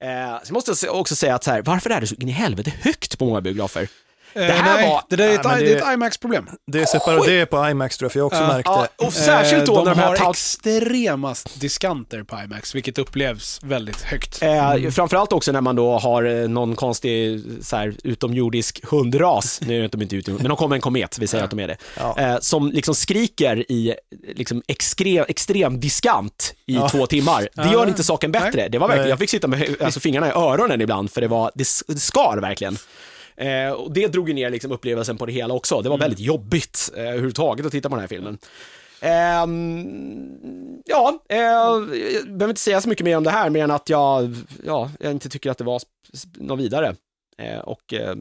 Speaker 1: Eh, sen måste jag se- också säga att så här, varför är det så in i helvete högt på många biografer?
Speaker 3: Eh,
Speaker 1: här
Speaker 3: nej,
Speaker 1: var-
Speaker 3: det, där är ett,
Speaker 2: Nej, men
Speaker 3: det...
Speaker 2: det-
Speaker 3: är ett IMAX-problem.
Speaker 2: Det är, separa- det är på IMAX tror jag, för jag också
Speaker 3: Ja.
Speaker 2: märkte.
Speaker 1: Ja, och särskilt då
Speaker 3: Eh, de
Speaker 1: när de här
Speaker 3: har
Speaker 1: Taut-
Speaker 3: extremast diskanter på IMAX, vilket upplevs väldigt högt.
Speaker 1: Eh, framförallt också när man då har eh, någon konstig så här, utomjordisk hundras, nu är de inte utomjordiska, men de kommer en komet, vi säger att de är det,
Speaker 2: Ja.
Speaker 1: eh, som liksom skriker i eh, liksom extrem, extrem diskant i två timmar. Det gör inte saken bättre. Det var verkligen,
Speaker 2: Nej.
Speaker 1: jag fick sitta med hö- alltså, fingrarna i öronen ibland för det, var, det, s- det skar verkligen. Eh, och det drog ju ner liksom, upplevelsen på det hela också. Det var väldigt jobbigt eh, överhuvudtaget att titta på den här filmen. Ehm, ja, eh, jag behöver inte säga så mycket mer om det här, mer än att jag, ja, jag inte tycker att det var sp- sp- något vidare. Eh, och... Eh,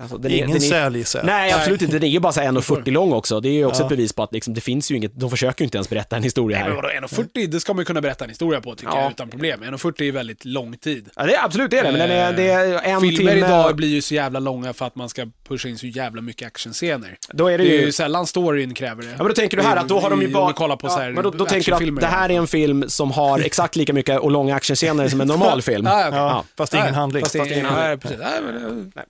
Speaker 1: alltså, den är- den är-
Speaker 2: Ingen säl gissar jag.
Speaker 1: Nej, absolut inte. Den är ju bara så här
Speaker 3: Förstår.
Speaker 1: 1,40 lång också. Det är ju också
Speaker 2: Ja.
Speaker 1: ett bevis på att liksom, det finns ju inget, de försöker ju inte ens berätta en historia
Speaker 3: Nej, men
Speaker 1: här.
Speaker 3: vadå, 1,40, det ska man ju kunna berätta en historia på tycker
Speaker 1: eh. Ja.
Speaker 3: jag utan problem. 1,40 är väldigt lång tid.
Speaker 1: Ja, det är, absolut det är det, men den är, det är en
Speaker 3: Filmer
Speaker 1: timme.
Speaker 3: idag blir ju så jävla långa för att man ska pusha in så jävla mycket actionscener.
Speaker 1: då är det
Speaker 3: Det är ju
Speaker 1: ju...
Speaker 3: sällan storyn kräver det.
Speaker 1: Ja, men då tänker du här att då har de ju
Speaker 3: Om
Speaker 1: bara...
Speaker 3: vi kollar på så här
Speaker 1: men då, då tänker du
Speaker 3: actionfilmer.
Speaker 1: att det här är en film som har exakt lika mycket och långa actionscener som en normal film.
Speaker 3: Ja, okej.
Speaker 2: Ja, Fast ingen
Speaker 3: Nej,
Speaker 2: handling.
Speaker 3: Fast ingen
Speaker 1: handling.
Speaker 3: handling. Precis. Nej, men, eh,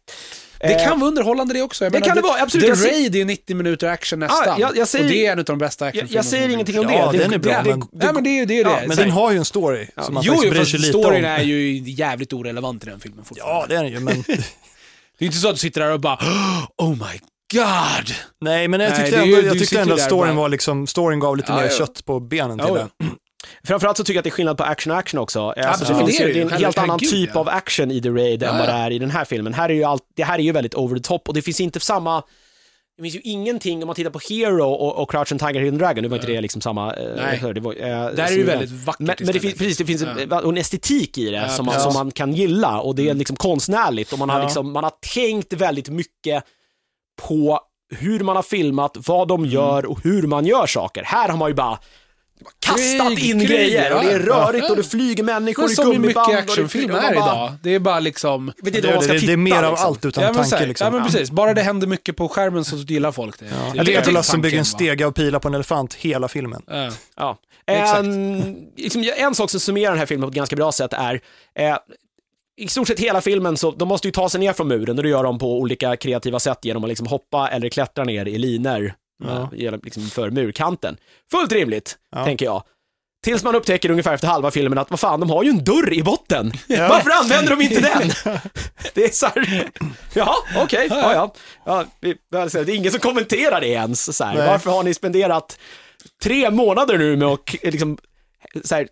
Speaker 3: Det
Speaker 1: Eh,
Speaker 3: kan vara underhållande det också. Jag
Speaker 1: det
Speaker 3: menar,
Speaker 1: kan det vara, absolut.
Speaker 3: The
Speaker 1: Jag ser-
Speaker 3: Raid är ju 90 minuter action nästan.
Speaker 1: Ah, jag- jag säger-
Speaker 3: och det är en av de bästa
Speaker 1: jag,
Speaker 3: actionfilmerna.
Speaker 1: jag säger ingenting om det.
Speaker 2: Ja,
Speaker 1: det,
Speaker 2: den är bra,
Speaker 1: Det, det,
Speaker 2: men-
Speaker 1: det,
Speaker 3: Nej men det är ju det. Är
Speaker 1: Ja,
Speaker 3: det.
Speaker 1: men
Speaker 2: Men
Speaker 3: Så-
Speaker 2: den har ju en story som man
Speaker 3: jo,
Speaker 2: faktiskt
Speaker 3: jo,
Speaker 2: bryr
Speaker 3: fast
Speaker 2: sig lite om.
Speaker 3: storyn är ju jävligt orelevant i den filmen fortfarande.
Speaker 2: Ja, det är den ju, men
Speaker 3: Det är inte så att du sitter där och bara Oh my god!
Speaker 2: nej, men jag
Speaker 3: Nej,
Speaker 2: tyckte
Speaker 3: det är
Speaker 2: ändå,
Speaker 3: ju-
Speaker 2: jag
Speaker 3: du
Speaker 2: tyckte
Speaker 3: sitter
Speaker 2: ändå
Speaker 3: ju
Speaker 2: att
Speaker 3: där
Speaker 2: storyn
Speaker 3: bara-
Speaker 2: var liksom, storyn gav lite
Speaker 3: Ja,
Speaker 2: mer
Speaker 3: ja.
Speaker 2: kött på benen
Speaker 3: Ja,
Speaker 2: till
Speaker 3: ja.
Speaker 2: den.
Speaker 1: Framförallt så tycker jag att det är skillnad på action-action också. Eh, Alltså, det,
Speaker 3: Absolut,
Speaker 1: finns
Speaker 3: det är
Speaker 1: ju,
Speaker 3: det
Speaker 1: det
Speaker 3: ju.
Speaker 1: är en helt annan
Speaker 3: Herregud,
Speaker 1: typ
Speaker 3: ja.
Speaker 1: av action i The Raid än
Speaker 3: Ja,
Speaker 1: vad det
Speaker 3: ja.
Speaker 1: är i den här filmen. Här är ju allt, det här är ju väldigt over the top och det finns inte samma det finns ju ingenting, om man tittar på Hero och, och Crouch and Tiger Hidden Dragon, nu var inte det liksom samma... eh,
Speaker 3: Nej.
Speaker 1: hör, det var, eh,
Speaker 3: Där är det
Speaker 1: som
Speaker 3: ju
Speaker 1: den.
Speaker 2: Alltså,
Speaker 3: väldigt vackert
Speaker 1: Men, men det
Speaker 3: istället.
Speaker 1: finns, precis, det finns en,
Speaker 3: Ja.
Speaker 1: och en estetik i det
Speaker 3: Ja,
Speaker 1: som, man,
Speaker 3: precis. Mm.
Speaker 1: som man kan gilla och det är liksom konstnärligt och man har,
Speaker 2: Ja.
Speaker 1: liksom, man har tänkt väldigt mycket på hur man har filmat, vad de
Speaker 3: Mm.
Speaker 1: gör och hur man gör saker. Här har man ju bara kastat
Speaker 3: Krig,
Speaker 1: in
Speaker 3: krig,
Speaker 1: grejer och
Speaker 3: ja.
Speaker 1: det är rörigt
Speaker 3: Ja.
Speaker 1: och det flyger människor
Speaker 3: Men
Speaker 1: i
Speaker 3: som ju
Speaker 1: gummiband. och
Speaker 3: mycket
Speaker 1: det-
Speaker 3: actionfilmer
Speaker 1: och man
Speaker 3: är
Speaker 1: bara-
Speaker 3: idag. Det är bara liksom...
Speaker 1: Vet
Speaker 2: Det,
Speaker 1: inte
Speaker 2: det,
Speaker 1: vad man ska
Speaker 2: det,
Speaker 1: titta.
Speaker 2: det är mer av
Speaker 1: liksom.
Speaker 2: allt utan
Speaker 3: ja, men, så
Speaker 2: tanke
Speaker 3: här,
Speaker 2: liksom.
Speaker 3: ja men precis, bara det händer mycket på skärmen så gillar folk det. det
Speaker 2: Jag tycker att
Speaker 3: det är
Speaker 2: Lasse bygger en
Speaker 3: tanken, va?
Speaker 2: stege och pilar på en elefant hela filmen.
Speaker 3: Ja.
Speaker 1: Ja.
Speaker 3: Exakt.
Speaker 1: En, liksom, en sak som summerar den här filmen på ett ganska bra sätt är eh, i stort sett hela filmen så de måste ju ta sig ner från muren och det gör de på olika kreativa sätt genom att liksom hoppa eller klättra ner i linor eh, genom- liksom för murkanten. Fullt rimligt,
Speaker 2: Ja.
Speaker 1: tänker jag. Tills man upptäcker ungefär efter halva filmen att vad fan, de har ju en dörr i botten. Varför använder de inte den? Det är så här, jaha, okej, ja, ja. ja vi, alltså, det är ingen som kommenterar det ens. Så här.
Speaker 2: Nej.
Speaker 1: Varför har ni spenderat tre månader nu med att eh, liksom, så här,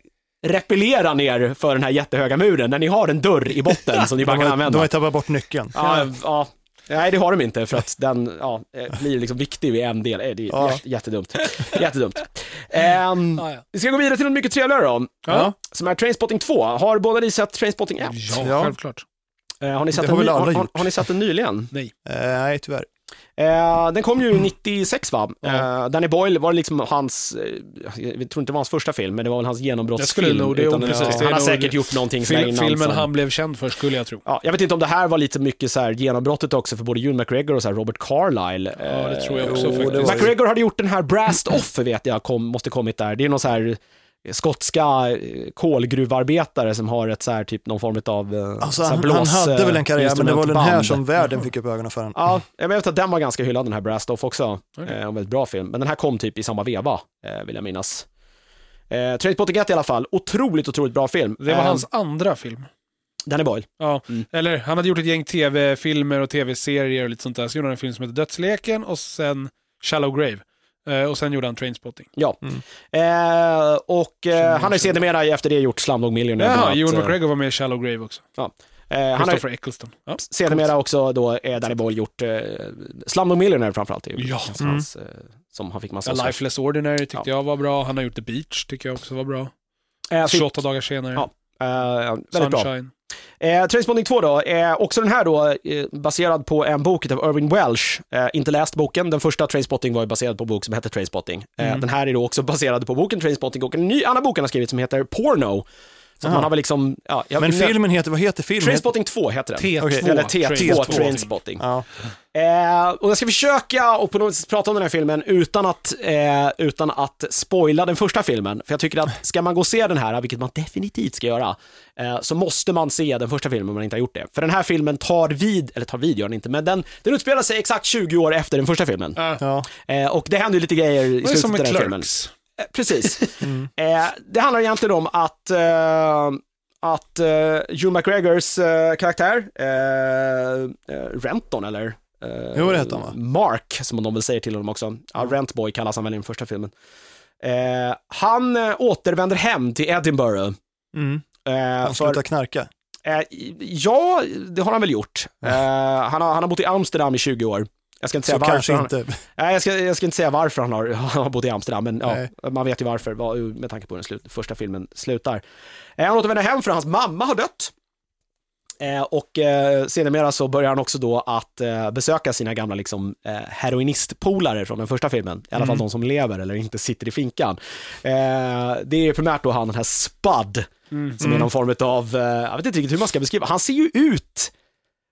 Speaker 1: repellera ner för den här jättehöga muren när ni har en dörr i botten som ni bara
Speaker 2: De
Speaker 1: kan
Speaker 2: har, de
Speaker 1: använda?
Speaker 2: har tappat bort nyckeln.
Speaker 1: Ja, ja. Nej, det har de inte för att den ja, eh, blir liksom viktig vid en del. Eh, Det är
Speaker 2: Ja.
Speaker 1: jä- jättedumt. Jättedumt. Ehm,
Speaker 3: Ja, ja.
Speaker 1: vi ska gå vidare till något mycket trevligare då,
Speaker 3: Ja.
Speaker 1: som är Trainspotting 2. Har båda ni sett Trainspotting 1?
Speaker 3: ja,
Speaker 2: Ja.
Speaker 3: självklart.
Speaker 1: Eh, har, ni sett
Speaker 2: Det
Speaker 1: den
Speaker 2: har väl
Speaker 1: ny-
Speaker 2: alla
Speaker 1: har, har,
Speaker 2: gjort.
Speaker 1: har ni sett den nyligen?
Speaker 2: Eh, nej, tyvärr.
Speaker 1: Eh, den kom ju 96 va?
Speaker 2: Ja.
Speaker 1: Eh, Danny Boyle var liksom hans, eh, jag tror inte det var hans första film, men det var väl hans genombrottsfilm.
Speaker 3: Jag skulle nog- det är
Speaker 1: utan-
Speaker 3: nog-
Speaker 1: ja.
Speaker 3: precis, det är
Speaker 1: han har
Speaker 3: nog-
Speaker 1: säkert gjort någonting som är
Speaker 3: Fil
Speaker 1: innan.
Speaker 3: filmen
Speaker 1: som-
Speaker 3: han blev känd för skulle jag tro.
Speaker 1: Ja, jag vet inte om det här var lite mycket så här genombrottet också för både Ewan McGregor och så här Robert Carlyle.
Speaker 3: Ja, det tror jag
Speaker 2: Eh,
Speaker 3: också
Speaker 2: jo, det
Speaker 3: faktiskt.
Speaker 2: var ju-
Speaker 1: McGregor hade gjort den här Brast Off, vet jag, kom, måste kommit där. Det är någon så här skotska eh, kolgruvarbetare som har ett så här, typ någon form av
Speaker 2: Alltså, han, han
Speaker 3: eh,
Speaker 2: hade väl en karriär, men det var den här som världen fick upp ögonen för honom.
Speaker 1: Ja, jag vet att den var ganska hyllad den här Brast Off också.
Speaker 3: Okej.
Speaker 1: Eh, en väldigt bra film. Men den här kom typ i samma veva, eh, vill jag minnas. Eh, Trainspotting 1 i alla fall. Otroligt, otroligt bra film.
Speaker 3: Det var
Speaker 1: Eh,
Speaker 3: hans andra film.
Speaker 1: Danny Boyle.
Speaker 3: Ja,
Speaker 1: Mm.
Speaker 3: eller han hade gjort ett gäng tv-filmer och tv-serier och lite sånt där. Så gjorde han en film som hette Dödsleken och sen Shallow Grave. Eh, och sen gjorde han Trainspotting.
Speaker 1: Ja.
Speaker 2: Mm.
Speaker 1: Eh, och eh, han har ju sedermera efter det gjort Slumdog Millionaire. bland
Speaker 3: Jaha,
Speaker 1: annat.
Speaker 3: Ewan McGregor var med i Shallow Grave också.
Speaker 1: Eh, han har ju
Speaker 3: Christopher Eccleston. Ja.
Speaker 1: sedermera också då eh, Danny Boyle gjort eh, Slumdog Millionaire framförallt. Det är ju
Speaker 3: Ja. Mm.
Speaker 1: hans- hans, eh, som han fick massa
Speaker 3: A
Speaker 1: Oscar.
Speaker 3: Lifeless Ordinary tyckte jag var bra. Han har gjort The Beach, tycker jag också var bra.
Speaker 1: Eh, fick,
Speaker 3: 28 dagar senare.
Speaker 1: Ja, eh, väldigt bra.
Speaker 3: Sunshine.
Speaker 1: Eh, Trainspotting 2 då, eh, också den här då eh, baserad på en bok av Irving Welsh. Eh, inte läst boken, den första Trainspotting var ju baserad på en bok som hette Trainspotting. Eh,
Speaker 2: Mm.
Speaker 1: Den här är då också baserad på boken Trainspotting och en ny annan bok han har skrivit som heter Porno. Så att
Speaker 2: Aha.
Speaker 1: man har väl liksom, ja, jag,
Speaker 2: Men filmen heter, vad heter filmen?
Speaker 1: Trainspotting 2 heter den.
Speaker 3: T2.
Speaker 2: Okej,
Speaker 1: Eller T2,
Speaker 3: Trainspotting.
Speaker 1: Trainspotting.
Speaker 2: Ja.
Speaker 1: Eh, och jag ska försöka och på något sätt prata om den här filmen utan att, eh, utan att spoila den första filmen. För jag tycker att ska man gå och se den här, vilket man definitivt ska göra, eh, så måste man se den första filmen om man inte har gjort det. För den här filmen tar vid, eller tar vid gör den inte, men den, den utspelar sig exakt 20 år efter den första filmen.
Speaker 3: Ja.
Speaker 2: Ja.
Speaker 1: Eh, och det händer ju lite grejer i
Speaker 3: Det är
Speaker 1: slutet
Speaker 3: som
Speaker 1: av
Speaker 3: med
Speaker 1: den här filmen.
Speaker 3: Clerks.
Speaker 1: Eh, Precis.
Speaker 2: Mm.
Speaker 1: eh, det handlar egentligen om att, eh, att eh, Hugh McGregors eh, karaktär, eh, eh, Renton eller? Eh,
Speaker 2: Jo, det heter han, va? Mm.
Speaker 1: Mark, som de väl säger till honom också. Ja, Rentboy kallas han väl i den första filmen. Eh, han eh, återvänder hem till Edinburgh.
Speaker 2: Mm.
Speaker 1: Eh, för,
Speaker 2: Han slutar knarka.
Speaker 1: eh, ja, det har han väl gjort. Eh, han, har, han har bott i Amsterdam i 20 år. Jag ska inte säga
Speaker 2: Så
Speaker 1: varför.
Speaker 2: kanske
Speaker 1: han,
Speaker 2: inte.
Speaker 1: Nej, jag ska, jag ska inte säga varför han har, han har bott i Amsterdam, men ja,
Speaker 2: Nej.
Speaker 1: man vet ju varför, vad- med tanke på hur den slut, första filmen slutar. Eh, han återvänder hem för hans mamma har dött. Eh, och eh, sedermera så börjar han också då att eh, besöka sina gamla liksom, eh, heroinistpolare från den första filmen. I alla fall de som lever eller inte sitter i finkan. Eh, det är primärt då han, den här Spud, som är någon form av, eh, jag vet inte riktigt hur man ska beskriva, han ser ju ut,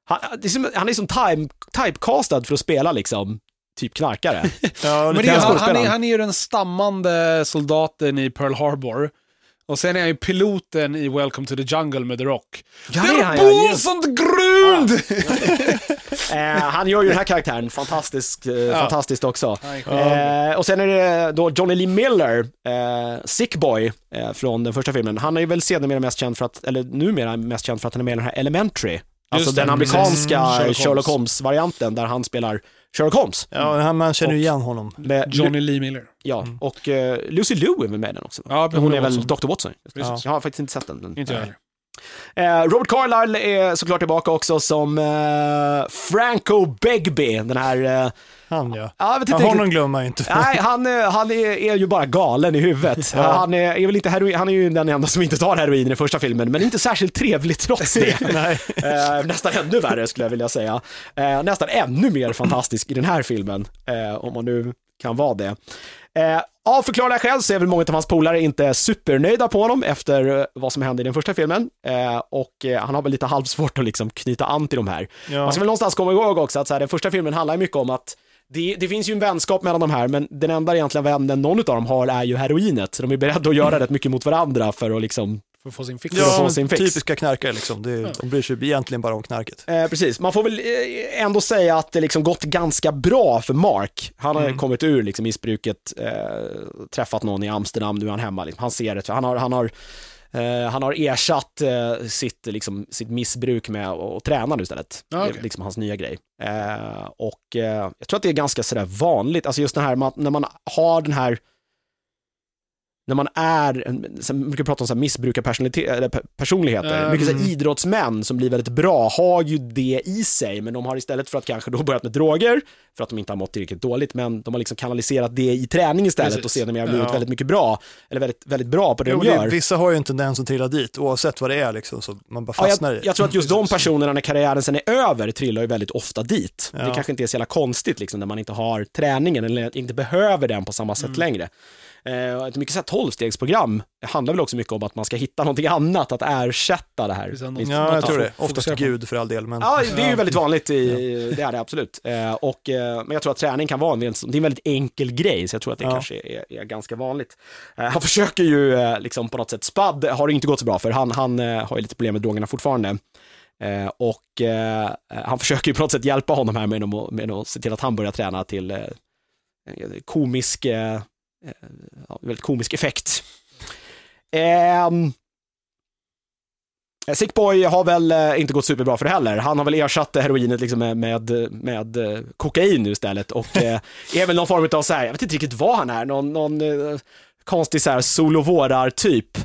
Speaker 1: han, det är som, han är som time, typecastad för att spela liksom, typ knarkare.
Speaker 2: Ja,
Speaker 3: Men
Speaker 2: lite
Speaker 3: det är,
Speaker 1: Den
Speaker 3: han, han, är,
Speaker 1: skådespelaren.
Speaker 3: han är ju den stammande soldaten i Pearl Harbor. Och sen är han ju piloten i Welcome to the Jungle med The Rock.
Speaker 1: Ja,
Speaker 3: Der
Speaker 1: ja, ja,
Speaker 3: Boel
Speaker 1: just-
Speaker 3: som grund!
Speaker 1: Eh, han gör ju den här karaktären fantastisk, eh, fantastiskt också.
Speaker 3: Ja,
Speaker 1: Eh, och sen är det då Johnny Lee Miller, eh, Sick Boy, eh, från den första filmen. Han är ju väl sedermera mest känd för att, eller numera mest känd för att han är med i den här Elementary. Alltså
Speaker 3: Just det,
Speaker 1: den amerikanska
Speaker 3: precis. Mm, Sherlock
Speaker 1: Sherlock Holmes-varianten där han spelar Sherlock Holmes.
Speaker 2: Ja, han, man känner ju igen honom.
Speaker 1: Med
Speaker 3: Johnny Lee Miller.
Speaker 1: Ja, och eh, Lucy Liu är väl med i den också? Va?
Speaker 3: Ja,
Speaker 1: Hon är väl Dr. Watson? just det.
Speaker 3: Precis.
Speaker 1: Jag har faktiskt inte sett den. men-
Speaker 3: Inte jag heller.
Speaker 1: Eh, Robert Carlyle är såklart tillbaka också som eh, Franco Begbie, den här... Eh,
Speaker 2: Han ja.
Speaker 1: ja, jag vet
Speaker 2: ja
Speaker 1: inte
Speaker 2: honom
Speaker 1: riktigt.
Speaker 2: glömmer man ju inte.
Speaker 1: Nej, han, eh, han är, är ju bara galen i huvudet.
Speaker 2: Ja.
Speaker 1: Han, är, är väl inte heroin, han är ju den enda som inte tar heroin i den första filmen, men inte särskilt trevlig trots det.
Speaker 2: Nej.
Speaker 1: Eh, nästan ännu värre skulle jag vilja säga. Eh, nästan ännu mer fantastisk i den här filmen, eh, om man nu kan vara det. Eh, av förklarliga skäl så är väl många av hans polare inte supernöjda på honom efter eh, vad som hände i den första filmen. Eh, och eh, han har väl lite halvsvårt att liksom knyta an till de här.
Speaker 2: Ja.
Speaker 1: Man ska väl någonstans komma ihåg också att så här, den första filmen handlar ju mycket om att det, det finns ju en vänskap mellan de här, men den enda egentligen vännen någon av dem har är ju heroinet. Så de är beredda att göra rätt mycket mot varandra för att liksom
Speaker 3: För att få sin fix.
Speaker 1: för att få
Speaker 2: Ja,
Speaker 1: sin fix.
Speaker 2: typiska knarkare liksom. Det, De bryr sig egentligen bara om knarket.
Speaker 1: Eh, precis, man får väl eh, ändå säga att det liksom gått ganska bra för Mark. Han har kommit ur liksom missbruket, eh, träffat någon i Amsterdam, nu är han hemma. Liksom. Han ser det, han har, han har, eh, han har ersatt eh, sitt, liksom, sitt missbruk med att att träna nu istället.
Speaker 3: Ja,
Speaker 1: Det
Speaker 3: okej.
Speaker 1: är liksom hans nya grej. Eh, och eh, jag tror att det är ganska sådär vanligt, alltså just det här man, när man har den här när man är, en- sen brukar vi prata om så här missbrukarpersonalite- eller pe- personligheter,
Speaker 3: Mm.
Speaker 1: mycket så här idrottsmän som blir väldigt bra har ju det i sig, men de har istället för att kanske då börjat med droger, för att de inte har mått tillräckligt dåligt, men de har liksom kanaliserat det i träning istället
Speaker 3: Precis.
Speaker 1: och sedermera blivit
Speaker 2: Ja.
Speaker 1: väldigt mycket bra, eller väldigt, väldigt bra på det
Speaker 2: Jo,
Speaker 1: de
Speaker 2: det-
Speaker 1: gör.
Speaker 2: vissa har ju en tendens att trilla dit, oavsett vad det är liksom, så man bara
Speaker 1: Ja,
Speaker 2: fastnar i
Speaker 1: jag, jag tror att just de personerna när karriären sen är över trillar ju väldigt ofta dit. Det
Speaker 2: Ja.
Speaker 1: kanske inte är så jävla konstigt liksom, när man inte har träningen eller inte behöver den på samma sätt
Speaker 2: Mm.
Speaker 1: längre. Eh, och ett mycket så här tolvstegsprogram handlar väl också mycket om att man ska hitta någonting annat att ersätta det här.
Speaker 3: Precis, något-
Speaker 1: Visst.
Speaker 2: Ja, jag
Speaker 3: att
Speaker 2: tror det.
Speaker 3: fo-
Speaker 2: Oftast
Speaker 3: fokusera på.
Speaker 2: Gud för all del, men
Speaker 1: Ja, det är ju väldigt vanligt, i, det är det absolut. Eh, och, eh, men jag tror att träning kan vara en, väldigt- det är en väldigt enkel grej, så jag tror att det
Speaker 2: Ja.
Speaker 1: kanske är, är ganska vanligt. Eh, han försöker ju eh, liksom på något sätt, Spad har det inte gått så bra för, han, han eh, har ju lite problem med drogerna fortfarande. Eh, och eh, han försöker ju på något sätt hjälpa honom här med att, med att se till att han börjar träna till eh, komisk, eh, eh, ja, väldigt komisk effekt. Ehm, Sick Boy har väl eh, inte gått superbra för det heller. Han har väl ersatt eh, heroinet liksom med, med, med eh, kokain nu istället och eh, är väl någon form av så här, jag vet inte riktigt vad han är, någon, någon eh, konstig så här solovårar-typ. Eh,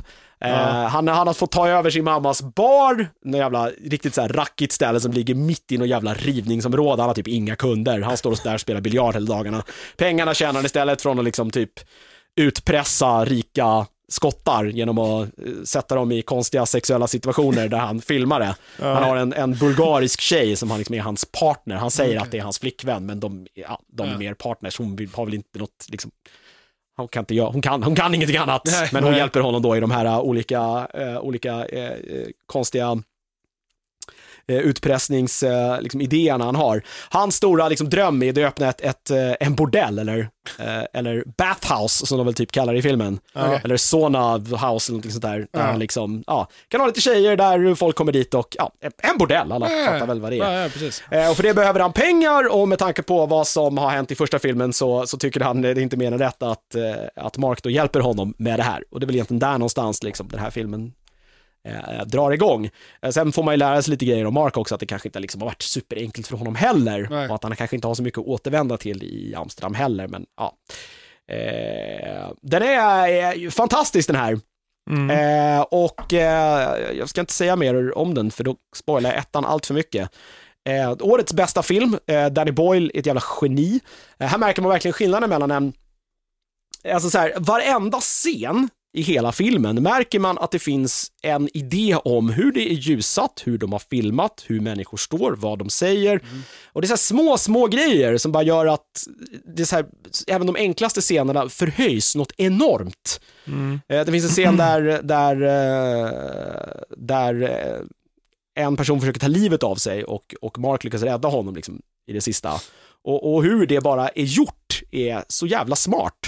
Speaker 2: Ja.
Speaker 1: han, han har fått ta över sin mammas bar, någon jävla riktigt så här rackigt ställe som ligger mitt i någon jävla rivningsområde. Han har typ inga kunder. Han står och där och spelar biljard hela dagarna. Pengarna tjänar han istället från att liksom typ utpressa rika skottar genom att eh, sätta dem i konstiga sexuella situationer där han filmar det. Han har en, en bulgarisk tjej som han liksom är hans partner. Han säger att det är hans flickvän, men de, ja, de är
Speaker 3: Ja.
Speaker 1: mer partners. Hon vill- har väl inte något, liksom, hon kan, inte, göra- hon kan, hon kan ingenting annat,
Speaker 3: Nej.
Speaker 1: men hon
Speaker 2: Nej.
Speaker 1: hjälper honom då i de här eh, olika, eh, olika eh, eh, konstiga utpressningsidéerna eh, liksom, idéerna han har. Hans stora liksom, dröm är att öppna ett, ett, eh, en bordell, eller, eh, eller bathhouse som de väl typ kallar det i filmen.
Speaker 2: Ja.
Speaker 1: Eller sauna house eller något sånt där. Där
Speaker 3: Ja.
Speaker 1: han liksom, ja, kan ha lite tjejer där folk kommer dit och, ja, en bordell, alla
Speaker 3: Ja,
Speaker 1: fattar väl vad det är.
Speaker 3: Ja, ja, precis.
Speaker 1: Eh, Och för det behöver han pengar och med tanke på vad som har hänt i första filmen så, så tycker han det är inte mer än rätt att, eh, att Mark då hjälper honom med det här. Och det är väl egentligen där någonstans liksom den här filmen eh, drar igång. Eh, sen får man ju lära sig lite grejer om Mark också, att det kanske inte liksom har varit superenkelt för honom heller.
Speaker 3: Nej.
Speaker 1: Och att han kanske inte har så mycket att återvända till i Amsterdam heller, men ja. Eh, den är eh, ju fantastisk den här.
Speaker 2: Mm,
Speaker 1: Eh, och eh, jag ska inte säga mer om den, för då spoilar jag ettan allt för mycket. Eh, årets bästa film, eh, Danny Boyle är ett jävla geni. Eh, här märker man verkligen skillnaden mellan en, alltså så här, varenda scen i hela filmen märker man att det finns en idé om hur det är ljusat, hur de har filmat, hur människor står, vad de säger. Och det är så här små, små grejer som bara gör att det är så här, även de enklaste scenerna förhöjs något enormt.
Speaker 2: mm.
Speaker 1: Eh, Det finns en scen där, där, eh, där eh, en person försöker ta livet av sig och, och Mark lyckas rädda honom liksom, i det sista. Och, och hur det bara är gjort
Speaker 2: Hmm.
Speaker 1: är så jävla smart.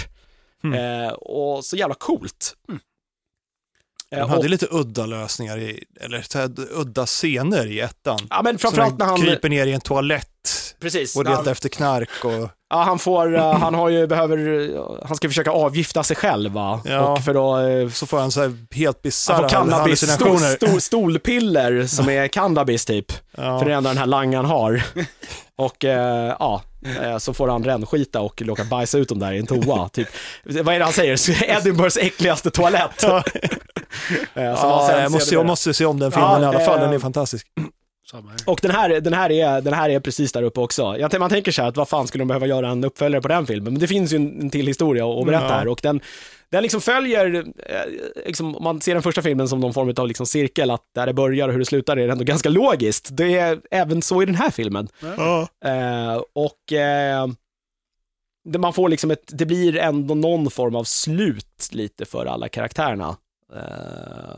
Speaker 1: Eh, och så jävla coolt.
Speaker 2: De
Speaker 3: Eh,
Speaker 2: hade
Speaker 3: och-
Speaker 2: lite udda lösningar, i, eller så här, udda scener i ettan.
Speaker 1: Ja, men
Speaker 2: Som
Speaker 1: framförallt när han...
Speaker 2: kryper ner i en toalett
Speaker 1: Precis.
Speaker 2: och
Speaker 1: när
Speaker 2: letar
Speaker 1: han-
Speaker 2: efter knark. Och,
Speaker 1: Ja, han får, eh, han har ju, behöver, eh, han ska försöka avgifta sig själv va?
Speaker 2: Ja.
Speaker 1: Och för att eh,
Speaker 2: så får han så här helt
Speaker 1: han får
Speaker 2: bisarra
Speaker 1: cannabis, stol,
Speaker 2: hallucinationer.
Speaker 1: stol, stolpiller som är cannabis typ.
Speaker 2: Ja.
Speaker 1: För det är enda den här langan har. Och eh, ja, eh, så får han rännskita och råka bajsa ut dem där i en toa. Typ. Vad är det han säger? Edinburghs äckligaste toalett.
Speaker 2: Ja.
Speaker 1: Eh, som han
Speaker 2: Ja,
Speaker 1: sen
Speaker 2: jag, måste,
Speaker 1: sedermera-
Speaker 2: jag måste se om den filmen
Speaker 1: Ja,
Speaker 2: i alla fall, den är
Speaker 1: eh,
Speaker 2: fantastisk.
Speaker 3: Samma här.
Speaker 1: Och den här, den, här är, den här är precis där uppe också. Jag, tänker- man tänker så här, att vad fan skulle de behöva göra en uppföljare på den filmen? Men det finns ju en, en till historia att berätta
Speaker 2: Ja.
Speaker 1: här och den, den liksom följer, eh, liksom, om man ser den första filmen som någon form av liksom cirkel, att där det börjar och hur det slutar är det ändå ganska logiskt. Det är även så i den här filmen.
Speaker 2: Ja.
Speaker 1: Eh, och eh, det, man får liksom ett, det blir ändå någon form av slut lite för alla karaktärerna. Eh,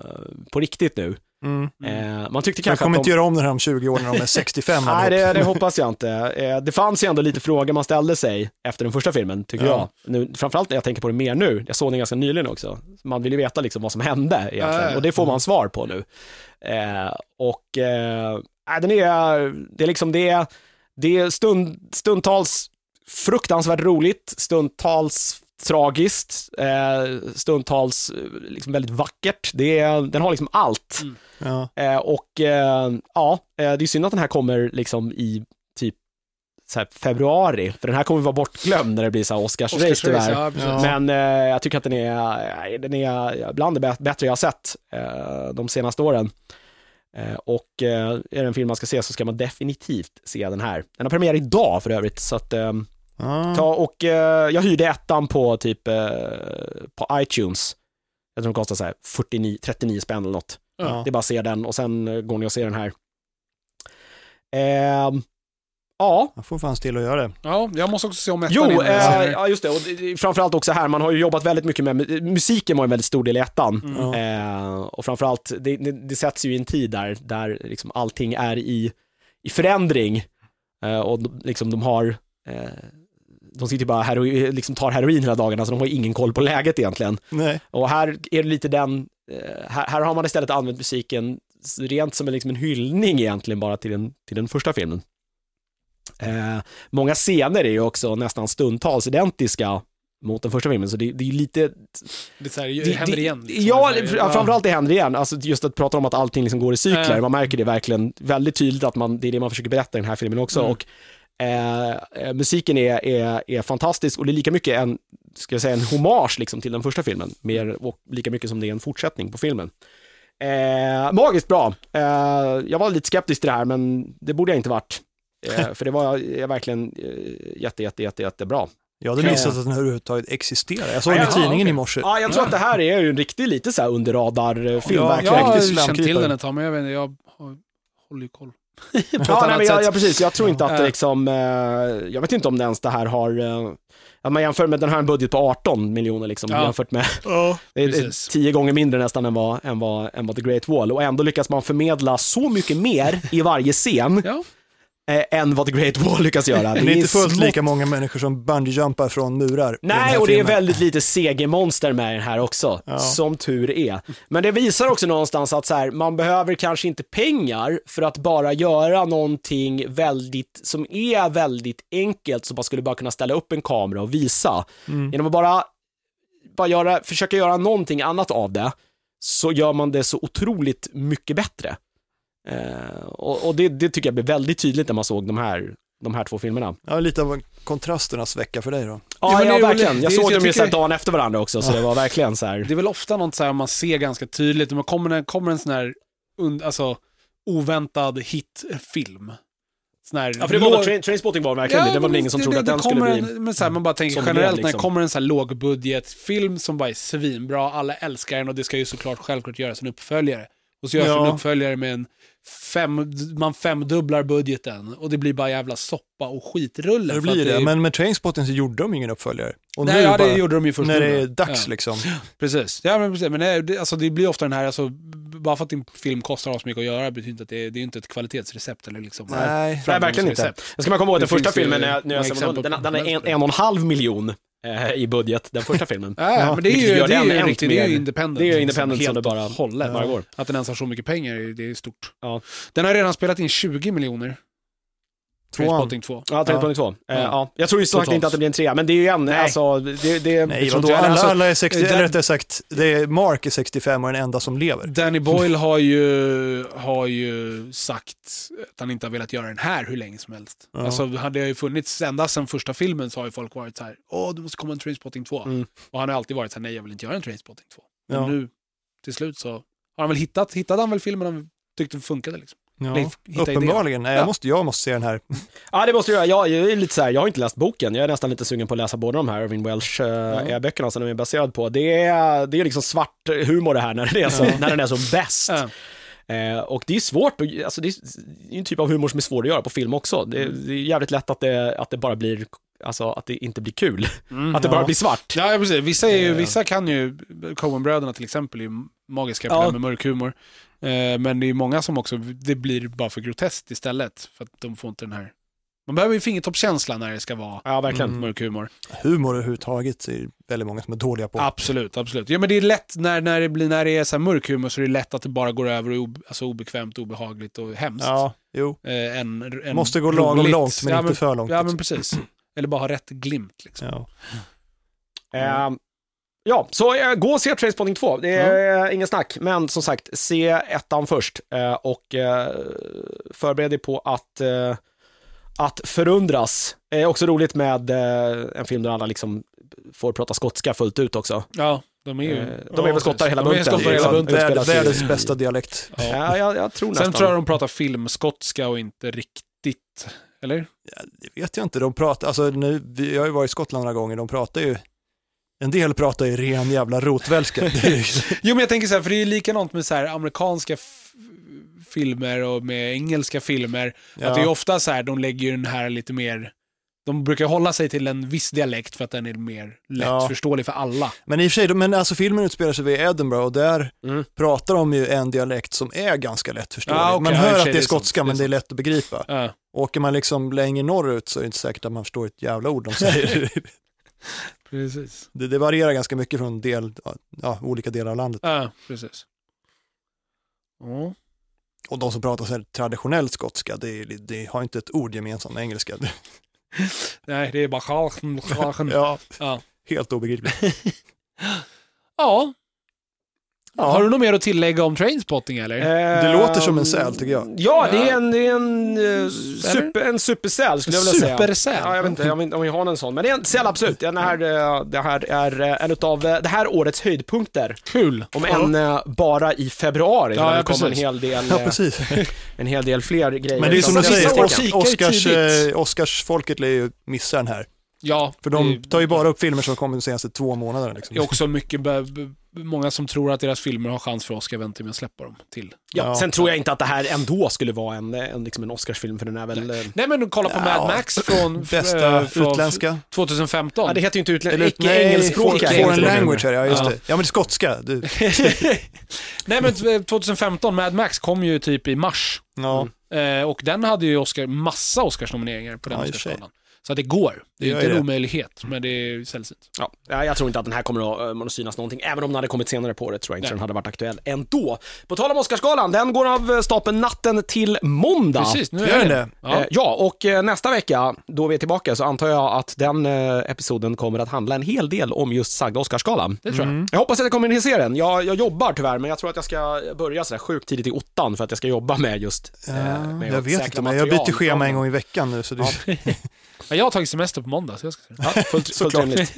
Speaker 1: på riktigt nu.
Speaker 2: Mm.
Speaker 1: Eh, man tyckte
Speaker 2: Jag
Speaker 1: kanske
Speaker 2: kommer
Speaker 1: att
Speaker 2: inte
Speaker 1: de...
Speaker 2: göra om den här om 20 år när de är 65
Speaker 1: Nej,
Speaker 2: allihop.
Speaker 1: det, det hoppas jag inte. Eh, Det fanns ju ändå lite frågor man ställde sig efter den första filmen, tycker
Speaker 2: Ja.
Speaker 1: jag. Nu, framförallt när jag tänker på det mer nu. Jag såg den ganska nyligen också. Man vill ju veta liksom vad som hände egentligen
Speaker 3: Ja.
Speaker 1: och det får man svar på nu. Eh, och eh, nej, den är, det är liksom det, är- det är stund, stundtals fruktansvärt roligt, stundtals tragiskt, eh, stundtals eh, liksom väldigt vackert. Det är, den har liksom allt.
Speaker 2: Ja.
Speaker 1: Eh, och eh, ja, eh, det är synd att den här kommer liksom i typ så här februari, för den här kommer vara bortglömd när det blir så här Oscars-race tyvärr.
Speaker 3: ja, precis.
Speaker 2: Ja.
Speaker 1: Men eh, jag tycker att den är, eh, den är bland det bä- bättre jag har sett eh, de senaste åren. Eh, och eh, är det en film man ska se så ska man definitivt se den här. Den har premiär idag för övrigt, så att eh,
Speaker 2: Ja.
Speaker 1: ta och eh, jag hyrde ettan på typ eh, på iTunes. Jag tror den kostar så här 49, 39 spänn eller något.
Speaker 2: Ja.
Speaker 1: Det är bara att se den och sen eh, går ni och ser den här. Ehm, ja.
Speaker 2: Jag får fan till att göra det.
Speaker 3: Ja, jag måste också se om ettan
Speaker 1: Jo,
Speaker 3: innan jag ser
Speaker 1: eh,
Speaker 3: det.
Speaker 1: ja, just det. Och det- det- framförallt också här, man har ju jobbat väldigt mycket med, mu- musiken var en väldigt stor del i ettan.
Speaker 3: Mm.
Speaker 2: Ja.
Speaker 1: Eh, och framförallt, det, det, det sätts ju i en tid där, där liksom allting är i, i förändring. Eh, och de- liksom de har, eh, de sitter ju bara här och liksom tar heroin hela dagarna, så de har ju ingen koll på läget egentligen.
Speaker 2: Nej.
Speaker 1: Och här är det lite den, eh, här, här har man istället använt musiken s- rent som en, liksom en hyllning egentligen bara till den, till den första filmen. Eh, många scener är ju också nästan stundtals identiska mot den första filmen, så det, det är ju lite...
Speaker 3: Det, är så här, det händer
Speaker 1: det,
Speaker 3: igen. liksom.
Speaker 1: ja,
Speaker 3: Det är så här,
Speaker 1: fr- framförallt det händer igen. Alltså just att prata om att allting liksom går i cykler,
Speaker 3: Mm.
Speaker 1: man märker det verkligen väldigt tydligt att man, det är det man försöker berätta i den här filmen också.
Speaker 3: Mm.
Speaker 1: Och, eh, eh, musiken är, är, är fantastisk och det är lika mycket en, ska jag säga, en hommage liksom till den första filmen, mer, och lika mycket som det är en fortsättning på filmen. Eh, magiskt bra. Eh, jag var lite skeptisk till det här, men det borde jag inte varit. Eh, för det var eh, verkligen eh, jätte, jätte, jätte, jättebra.
Speaker 2: Jag hade
Speaker 1: Ja.
Speaker 2: missat att den här överhuvudtaget existerar. Jag såg
Speaker 1: Ja,
Speaker 2: den i
Speaker 1: ja,
Speaker 2: tidningen
Speaker 3: okej.
Speaker 2: i morse.
Speaker 1: Ja, jag tror att det här är ju en riktig lite så här under radar-film,
Speaker 2: Ja,
Speaker 1: verkligen.
Speaker 2: Riktigt
Speaker 3: Jag har känt till
Speaker 2: slamkrypare.
Speaker 3: den ett tag, men jag, vet inte, jag har, håller ju koll. ett
Speaker 1: Ja, nej,
Speaker 3: annat
Speaker 1: men jag,
Speaker 3: sätt.
Speaker 1: ja, precis. Jag tror inte att det
Speaker 3: Eh.
Speaker 1: liksom, eh, jag vet inte om det ens det här har, eh, att man jämför med den här en budget på 18 miljoner liksom,
Speaker 3: Ja.
Speaker 1: jämfört med
Speaker 2: Ja.
Speaker 1: det är- det är
Speaker 3: Precis.
Speaker 1: tio gånger mindre nästan än vad, än, vad, än vad The Great Wall och ändå lyckas man förmedla så mycket mer i varje scen
Speaker 3: Ja.
Speaker 1: eh, än vad The Great Wall lyckas göra.
Speaker 2: Det är inte fullt
Speaker 1: smått-
Speaker 2: lika många människor som bungee-jumpar från murar. i den
Speaker 1: Nej,
Speaker 2: här
Speaker 1: och det är
Speaker 2: filmen.
Speaker 1: väldigt lite CG-monster med i den här också,
Speaker 2: Ja.
Speaker 1: som tur är. Men det visar också någonstans att så här, man behöver kanske inte pengar för att bara göra någonting väldigt, som är väldigt enkelt, som man skulle bara kunna ställa upp en kamera och visa.
Speaker 2: Mm.
Speaker 1: Genom att bara, bara göra, försöka göra någonting annat av det, så gör man det så otroligt mycket bättre. Eh, och och det, det tycker jag blev väldigt tydligt när man såg de här, de här två filmerna.
Speaker 2: Ja, lite av en kontrasternas vecka för dig då.
Speaker 1: Ja,
Speaker 3: Ja,
Speaker 1: ja,
Speaker 3: men det är ju-
Speaker 1: verkligen.
Speaker 3: det
Speaker 1: Jag
Speaker 3: är-
Speaker 1: såg
Speaker 3: jag
Speaker 1: dem ju
Speaker 3: tycker-
Speaker 1: såhär dagen efter varandra också, så det var verkligen så här.
Speaker 3: Det är väl ofta något så här man ser ganska tydligt, när man kommer, när kommer en sån här und, alltså, oväntad hitfilm. Sån här
Speaker 1: Ja, för det var
Speaker 3: låg-
Speaker 1: train, Trainspotting var verkligen det. Det var väl
Speaker 3: men
Speaker 1: ingen som
Speaker 3: det-
Speaker 1: trodde
Speaker 3: det-
Speaker 1: att
Speaker 3: det
Speaker 1: den skulle
Speaker 3: kommer
Speaker 1: bli...
Speaker 3: en- Men så här, man bara tänker
Speaker 1: som blev,
Speaker 3: generellt när
Speaker 1: liksom.
Speaker 3: det kommer en så här lågbudgetfilm som bara är svinbra, alla älskar den och det ska ju såklart självklart göras en uppföljare. Och så görs
Speaker 2: Ja.
Speaker 3: en uppföljare med en fem, man femdubblar budgeten och det blir bara jävla soppa och skitrulle.
Speaker 2: Det
Speaker 3: för att
Speaker 2: blir det,
Speaker 3: är-
Speaker 2: men med Trainspotting så gjorde de ingen uppföljare. Och
Speaker 3: Nej,
Speaker 2: nu
Speaker 3: ja,
Speaker 2: bara,
Speaker 3: det gjorde de ju först
Speaker 2: när
Speaker 3: nu
Speaker 2: det
Speaker 3: då.
Speaker 2: är dags
Speaker 3: Ja,
Speaker 2: liksom.
Speaker 3: precis. Ja, men precis. Men det, det, alltså, det blir ofta den här, alltså, b- bara för att en film kostar så mycket att göra betyder inte att det, det är ju inte ett kvalitetsrecept eller liksom.
Speaker 2: Nej.
Speaker 1: Nej, verkligen inte.
Speaker 3: framgångsrecept.
Speaker 1: Jag ska man komma ihåg att den
Speaker 3: Det
Speaker 1: första
Speaker 3: finns ju
Speaker 1: filmen, när jag, när jag
Speaker 3: många
Speaker 1: ser den,
Speaker 3: exempel på-
Speaker 1: den är en, en och en halv miljon eh, i budget, den första filmen.
Speaker 3: Ja,
Speaker 2: Ja,
Speaker 3: men det är
Speaker 1: vilket
Speaker 3: ju,
Speaker 1: gör
Speaker 3: det är
Speaker 1: den
Speaker 3: ju,
Speaker 1: än
Speaker 3: riktigt, det är ju
Speaker 1: mer-
Speaker 3: independent. liksom.
Speaker 1: det är ju independent som
Speaker 3: helt
Speaker 1: det bara-
Speaker 3: och hållet.
Speaker 1: Bara går.
Speaker 3: Att den ens har så mycket pengar, det är stort.
Speaker 1: Ja.
Speaker 3: Den har redan spelat in 20 miljoner.
Speaker 2: Tvåan.
Speaker 3: Trainspotting 2.
Speaker 1: Ja, 3.2. Ja.
Speaker 3: Ja.
Speaker 1: ja. Jag tror ju sagt
Speaker 3: Totalt.
Speaker 1: inte att det blir en trea, men det är ju en,
Speaker 3: Nej.
Speaker 1: alltså, det, det,
Speaker 2: Nej,
Speaker 1: jag tror
Speaker 2: vadå?
Speaker 1: inte-
Speaker 2: Alla,
Speaker 1: alltså,
Speaker 2: alla är 60,
Speaker 3: den-
Speaker 2: eller rättare sagt, det är Mark är 65 och den enda som lever.
Speaker 3: Danny Boyle har ju, har ju sagt att han inte har velat göra den här hur länge som helst.
Speaker 2: Ja.
Speaker 3: Alltså, hade jag ju funnits, ända sedan första filmen så har ju folk varit så här, åh, du måste komma en Trainspotting 2.
Speaker 1: Mm.
Speaker 3: Och han har alltid varit så här, nej, jag vill inte göra en Trainspotting 2. Men
Speaker 2: Ja.
Speaker 3: nu, till slut så, har han väl hittat, hittade han väl filmen han tyckte funkade liksom.
Speaker 2: Ja.
Speaker 3: Leif, hitta idén.
Speaker 2: Uppenbarligen. Nej,
Speaker 3: Ja.
Speaker 2: jag, måste, jag måste se den här.
Speaker 1: Ja, det måste jag göra. Jag, jag är lite så här, jag har inte läst boken. Jag är nästan lite sugen på att läsa båda de här Irving Welsh-böckerna som den är baserad på. Det är, det är liksom svart humor det här när, det är så, när den är som bäst.
Speaker 3: Ja.
Speaker 1: Eh, och det är svårt, att, alltså det är det är en typ av humor som är svår att göra på film också. Det, det är jävligt lätt att det, att det bara blir, alltså att det inte blir kul.
Speaker 3: Mm.
Speaker 1: att det bara
Speaker 2: ja.
Speaker 1: blir svart.
Speaker 3: Ja, ja, precis. Vissa, är ju,
Speaker 1: Eh.
Speaker 3: vissa kan ju, Coen-bröderna till exempel, är ju magiska på
Speaker 1: Ja.
Speaker 3: det här med mörk humor. Eh, men det är ju många som också, det blir bara för groteskt istället. För att de får inte den här... Man behöver ju fingertoppskänsla när det ska vara
Speaker 1: Ja, verkligen.
Speaker 2: Mm.
Speaker 3: mörk humor.
Speaker 2: Humor överhuvudtaget är väldigt många som är dåliga på.
Speaker 3: Absolut, absolut. Ja, men det är lätt när, när, det, blir, när det är så här mörk humor så är det lätt att det bara går över och är ob, alltså obekvämt, obehagligt och hemskt.
Speaker 2: Ja, jo.
Speaker 3: Eh, en, en
Speaker 2: Måste gå lagom
Speaker 3: roligt-
Speaker 2: långt, men
Speaker 3: ja,
Speaker 2: inte för långt.
Speaker 3: Ja, men
Speaker 2: liksom.
Speaker 3: precis. Eller bara ha rätt glimt. Liksom.
Speaker 2: ja.
Speaker 1: Eh, ja, så eh, gå och se Trainspotting 2. Det är eh, ingen snack. Men som sagt, se ettan först eh, och eh, förbered dig på att, eh, att förundras. Det är också roligt med eh, en film där alla liksom får prata skotska fullt ut också.
Speaker 3: Ja, de är
Speaker 1: Eh,
Speaker 3: ju...
Speaker 1: de är
Speaker 2: Ja,
Speaker 1: väl skottar hela
Speaker 3: de är
Speaker 1: bunten.
Speaker 3: skottar hela
Speaker 1: liksom.
Speaker 3: bunten.
Speaker 1: Utspelas i-
Speaker 2: Världens bästa dialekt.
Speaker 3: Ja.
Speaker 1: Ja, jag, jag tror nästan.
Speaker 3: Sen tror jag de pratar filmskotska och inte riktigt, eller?
Speaker 2: Ja, det vet jag inte, de pratar, alltså nu, vi jag har ju varit i Skottland några gånger, de pratar ju, en del pratar ju ren jävla rotvälska. Det är ju-
Speaker 3: Jo men jag tänker så här, för det är ju likadant med så här amerikanska f- filmer och med engelska filmer. Att det är
Speaker 2: ja.
Speaker 3: ofta så här, de lägger ju den här lite mer, de brukar hålla sig till en viss dialekt för att den är mer lättförståelig för alla.
Speaker 2: Men i och för sig, de- men alltså filmen utspelar sig vid Edinburgh och där
Speaker 1: Mm.
Speaker 2: pratar de ju en dialekt som är ganska lättförståelig.
Speaker 3: Ja, okej,
Speaker 2: man
Speaker 3: ja, i och
Speaker 2: hör
Speaker 3: för
Speaker 2: att
Speaker 3: sig,
Speaker 2: det är
Speaker 3: det är sant,
Speaker 2: skotska
Speaker 3: det är
Speaker 2: men det är lätt att begripa.
Speaker 3: Ja.
Speaker 2: Åker man liksom längre norrut så är det inte säkert att man förstår ett jävla ord de säger.
Speaker 3: precis.
Speaker 2: det, det varierar ganska mycket från del, ja, olika delar av landet.
Speaker 3: Ja, precis. Ja.
Speaker 2: Och de som pratar så här traditionell skotska, det, är- det har inte ett ord gemensamt med engelska.
Speaker 3: Nej, det är bara schachen, schachen.
Speaker 2: ja,
Speaker 3: Ja.
Speaker 2: helt obegripligt.
Speaker 3: Ja.
Speaker 2: Ja.
Speaker 3: Har du något mer att tillägga om Trainspotting eller?
Speaker 1: Eh,
Speaker 2: låter som en säl, tycker jag.
Speaker 1: Ja, det är en, det är en, eh, super, en supersäl skulle jag vilja säga.
Speaker 3: Supersäl.
Speaker 1: Ja, jag vet inte om vi, om vi har någon sån, men det är en säl absolut. Den här, eh, det här är eh, en utav eh, det här årets höjdpunkter.
Speaker 3: Kul.
Speaker 1: Om än eh, bara i februari,
Speaker 3: Ja,
Speaker 1: när
Speaker 3: ja,
Speaker 1: det kommer en
Speaker 3: precis.
Speaker 1: hel del,
Speaker 2: Ja,
Speaker 1: eh,
Speaker 2: precis.
Speaker 1: en hel del fler grejer.
Speaker 2: Men det är som
Speaker 1: Så
Speaker 2: du
Speaker 1: vi ska
Speaker 2: säger, eh,
Speaker 1: åka.
Speaker 3: Os-
Speaker 2: Os- Oscars,
Speaker 3: kikar ju tidigt.
Speaker 2: eh, Oscarsfolket lär ju missa den här.
Speaker 3: Ja,
Speaker 2: För de
Speaker 3: det-
Speaker 2: tar ju bara upp filmer som kommit de senaste två månaderna. Liksom.
Speaker 3: Det är också mycket, be- be- många som tror att deras filmer har chans för Oscar väntar med att släppa dem till.
Speaker 1: Ja,
Speaker 2: Ja.
Speaker 1: sen tror jag inte att det här ändå skulle vara en, en, liksom en Oscarsfilm, för den är väl... eh,
Speaker 3: Nej men kolla på
Speaker 2: Ja.
Speaker 3: Mad Max från, f-
Speaker 2: Bästa
Speaker 3: eh, från
Speaker 2: utländska.
Speaker 3: 2015.
Speaker 1: Ja, det heter ju inte
Speaker 2: Eller-
Speaker 1: utländskt,
Speaker 2: nej,
Speaker 1: icke-engelskspråkiga.
Speaker 3: foreign
Speaker 1: heter
Speaker 2: Foreign
Speaker 1: det numera.
Speaker 2: language här, ja just
Speaker 3: Ja.
Speaker 2: det. Ja men skotska, du.
Speaker 3: Nej men t- eh, 2015, Mad Max kom ju typ i mars.
Speaker 2: Ja,
Speaker 3: Eh, och den hade ju Oscar, massa Oscarsnomineringar på den
Speaker 2: Ja, i och för sig.
Speaker 3: Oscarsgalan. Så att det går.
Speaker 2: Det
Speaker 3: Det är ju
Speaker 2: gör
Speaker 3: inte en
Speaker 2: det.
Speaker 3: omöjlighet, men det är sällsynt.
Speaker 1: Ja, ja, jag tror inte att den här kommer att, eh, man att synas någonting. Även om den hade kommit senare på året tror jag inte
Speaker 3: Nej.
Speaker 1: den hade varit aktuell ändå. På tal om Oscarsgalan, den går av eh, stapeln natten till måndag.
Speaker 3: Precis, nu
Speaker 2: gör
Speaker 3: är
Speaker 2: den
Speaker 3: det.
Speaker 2: det?
Speaker 1: Ja.
Speaker 3: Ja.
Speaker 1: Eh, ja, och eh, nästa vecka, då vi är tillbaka, så antar jag att den eh, episoden kommer att handla en hel del om just sagda Oscarsgalan.
Speaker 3: Det tror jag.
Speaker 2: Mm.
Speaker 1: Jag hoppas att jag kommer in i serien. Jag, jag jobbar tyvärr, men jag tror att jag ska börja sådär sjukt tidigt i åttan för att jag ska jobba med just... eh,
Speaker 2: ja
Speaker 1: med
Speaker 2: jag
Speaker 1: att
Speaker 2: vet
Speaker 1: säkra
Speaker 2: inte, men jag
Speaker 1: material
Speaker 2: byter schema
Speaker 1: från
Speaker 2: en gång i veckan nu. Så det,
Speaker 3: Ja, jag har tagit semester på måndag, så jag ska se den.
Speaker 1: Ja, fullt, fullt
Speaker 2: Såklart.
Speaker 1: rimligt.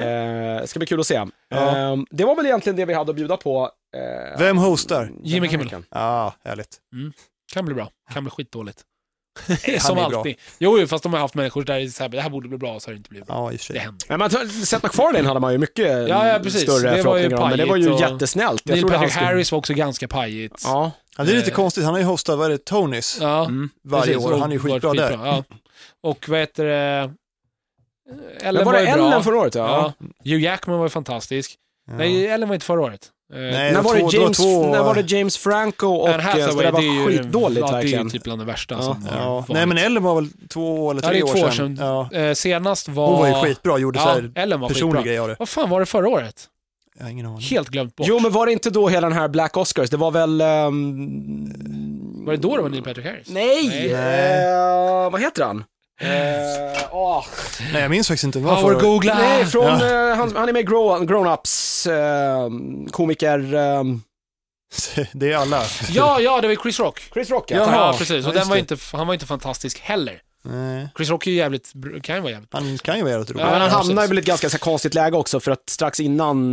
Speaker 1: Eh, ska bli kul att se.
Speaker 2: Ja.
Speaker 1: Eh, det var väl egentligen det vi hade att bjuda på. Eh,
Speaker 2: Vem hostar?
Speaker 3: Jimmy
Speaker 1: den här
Speaker 3: Kimmel.
Speaker 1: veckan.
Speaker 2: Ja, härligt.
Speaker 3: Kan bli bra, kan bli skitdåligt.
Speaker 2: Han
Speaker 3: Som
Speaker 2: är bra.
Speaker 3: alltid. Jo, jo, fast de har haft människor där det är så här, det här borde bli bra, så har det inte blivit bra.
Speaker 2: Ja, i och för sig.
Speaker 3: Det händer.
Speaker 1: Nej, men Seth MacFarlane hade man ju mycket
Speaker 3: Ja, ja, precis. Det var
Speaker 1: större
Speaker 3: ju
Speaker 1: förhoppningar om, men det var ju
Speaker 3: pajigt och-
Speaker 1: jättesnällt. Jag
Speaker 3: Neil
Speaker 1: trodde han
Speaker 3: Patrick
Speaker 1: skulle...
Speaker 3: Harris var också ganska pajigt.
Speaker 1: Ja.
Speaker 2: Ja, det är lite
Speaker 3: Eh.
Speaker 2: konstigt, han har ju hostat, vad är det, Tonys
Speaker 3: Ja,
Speaker 1: Mm.
Speaker 2: varje
Speaker 3: precis.
Speaker 2: år.
Speaker 3: Och
Speaker 2: Han är ju
Speaker 3: varit
Speaker 2: skitbra där.
Speaker 3: skitbra, Ja. Och vad heter det?
Speaker 1: Men
Speaker 3: Ellen var,
Speaker 1: var det
Speaker 3: ju bra.
Speaker 1: Ellen förra året? Ja.
Speaker 3: Ja. Hugh Jackman var ju fantastisk.
Speaker 2: Ja.
Speaker 3: Nej, Ellen var inte förra året. Eh,
Speaker 2: Nej,
Speaker 1: När
Speaker 2: det var
Speaker 1: var,
Speaker 2: två-
Speaker 1: det
Speaker 2: det var
Speaker 1: James,
Speaker 2: två-
Speaker 1: när var det James Franco och...
Speaker 3: Anne Hathaway,
Speaker 1: eh, så Det
Speaker 3: det är
Speaker 1: var
Speaker 3: ju-
Speaker 1: skitdåligt
Speaker 3: ja, Det är
Speaker 1: verkligen.
Speaker 3: ju typ bland det värsta
Speaker 1: Ja,
Speaker 3: som har
Speaker 2: Ja.
Speaker 3: varit.
Speaker 2: Nej, men Ellen var väl två eller
Speaker 3: Ja, det
Speaker 2: tre
Speaker 3: är
Speaker 2: år
Speaker 3: två år
Speaker 2: sedan.
Speaker 3: sedan.
Speaker 2: Ja.
Speaker 3: Eh, senast var...
Speaker 2: Hon var ju skitbra, gjorde så
Speaker 3: Ja,
Speaker 2: här
Speaker 3: Ellen var
Speaker 2: personlig
Speaker 3: skitbra.
Speaker 2: grej av det.
Speaker 3: Vad fan var det förra året?
Speaker 2: Jag har ingen aning.
Speaker 3: Helt glömt bort.
Speaker 1: Jo, men var det inte då hela den här Black Oscars? Det var väl... ehm,
Speaker 3: Var det då det var Neil Patrick Harris?
Speaker 1: Nej!
Speaker 3: Nej.
Speaker 1: Eh, vad heter han? Eh,
Speaker 3: ah,
Speaker 1: åh.
Speaker 2: Nej, jag minns faktiskt inte. Vad
Speaker 3: Power
Speaker 2: var
Speaker 3: googla!
Speaker 1: Nej, från...
Speaker 2: Ja.
Speaker 1: eh, han, han är med i Grow- Grown-Ups, eh, komiker... eh,
Speaker 2: Det är alla.
Speaker 3: Ja, ja, det var Chris Rock.
Speaker 1: Chris Rock,
Speaker 3: Ja,
Speaker 1: tack.
Speaker 3: precis.
Speaker 2: Ja,
Speaker 3: Och
Speaker 2: just
Speaker 3: den var
Speaker 2: det.
Speaker 3: inte, han var inte fantastisk heller.
Speaker 2: Nej.
Speaker 3: Chris Rock är ju jävligt, br- kan ju vara jävligt
Speaker 2: Han kan ju vara jävligt rolig.
Speaker 1: Ja, men han
Speaker 3: Ja,
Speaker 1: hamnar
Speaker 3: precis.
Speaker 1: väl i ett ganska så här konstigt läge också för att strax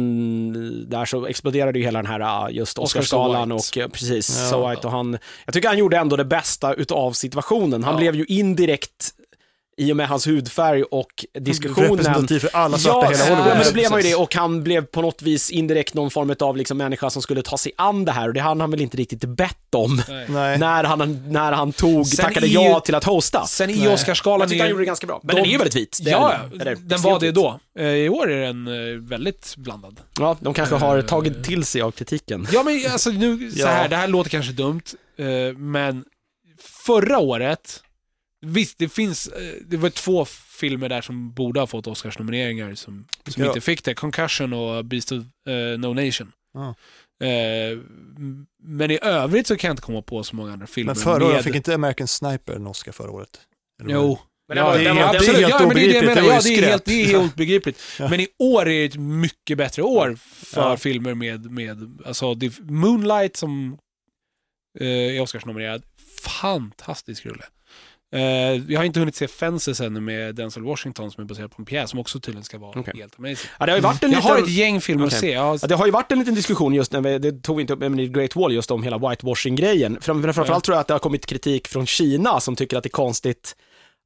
Speaker 1: innan där så exploderade ju hela den här ah, just
Speaker 3: Oscar
Speaker 1: Oscarsgalan
Speaker 3: So
Speaker 1: och eh, precis,
Speaker 2: Ja.
Speaker 1: So White och han, jag tycker han gjorde ändå det bästa utav situationen. Han
Speaker 3: Ja.
Speaker 1: blev ju indirekt, i och med hans hudfärg och diskussionen,
Speaker 2: Representativ för alla
Speaker 1: ja,
Speaker 2: svarta i hela Hollywood.
Speaker 1: Ja, men det blev man ju det
Speaker 3: Precis.
Speaker 1: och han blev på något vis indirekt någon form av liksom människa som skulle ta sig an det här och det hann han väl inte riktigt bett om
Speaker 3: Nej.
Speaker 2: Nej.
Speaker 1: när han, när han tog,
Speaker 3: Sen
Speaker 1: tackade
Speaker 3: i-
Speaker 1: ja till att hosta.
Speaker 3: Sen i
Speaker 2: Nej.
Speaker 1: Jag
Speaker 3: Oscarsgalan
Speaker 1: tyckte han gjorde det
Speaker 3: är
Speaker 1: ganska bra. Men
Speaker 3: de-
Speaker 1: den är ju väldigt vit. Det är
Speaker 3: Ja,
Speaker 1: den. Eller
Speaker 3: den var
Speaker 1: extremt
Speaker 3: det
Speaker 1: vit.
Speaker 3: då. Eh, I år är den eh, väldigt blandad.
Speaker 1: Ja, de kanske har
Speaker 3: Eh.
Speaker 1: tagit till sig av kritiken.
Speaker 3: Ja, men alltså nu, så
Speaker 2: Ja.
Speaker 3: här, det här låter kanske dumt, eh, men förra året, visst det finns, eh, det var två filmer där som borde ha fått Oscarsnomineringar som, som
Speaker 2: Ja.
Speaker 3: inte fick det. Concussion och Beast of eh, No Nation.
Speaker 2: Ja.
Speaker 3: Eh, m- men i övrigt så kan jag inte komma på så många andra filmer
Speaker 2: Men förra året
Speaker 3: med...
Speaker 2: fick inte American Sniper en Oscar förra året? Eller vad
Speaker 3: Jo.
Speaker 1: Men den var- den var- den var
Speaker 3: absolut.
Speaker 2: helt
Speaker 3: ja, men det är det jag
Speaker 2: obegripligt.
Speaker 3: menar.
Speaker 2: Det var ju
Speaker 3: Ja, det är helt,
Speaker 2: skräp.
Speaker 3: det är helt begripligt.
Speaker 2: Ja.
Speaker 3: Men i år är det ett mycket bättre år för
Speaker 2: Ja.
Speaker 3: filmer med, med alltså, det är Moonlight som eh, är Oscarsnominerad. Fantastisk rulle. Eh, jag har inte hunnit se Fences ännu med Denzel Washington som är baserad på en pjäs som också tydligen ska vara
Speaker 1: Okej.
Speaker 3: helt amazing.
Speaker 1: Ja, det har ju varit en
Speaker 3: Jag har ett
Speaker 1: liten...
Speaker 3: gäng filmer
Speaker 1: Okej.
Speaker 3: att se. Jag har...
Speaker 1: Ja, det har ju varit en liten diskussion just när vi, det tog vi inte upp, men i Great Wall just om hela whitewashing-grejen. Fram- men Framförallt
Speaker 3: Ja.
Speaker 1: tror jag att det har kommit kritik från Kina som tycker att det är konstigt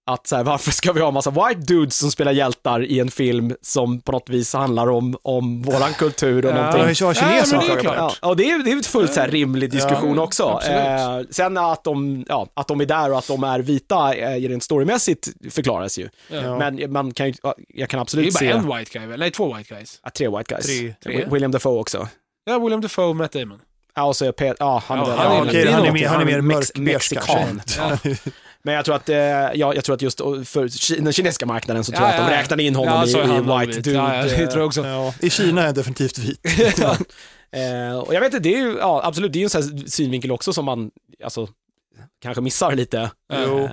Speaker 1: att så här, varför ska vi ha massa white dudes som spelar hjältar i en film som på något vis handlar om, om våran kultur och
Speaker 3: Ja.
Speaker 1: någonting.
Speaker 2: Det var ju kineser
Speaker 3: Nej, men
Speaker 2: som
Speaker 3: det är
Speaker 2: klagade på
Speaker 3: klart.
Speaker 2: det.
Speaker 1: Ja, och det är, det är ju ett fullt så här rimlig diskussion
Speaker 3: Ja,
Speaker 1: också. Eh,
Speaker 3: absolut.
Speaker 1: sen att de, ja, att de är där och att de är vita eh, rent storymässigt förklaras ju.
Speaker 3: Ja.
Speaker 1: Men man kan ju, ja, jag kan
Speaker 3: det är
Speaker 1: absolut
Speaker 3: bara
Speaker 1: se
Speaker 3: en white guy, väl? Nej, två white guys.
Speaker 1: ja, tre white guys.
Speaker 2: Tre.
Speaker 3: Tre.
Speaker 1: William Dafoe också.
Speaker 3: Ja, William Dafoe och Matt Damon.
Speaker 1: Ja, och så är Pet, ja han är
Speaker 3: Ja,
Speaker 1: väl-
Speaker 3: han är-
Speaker 1: ja,
Speaker 3: okej,
Speaker 1: det
Speaker 3: han är
Speaker 1: någonting.
Speaker 2: mer- han är mer
Speaker 1: mex-
Speaker 2: mörkbeige
Speaker 1: mexikan.
Speaker 3: Ja.
Speaker 1: Men jag tror att, eh, ja, jag tror att just oh, för ki- den kinesiska marknaden så tror
Speaker 3: Ja,
Speaker 1: jag att de
Speaker 3: ja, ja.
Speaker 1: räknade in honom
Speaker 3: Ja, så är
Speaker 1: i, i
Speaker 3: han nog
Speaker 1: white
Speaker 3: vit.
Speaker 1: dude.
Speaker 3: Ja, ja, det tror jag också.
Speaker 2: Ja, I Kina är jag definitivt vit.
Speaker 1: Eh, och jag vet inte, det är ju, ja absolut, det är ju en sån här synvinkel också som man, alltså, kanske missar lite.
Speaker 2: Jo.
Speaker 1: Eh,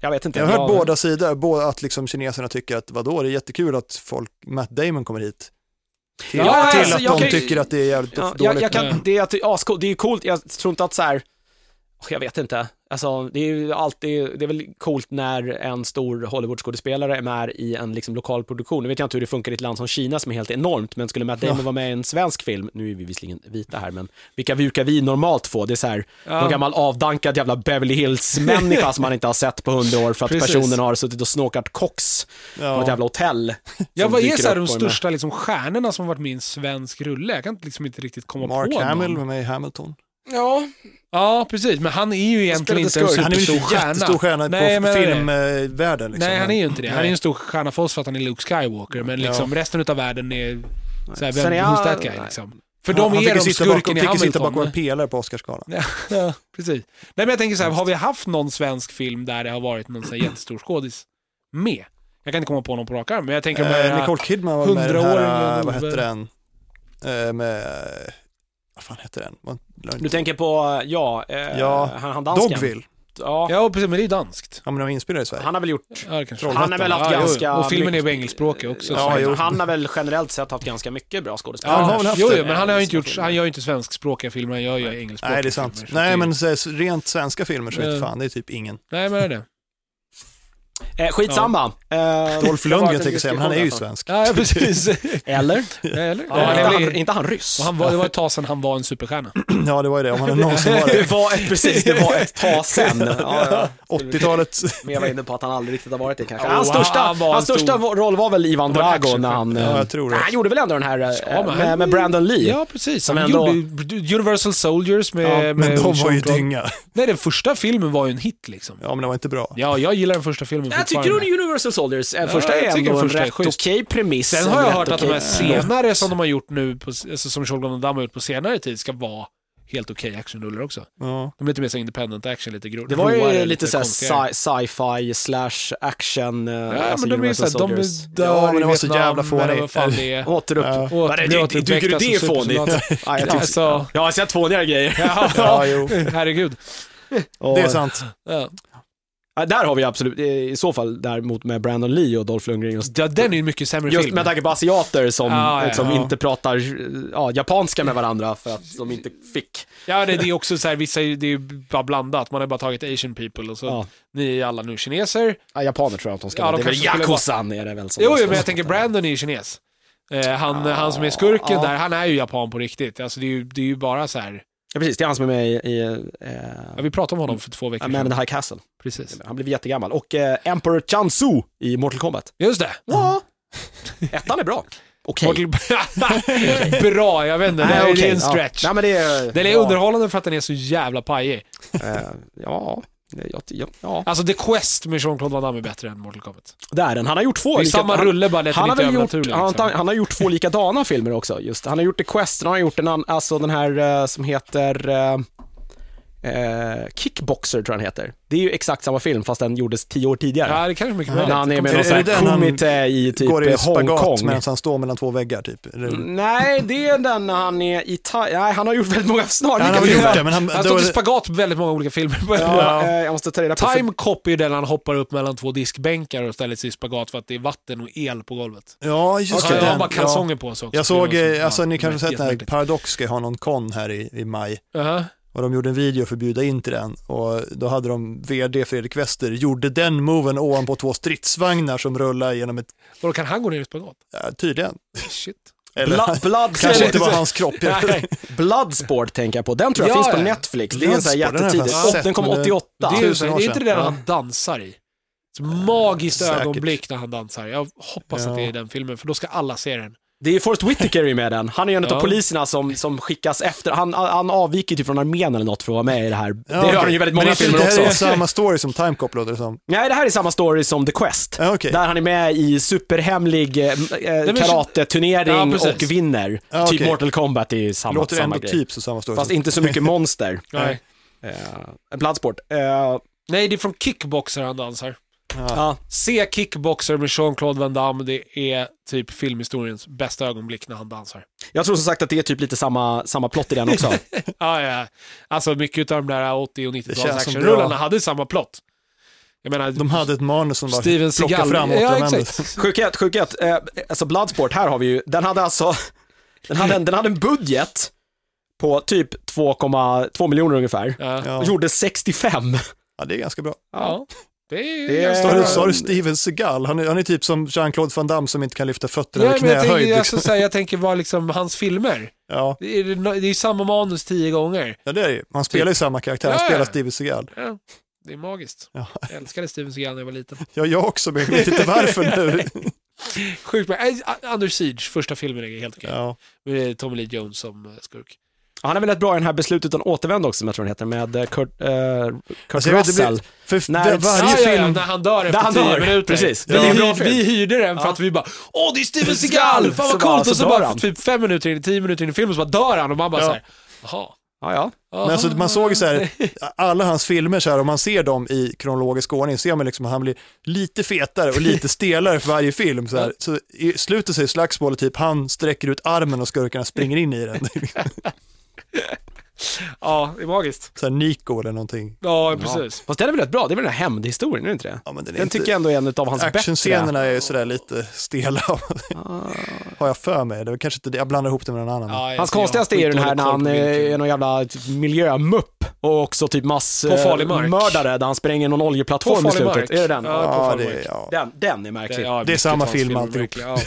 Speaker 1: jag vet inte.
Speaker 2: Jag har hört båda sidor, både att liksom kineserna tycker att vadå, det är jättekul att folk, Matt Damon kommer hit. Till,
Speaker 1: Ja,
Speaker 2: till
Speaker 1: alltså,
Speaker 2: att
Speaker 1: jag
Speaker 2: de
Speaker 1: kan ju-
Speaker 2: tycker att det är jävligt
Speaker 1: Ja,
Speaker 2: dåligt.
Speaker 1: jag, jag
Speaker 3: Mm.
Speaker 1: kan, det, är att, ja, sko- det är ju coolt, jag tror inte att så här, åh, jag vet inte, alltså det är ju alltid, det är väl coolt när en stor Hollywoodskådespelare är med i en liksom, lokal produktion. Nu vet jag inte hur det funkar i ett land som Kina som är helt enormt, men skulle Matt Damon
Speaker 2: Ja.
Speaker 1: vara med i en svensk film, nu är vi visserligen vita här, men vilka brukar vi normalt få? Det är så här,
Speaker 3: Ja.
Speaker 1: någon gammal avdankad jävla Beverly Hills-människa som man inte har sett på hundra år för att
Speaker 3: Precis.
Speaker 1: personen har suttit och snokat kox på ett
Speaker 2: Ja.
Speaker 1: jävla hotell.
Speaker 3: Ja,
Speaker 1: som
Speaker 3: vad är
Speaker 1: dyker
Speaker 3: så här
Speaker 1: upp
Speaker 3: de
Speaker 1: och är med.
Speaker 3: största liksom, stjärnorna som varit med i en svensk rulle? Jag kan inte- liksom inte riktigt komma
Speaker 2: Mark
Speaker 3: på
Speaker 2: Hamill
Speaker 3: någon.
Speaker 2: var med i Hamilton.
Speaker 1: Ja,
Speaker 3: Ja, precis. Men han är ju egentligen inte en
Speaker 1: skurk.
Speaker 2: Han är ju
Speaker 3: superstor
Speaker 2: en jättestor
Speaker 3: typ stjärna.
Speaker 2: stjärna
Speaker 3: Nej,
Speaker 2: på
Speaker 3: men-
Speaker 2: filmvärlden. Liksom.
Speaker 3: Nej, han är ju inte det. Han är
Speaker 2: Nej.
Speaker 3: ju en stor stjärna för oss för att han är Luke Skywalker, men liksom resten av världen är så här,
Speaker 1: Sen
Speaker 3: vem,
Speaker 1: är
Speaker 3: who's
Speaker 1: jag-
Speaker 3: that guy liksom? För
Speaker 2: Han-
Speaker 3: dem
Speaker 2: han
Speaker 3: är
Speaker 2: fick
Speaker 3: de
Speaker 2: ju sitta bakom-
Speaker 3: skurken i
Speaker 2: fick ju sitta bakom
Speaker 3: Hamilton.
Speaker 2: en pelare på Oscarsgalan.
Speaker 3: Ja, precis. Nej, men jag tänker så här, har vi haft någon svensk film där det har varit någon så här jättestor skådis med? Jag kan inte komma på någon på rak arm, men jag tänker
Speaker 2: Eh,
Speaker 3: på...
Speaker 2: Nicole Kidman var med i den
Speaker 3: 100-åringen
Speaker 2: här,
Speaker 3: och-
Speaker 2: vad hette den? Eh, med, vad fan hette den? Man-
Speaker 1: Du tänker på, ja, eh,
Speaker 2: Ja,
Speaker 1: han, han dansken.
Speaker 2: Dogville.
Speaker 1: Ja,
Speaker 3: Ja, precis, men det är danskt.
Speaker 2: Ja, men de är inspelade i Sverige.
Speaker 1: han har väl gjort,
Speaker 3: Ja, det kanske.
Speaker 1: han har väl haft
Speaker 3: Ja, jo,
Speaker 1: ganska...
Speaker 3: jo. Och filmen är på
Speaker 1: mycket-
Speaker 3: engelskspråkig också.
Speaker 2: Ja,
Speaker 3: så-
Speaker 2: jo.
Speaker 1: han har väl generellt sett haft ganska mycket bra skådespelare.
Speaker 3: Ja,
Speaker 2: han har väl haft
Speaker 3: jo,
Speaker 2: det.
Speaker 3: jo, men han, har ju inte gjort,
Speaker 1: Filmer.
Speaker 3: han gör ju inte svenskspråkiga filmer, han gör ju engelskspråkiga
Speaker 2: Nej, det är sant.
Speaker 3: filmer, så det
Speaker 2: Nej,
Speaker 3: är-
Speaker 2: men så här, rent svenska filmer så vet
Speaker 3: Eh.
Speaker 2: fan, det är typ ingen.
Speaker 3: Nej, men det är det.
Speaker 1: Eh, skitsamma. Eh,
Speaker 2: Dolph
Speaker 1: det har varit
Speaker 2: Lundgren
Speaker 1: en
Speaker 2: tänker jag säga, men han är ju
Speaker 1: diskussion
Speaker 2: svensk.
Speaker 3: Ja, ja, precis.
Speaker 1: där. Eller?
Speaker 3: Eller? Ja,
Speaker 1: Ja,
Speaker 3: han
Speaker 1: inte,
Speaker 3: är
Speaker 1: han,
Speaker 3: väl-
Speaker 1: inte han ryss?
Speaker 3: och han var, det var ett tag sedan han var en superstjärna.
Speaker 2: Ja, det var ju det, om han någonsin var det.
Speaker 1: Det var ett, precis, det var ett tag sen. Ja, ja.
Speaker 2: 80-talet.
Speaker 1: Men jag var inne på att han aldrig riktigt har varit det kanske.
Speaker 3: Jo,
Speaker 1: hans
Speaker 3: han-
Speaker 1: största,
Speaker 3: han var en
Speaker 1: hans största roll var väl Ivan
Speaker 3: var en
Speaker 1: Drago när han...
Speaker 2: Ja,
Speaker 1: eh,
Speaker 2: jag tror det.
Speaker 1: Han gjorde väl ändå den här eh,
Speaker 3: Ja, men
Speaker 1: med,
Speaker 3: han-
Speaker 1: med Brandon Lee?
Speaker 3: Ja, precis.
Speaker 1: Som
Speaker 3: Han
Speaker 1: ändå-
Speaker 3: gjorde Universal Soldiers med...
Speaker 2: Ja,
Speaker 3: eh, med
Speaker 2: men de var ju
Speaker 3: Sean Connery.
Speaker 2: dynga.
Speaker 3: Nej, den första filmen var ju en hit liksom.
Speaker 2: Ja, men det var inte bra.
Speaker 3: Ja, jag gillar den första filmen den
Speaker 1: Jag Äh, tycker
Speaker 3: fortfarande.
Speaker 1: om Universal Soldiers. Eh, första
Speaker 3: jag
Speaker 1: är
Speaker 3: tycker
Speaker 1: ändå en
Speaker 3: första är
Speaker 1: rätt okej
Speaker 3: schysst.
Speaker 1: premiss.
Speaker 3: Sen
Speaker 1: en
Speaker 3: har jag
Speaker 1: rätt
Speaker 3: hört att de här
Speaker 1: okej- Mm.
Speaker 3: senare som de har gjort nu, på, alltså, som Shogun och Damm har gjort på senare tid, ska vara helt okej actionrullar också.
Speaker 2: Ja.
Speaker 3: De är lite mer så independent action, lite gro-
Speaker 1: Det var
Speaker 3: råare,
Speaker 1: ju lite såhär
Speaker 3: konstigare.
Speaker 1: sci- sci-fi slash action. eh,
Speaker 3: Ja,
Speaker 1: alltså
Speaker 3: men de är
Speaker 1: Universal
Speaker 3: såhär, de
Speaker 1: Soldiers.
Speaker 3: är där
Speaker 2: Ja, men
Speaker 3: i
Speaker 2: det var så
Speaker 3: Vietnam,
Speaker 2: jävla fånigt.
Speaker 3: eller vad fan det är.
Speaker 1: Återupp...
Speaker 2: Ja.
Speaker 1: Ja. Nej, det- det- Tycker du det är fånigt? Nej, jag tycker-
Speaker 3: Alltså,
Speaker 1: Jag har sett fånigare grejer.
Speaker 3: ja,
Speaker 2: Ja, jo.
Speaker 3: herregud. Alltså,
Speaker 2: Det är sant.
Speaker 3: Ja.
Speaker 1: Ja, där har vi absolut, eh, i så fall däremot med Brandon Lee och Dolph Lundgren och
Speaker 3: Ja, den är ju mycket sämre
Speaker 1: Just
Speaker 3: film.
Speaker 1: med tanke på asiater som
Speaker 3: Ja, ja,
Speaker 1: liksom
Speaker 2: ja.
Speaker 1: inte pratar eh, ja, japanska med varandra för att de inte fick.
Speaker 3: Ja, det, det är också så här, vissa, det är bara blandat. Man har bara tagit asian people och så,
Speaker 1: Ja.
Speaker 3: ni är alla nu kineser.
Speaker 1: Ja, japaner tror jag att de ska
Speaker 3: Ja,
Speaker 1: vara.
Speaker 3: de
Speaker 1: det är väl
Speaker 3: kanske skulle
Speaker 1: Yakuzan är det väl som
Speaker 3: Jo,
Speaker 1: de
Speaker 3: jo,
Speaker 1: ska
Speaker 3: men jag
Speaker 1: vara.
Speaker 3: tänker Brandon är ju kines. Eh, han, han som är skurken där, han är ju japan på riktigt. Alltså det är ju, det är ju bara så här.
Speaker 1: Ja, precis. Det är han som är med i, i eh,
Speaker 3: Ja, vi pratade om honom för två veckor
Speaker 1: A Man in
Speaker 3: sedan.
Speaker 1: the High Castle.
Speaker 3: Precis.
Speaker 1: Han blev jättegammal. Och eh, Emperor Chansu i Mortal Kombat.
Speaker 3: Just det.
Speaker 1: Ja. Ettan är bra. Okej.
Speaker 3: Mortal- Bra, jag vet inte. Det här är
Speaker 1: okej,
Speaker 3: en
Speaker 1: ja.
Speaker 3: stretch.
Speaker 1: Nej, men det är...
Speaker 3: Den är
Speaker 1: ja,
Speaker 3: underhållande för att den är så jävla pajig.
Speaker 1: eh, ja. Ja, ja, ja.
Speaker 3: Alltså The Quest med Jean-Claude Van Damme är bättre än Mortal Kombat.
Speaker 1: Det är den. Han har gjort två.
Speaker 3: Det är
Speaker 1: lika-
Speaker 3: samma
Speaker 1: han-
Speaker 3: rulle, bara lite
Speaker 1: han har,
Speaker 3: lite
Speaker 1: väl gjort,
Speaker 3: övernaturlig.
Speaker 1: han,
Speaker 3: liksom.
Speaker 1: han har gjort två likadana filmer också. Just. Han har gjort The Quest, sen har han gjort en annan, alltså den här eh, som heter eh, eh, Kickboxer tror jag den heter. Det är ju exakt samma film fast den gjordes tio år tidigare.
Speaker 3: Ja, det kanske är mycket
Speaker 1: När
Speaker 3: möjligt.
Speaker 1: han är med
Speaker 2: Är
Speaker 1: någon
Speaker 2: det-
Speaker 1: sån
Speaker 2: är det
Speaker 1: här
Speaker 2: den han
Speaker 1: komite i typ
Speaker 2: Går i spagat
Speaker 1: Hongkong.
Speaker 2: medan han står mellan två väggar typ. Eller-
Speaker 1: Mm. Nej, det är den när han är i Thailand. Nej, han har gjort väldigt många
Speaker 2: Ja, han
Speaker 1: snarlika
Speaker 2: har väl
Speaker 1: filmer.
Speaker 2: gjort det, men han...
Speaker 3: Han
Speaker 2: då-
Speaker 3: står i spagat på väldigt många olika filmer.
Speaker 1: Ja, eh, jag måste ta reda på. för-
Speaker 3: Time Cop är ju den han hoppar upp mellan två diskbänkar och ställer sig i spagat för att det är vatten och el på golvet.
Speaker 2: Ja, just
Speaker 3: Så
Speaker 2: det.
Speaker 3: han har bara
Speaker 2: Ja.
Speaker 3: kalsonger på sig också.
Speaker 2: Jag såg,
Speaker 3: Det var så-
Speaker 2: eh, alltså
Speaker 3: ja,
Speaker 2: ni kanske har sett när
Speaker 3: jättemärkligt.
Speaker 2: Paradox ska ha någon kon här i, i maj.
Speaker 3: Jaha.
Speaker 2: Och de gjorde en video för att bjuda in till den. Och då hade de VD Fredrik Wester, gjorde den moven ovanpå två stridsvagnar som rullar genom ett,
Speaker 3: Vadå, kan han gå ner i spagat?
Speaker 2: ja, tydligen.
Speaker 3: Shit.
Speaker 2: Eller,
Speaker 1: Blood, blood,
Speaker 2: kanske inte var hans kropp.
Speaker 3: Nej.
Speaker 1: Bloodsport tänker jag på. Den tror jag
Speaker 3: Ja,
Speaker 1: finns på
Speaker 3: ja.
Speaker 1: Netflix. Det är en sån här
Speaker 2: Bloodsport, den har jag
Speaker 1: jättetidig.
Speaker 2: faktiskt
Speaker 1: Den kom
Speaker 2: sett, men det-
Speaker 1: 88.
Speaker 3: Det är, ju så,
Speaker 2: Tusen år
Speaker 3: det är inte
Speaker 2: sedan.
Speaker 3: det där
Speaker 2: Ja.
Speaker 3: han dansar i. Så magiskt
Speaker 2: säkert.
Speaker 3: ögonblick när han dansar. Jag hoppas att det är den filmen, för då ska alla se den.
Speaker 1: Det är Forrest Whitaker i med den. Han är ju en av
Speaker 3: Ja.
Speaker 1: poliserna som, som skickas efter. Han, han avviker typ från armén eller något för att vara med i det här.
Speaker 2: Ja,
Speaker 1: det
Speaker 2: okej.
Speaker 1: gör han ju väldigt många
Speaker 2: Men det är inte-
Speaker 1: filmer
Speaker 2: Det här är
Speaker 1: också.
Speaker 2: samma story som Time Cop låter det som.
Speaker 1: Nej, det här är samma story som The Quest.
Speaker 2: Ja, okej.
Speaker 1: Där han är med i superhemlig eh, eh,
Speaker 3: men- Ja,
Speaker 1: karateturnering
Speaker 3: precis.
Speaker 1: och vinner.
Speaker 2: Ja,
Speaker 1: Typ
Speaker 2: okej.
Speaker 1: Mortal Kombat är samma,
Speaker 2: Låter det
Speaker 1: samma
Speaker 2: ändå
Speaker 1: grej.
Speaker 2: typ så samma story.
Speaker 1: Fast
Speaker 2: som.
Speaker 1: inte så mycket monster.
Speaker 3: Nej.
Speaker 1: Eh, Bloodsport. Eh, ja.
Speaker 3: Nej, det är från Kickboxer han dansar.
Speaker 1: Ja.
Speaker 3: Se Kickboxer med Jean-Claude Van Damme. Det är typ filmhistoriens bästa ögonblick när han dansar.
Speaker 1: Jag tror som sagt att det är typ lite samma, samma plott i den också.
Speaker 3: Ja, ja. Alltså mycket av de där 80 och
Speaker 2: Det känns
Speaker 3: 90-tals
Speaker 2: som
Speaker 3: actionrullarna
Speaker 2: bra.
Speaker 3: hade samma plott. Jag menar,
Speaker 2: De hade ett manus som bara
Speaker 3: Steven
Speaker 2: plockade
Speaker 3: Seagal.
Speaker 2: fram och
Speaker 3: ja,
Speaker 2: återanvände.
Speaker 3: exakt.
Speaker 1: Sjukhet, sjukhet. Eh, alltså Bloodsport, här har vi ju, den hade alltså, den hade en, den hade en budget på typ 2,2 miljoner ungefär.
Speaker 3: Ja.
Speaker 1: Och
Speaker 2: Ja.
Speaker 1: Gjorde 65.
Speaker 2: ja, det är ganska bra.
Speaker 3: ja. Det är
Speaker 1: Det är-
Speaker 3: ganska
Speaker 2: Sa
Speaker 1: Ja.
Speaker 2: du,
Speaker 3: bra.
Speaker 2: sa du Steven Seagal? Han är, han är typ som Jean-Claude Van Damme som inte kan lyfta fötterna
Speaker 3: Ja,
Speaker 2: över
Speaker 3: men jag,
Speaker 2: knähöjd.
Speaker 3: tänker,
Speaker 2: Liksom.
Speaker 3: alltså, så här, jag tänker vad liksom hans filmer.
Speaker 2: Ja.
Speaker 3: Det är, det är samma manus tio gånger.
Speaker 2: ja, det är det ju. Han spelar ju samma karaktär, han
Speaker 3: Typ. Ja, ja.
Speaker 2: spelar Steven Seagal.
Speaker 3: Ja, det är magiskt.
Speaker 2: Ja.
Speaker 3: Jag älskade Steven Seagal när jag var liten.
Speaker 2: Ja, jag också, men jag vet inte varför nu.
Speaker 3: Sjukt bra. Nej, Under Siege, första filmen är helt okej.
Speaker 2: Ja.
Speaker 3: Med Tommy Lee Jones som eh, skurk.
Speaker 1: Han är väl rätt bra i den här Beslut utan återvändo också, som jag tror den heter, med eh, Kurt, eh, Kurt
Speaker 2: Alltså, jag vet, det blir-
Speaker 1: Russell.
Speaker 2: För
Speaker 1: Nej,
Speaker 2: var-
Speaker 1: det-
Speaker 2: varje
Speaker 3: Ja, ja, ja,
Speaker 2: film...
Speaker 3: när han dör efter
Speaker 1: han
Speaker 3: tio
Speaker 1: dör.
Speaker 3: minuter.
Speaker 1: Precis.
Speaker 3: Vi,
Speaker 1: Ja.
Speaker 3: hyr-
Speaker 1: Det är en bra
Speaker 3: vi hyrde den för att vi bara Åh, det är Steven Seagal! Fan
Speaker 1: Så
Speaker 3: vad
Speaker 1: bara-
Speaker 3: coolt!
Speaker 1: så
Speaker 3: Och så
Speaker 1: dör
Speaker 3: bara
Speaker 1: han.
Speaker 3: typ fem minuter in, tio minuter in i filmen så bara dör han och man bara
Speaker 2: Ja.
Speaker 3: såhär, jaha.
Speaker 1: Ja, ja.
Speaker 2: Men alltså, man såg ju så här, alla hans filmer så här, om man ser dem i kronologisk ordning, ser man liksom att han blir lite fetare och lite stelare för varje film. Så, här. så i slutet så är slagsmålet typ, han sträcker ut armen och skurkarna springer in i den.
Speaker 3: Ja, det är magiskt.
Speaker 2: så här Nico eller någonting.
Speaker 3: Ja, precis.
Speaker 1: Fast den är väl rätt bra? Det är väl den här hämndhistorien, är det inte det?
Speaker 2: Ja, men den är
Speaker 1: Den
Speaker 2: inte-
Speaker 1: tycker jag ändå är en av hans bättre.
Speaker 2: Actionscenerna är ju sådär lite stela, har jag för mig. Det var kanske inte det, jag blandar ihop det med någon annan.
Speaker 3: Ja, jag-
Speaker 1: Hans
Speaker 3: jag har
Speaker 1: konstigaste är ju den här när
Speaker 3: skitdålig koll
Speaker 1: han
Speaker 3: på vilken-
Speaker 1: är någon jävla typ miljömupp och också typ mass
Speaker 3: På farlig mark.
Speaker 1: eh, mördare där han spränger någon
Speaker 3: På
Speaker 1: oljeplattform i
Speaker 3: farlig
Speaker 1: slutet.
Speaker 3: mark.
Speaker 1: Är det den?
Speaker 3: Ja, på
Speaker 2: Ja,
Speaker 3: farlig
Speaker 2: det,
Speaker 3: mark.
Speaker 2: ja.
Speaker 1: Den, den är märklig.
Speaker 3: ja,
Speaker 2: Det är
Speaker 3: mycket
Speaker 2: samma
Speaker 3: hans
Speaker 2: film
Speaker 3: filmer,
Speaker 2: alltihop.
Speaker 3: verkligen. Ja.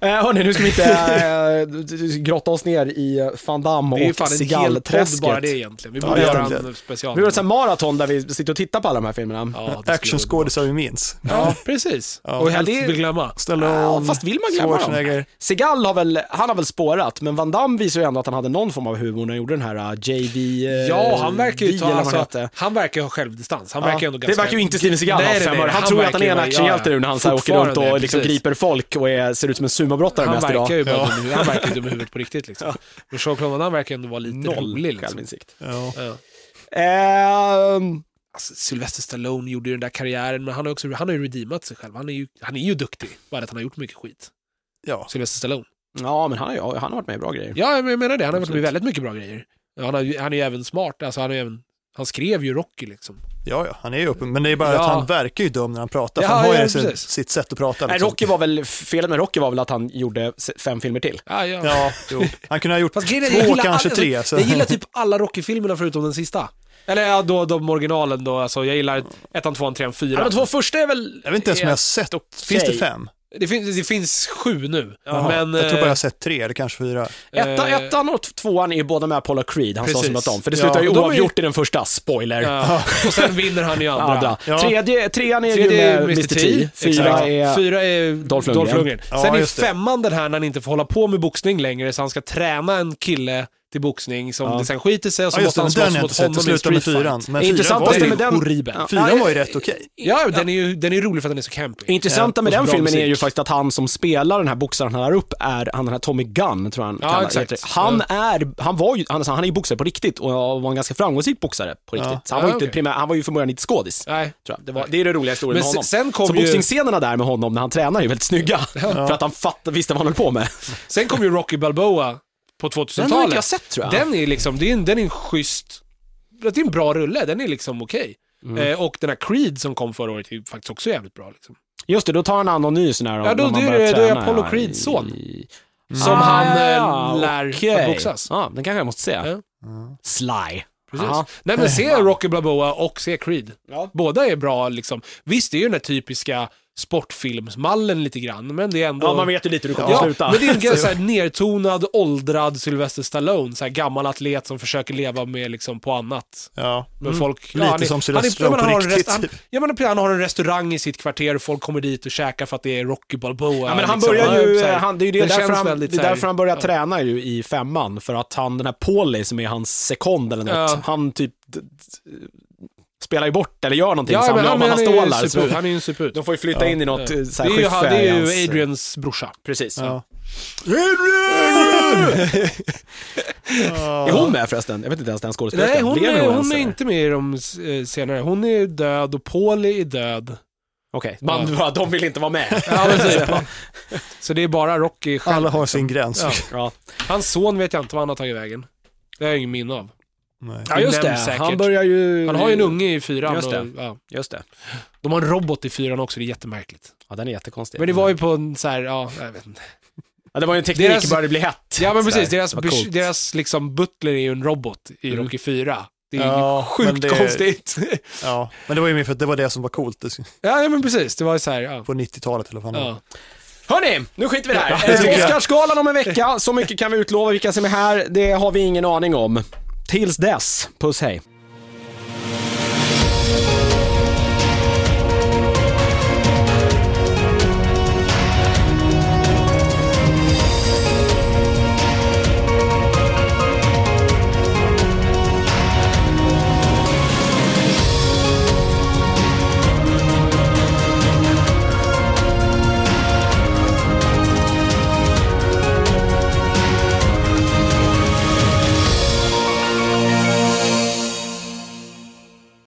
Speaker 1: Eh, hörni, nu ska vi inte eh, grotta oss ner i eh, van Damme
Speaker 3: Det är ju
Speaker 1: och
Speaker 3: fan en hel podd
Speaker 1: Cigall-träsket.
Speaker 3: bara det egentligen. Vi
Speaker 2: Ja,
Speaker 3: borde göra
Speaker 2: egentligen.
Speaker 3: en special.
Speaker 1: Vi gör ett sånt här maraton där vi sitter och tittar på alla de här filmerna.
Speaker 3: Ja, det skulle vara bra.
Speaker 2: Actionskådisar vi minns.
Speaker 3: Ja, precis.
Speaker 2: Ja.
Speaker 3: Och helst
Speaker 1: Ja, det-
Speaker 3: vill glömma.
Speaker 2: Ställer
Speaker 1: Ja,
Speaker 2: om,
Speaker 1: fast vill man glömma dem?
Speaker 2: Schwarzenegger.
Speaker 1: Segal har väl, han har väl spårat, men Van Damme visar ju ändå att han hade någon form av humor när han gjorde den här eh, JV... eh,
Speaker 3: Ja, han verkar ju
Speaker 1: V,
Speaker 3: ta,
Speaker 1: eller vad han
Speaker 3: alltså,
Speaker 1: hette.
Speaker 3: han verkar ha självdistans. Han
Speaker 1: Ja,
Speaker 3: verkar ändå
Speaker 1: det
Speaker 3: ganska...
Speaker 1: verkar ju inte Steven Seagal ha
Speaker 3: Nej,
Speaker 1: haft
Speaker 3: nej,
Speaker 1: fem
Speaker 3: nej,
Speaker 1: år. Han, tror att han är en
Speaker 3: verkar ju-
Speaker 1: actionhjälte nu när han så här åker runt
Speaker 3: fortfarande,
Speaker 1: och liksom
Speaker 3: precis.
Speaker 1: griper folk och är, ser ut som en sumobrottare
Speaker 3: Han
Speaker 1: mest idag.
Speaker 3: verkar ju bara
Speaker 2: Ja.
Speaker 3: dum, i- han verkar ju dum i huvudet på riktigt liksom. Men Jean-Claude Van Damme verkar ändå vara lite rolig
Speaker 1: Noll
Speaker 3: liksom.
Speaker 1: självinsikt.
Speaker 2: Ja.
Speaker 3: Ja.
Speaker 1: Ehm,
Speaker 3: Alltså, Sylvester Stallone gjorde ju den där karriären, men han har, också, han har ju redeemat sig själv. Han är ju, han är ju duktig, bara att han har gjort mycket skit.
Speaker 2: ja.
Speaker 3: Sylvester Stallone.
Speaker 1: ja, men han har, ju- han har varit med i bra grejer.
Speaker 3: Ja, men jag menar det. Han har varit med i
Speaker 1: Absolut.
Speaker 3: väldigt mycket bra grejer. Ja, Han, har, ju- han är ju även smart. Alltså, han, är ju även, han skrev ju Rocky liksom.
Speaker 2: Ja, ja, han är ju uppe, men det är bara
Speaker 3: Ja.
Speaker 2: att han verkar ju dum när han pratar, för
Speaker 3: Ja,
Speaker 2: han har ju
Speaker 3: ja,
Speaker 2: sitt,
Speaker 3: precis.
Speaker 2: sitt sätt att prata.
Speaker 1: Nej,
Speaker 2: liksom.
Speaker 1: Rocky var väl, felet med Rocky var väl att han gjorde se- fem filmer till.
Speaker 3: Ja, ja.
Speaker 2: Ja, jo. Han kunde ha gjort
Speaker 3: Fast
Speaker 2: två,
Speaker 3: grejen är, jag gillar,
Speaker 2: kanske
Speaker 3: alla-
Speaker 2: tre. Så.
Speaker 3: jag gillar typ alla Rocky-filmerna förutom den sista. Eller ja, då, de originalen då. Alltså, jag gillar ettan, tvåan, trean,
Speaker 1: Ja,
Speaker 3: fyran.
Speaker 1: de två första är väl...
Speaker 2: Jag vet inte ens om jag har sett, finns det fem?
Speaker 3: Det, finns, det finns sju nu.
Speaker 2: Jaha,
Speaker 3: Men,
Speaker 2: jag tror bara jag
Speaker 3: eh,
Speaker 2: har sett tre, eller kanske fyra.
Speaker 1: Etta,
Speaker 3: eh,
Speaker 1: ettan och tvåan är ju båda med Apollo Creed, han sa
Speaker 3: Precis.
Speaker 1: som att om. För det
Speaker 2: Ja,
Speaker 1: slutar ju
Speaker 2: och de är ju-
Speaker 1: oavgjort i den första, spoiler.
Speaker 3: eh, Ja, och sen vinner han ju andra.
Speaker 1: Andra.
Speaker 2: Ja.
Speaker 1: Tredje, trean är
Speaker 3: Tredje
Speaker 1: ju med Mr. T, fyra
Speaker 3: exakt.
Speaker 1: är...
Speaker 3: Fyra är
Speaker 1: Dolph
Speaker 3: Dolph
Speaker 1: Lundgren.
Speaker 3: Lundgren.
Speaker 2: Ja,
Speaker 3: Sen är
Speaker 2: just det.
Speaker 3: femman den här när han inte får hålla på med boxning längre, så han ska träna en kille till boxning som
Speaker 1: Ja.
Speaker 3: det sen skiter sig och så
Speaker 2: Ja, just
Speaker 3: måste
Speaker 2: det, men
Speaker 3: han
Speaker 2: den har
Speaker 3: slåss
Speaker 2: jag
Speaker 3: mot
Speaker 2: inte sett.
Speaker 3: honom
Speaker 2: Det
Speaker 3: i en
Speaker 2: slutar med
Speaker 3: street
Speaker 2: fyran.
Speaker 3: fight.
Speaker 2: Men
Speaker 1: Det
Speaker 2: fyran var
Speaker 1: intressantaste
Speaker 2: ju,
Speaker 1: med den-
Speaker 3: horribel.
Speaker 1: Ja.
Speaker 2: fyran var ju rätt okej.
Speaker 3: Ja, den är ju den är ju rolig för att den är så campy.
Speaker 1: Intressanta med
Speaker 3: Och så
Speaker 1: den
Speaker 3: bra
Speaker 1: filmen är
Speaker 3: musik.
Speaker 1: ju faktiskt att han som spelar den här boxaren han har upp är han den här Tommy Gunn, tror jag han
Speaker 3: Ja,
Speaker 1: kallar,
Speaker 3: exakt.
Speaker 1: heter. Han är, han var ju, han, alltså, han är ju boxare på riktigt och var en ganska framgångsrik boxare på riktigt. Så han var ju
Speaker 3: Ja,
Speaker 1: inte
Speaker 3: okej.
Speaker 1: primär, han var ju från början inte skådis.
Speaker 3: Nej.
Speaker 1: Tror jag. Det, var, det är den roliga historien
Speaker 3: Men
Speaker 1: med
Speaker 3: se-
Speaker 1: honom.
Speaker 3: sen kom
Speaker 1: så
Speaker 3: ju-
Speaker 1: boxningsscenerna där med honom när han tränar är ju väldigt snygga. För att han fatt, visste vad han höll på med.
Speaker 3: Sen kom ju Rocky Balboa på 2000-talet.
Speaker 1: Den har inte jag sett tror jag.
Speaker 3: Den är liksom, det är en, den är en schysst, det är en bra rulle, den är liksom okej.
Speaker 1: Mm.
Speaker 3: Eh, och den här Creed som kom förra året är ju faktiskt också jävligt bra. Liksom.
Speaker 1: Just det, då tar han hand om ny sån här
Speaker 3: Ja, då-
Speaker 1: när man
Speaker 3: det är-
Speaker 1: börjar
Speaker 3: då är
Speaker 1: träna,
Speaker 3: Apollo
Speaker 1: ja,
Speaker 3: Creeds
Speaker 1: i-
Speaker 3: son.
Speaker 1: Ah,
Speaker 3: Som han
Speaker 1: ja,
Speaker 3: eh, lär
Speaker 1: okej.
Speaker 3: att boxas.
Speaker 1: Ja, den kanske jag måste se.
Speaker 3: Ja.
Speaker 1: Sly.
Speaker 3: Precis.
Speaker 1: Ja.
Speaker 3: Nej men se Rocky Balboa och se Creed.
Speaker 1: Mm. Ja.
Speaker 3: Båda är bra liksom. Visst, det är ju den här typiska sportfilmsmallen lite grann, men det är ändå...
Speaker 1: Ja, man vet ju lite hur det kommer att
Speaker 3: Ja,
Speaker 1: sluta.
Speaker 3: men det är en ganska så här nertonad, åldrad Sylvester Stallone. Så här gammal atlet som försöker leva med liksom på annat.
Speaker 2: Ja.
Speaker 3: Men folk,
Speaker 2: Lite
Speaker 3: Mm. han är-
Speaker 2: som
Speaker 3: han är-
Speaker 2: Sylvester
Speaker 3: jag menar,
Speaker 2: på
Speaker 3: han har en
Speaker 2: riktigt,
Speaker 3: rest- Han,
Speaker 2: typ.
Speaker 3: jag menar, han har en restaurang i sitt kvarter och folk kommer dit och käkar för att det är Rocky Balboa.
Speaker 1: Ja, men han
Speaker 3: liksom.
Speaker 1: börjar
Speaker 3: Ja,
Speaker 1: ju, eh,
Speaker 3: så här.
Speaker 1: han, det är ju det
Speaker 3: Det
Speaker 1: därför,
Speaker 3: känns
Speaker 1: han,
Speaker 3: väldigt
Speaker 1: det är
Speaker 3: så här-
Speaker 1: därför han börjar
Speaker 3: ja.
Speaker 1: träna ju i femman, för att han, den här Paulie som är hans sekond eller något,
Speaker 3: Ja.
Speaker 1: han typ d- d- spelar ju bort eller gör någonting, så
Speaker 3: Ja,
Speaker 1: han
Speaker 3: men
Speaker 1: blir av
Speaker 3: han,
Speaker 1: med alla
Speaker 3: han, är
Speaker 1: stålar.
Speaker 3: ju
Speaker 1: Så
Speaker 3: super, han är ju en suput.
Speaker 1: de får ju flytta in i något eh,
Speaker 3: Det
Speaker 1: så här
Speaker 3: är ju, han,
Speaker 1: skiffe
Speaker 3: det är
Speaker 1: i hans,
Speaker 3: ju
Speaker 1: eh,
Speaker 3: Adrians brorsa.
Speaker 1: Precis.
Speaker 2: Ja.
Speaker 1: Är hon med förresten? Jag vet inte ens den skådespelerskan.
Speaker 3: Nej, hon
Speaker 1: Lever alltså?
Speaker 3: är, hon
Speaker 1: ens,
Speaker 3: är
Speaker 1: eller?
Speaker 3: inte med i de eh, senare. Hon är död och Pauli är död.
Speaker 1: Okej, man bara, de vill inte vara med.
Speaker 3: Ja, men typ. Så det är bara Rocky själv.
Speaker 2: Alla har sin gräns.
Speaker 3: Ja.
Speaker 1: Ja,
Speaker 3: Hans son vet jag inte vad han har tagit vägen. Det har jag ingen minne av.
Speaker 2: Nej.
Speaker 1: ja just det.
Speaker 3: nämns säkert.
Speaker 1: Han börjar ju...
Speaker 3: Han har ju en unge i fyran.
Speaker 1: Just det.
Speaker 3: Och, ja.
Speaker 1: Just det.
Speaker 3: De har en robot i fyran också, det är jättemärkligt.
Speaker 1: Ja, den är jättekonstig.
Speaker 3: Men det var ju på en så här, ja, jag vet inte.
Speaker 1: ja, det var ju en teknik,
Speaker 3: Deras-
Speaker 1: började bli hett.
Speaker 3: Ja men
Speaker 1: Så
Speaker 3: precis,
Speaker 1: där.
Speaker 3: deras,
Speaker 1: Det var
Speaker 3: bes-
Speaker 1: coolt.
Speaker 3: deras liksom butler är ju en robot i
Speaker 1: Mm.
Speaker 3: Rocky 4. Det är ju
Speaker 2: Ja, men
Speaker 3: sjukt
Speaker 2: det-
Speaker 3: konstigt.
Speaker 2: Ja. Men det var ju mer för att det var det som var coolt det-
Speaker 3: ja, ja men precis, det var ju så här, ja.
Speaker 2: på 90-talet eller vad fan det var.
Speaker 3: ja.
Speaker 1: Hörni, nu skiter vi i det
Speaker 2: Ja, det
Speaker 1: här.
Speaker 2: tycker
Speaker 1: Eh,
Speaker 2: jag.
Speaker 1: Oscarsgalan om en vecka, så mycket kan vi utlova. Vilka som är här, det har vi ingen aning om. Tills dess, puss hej.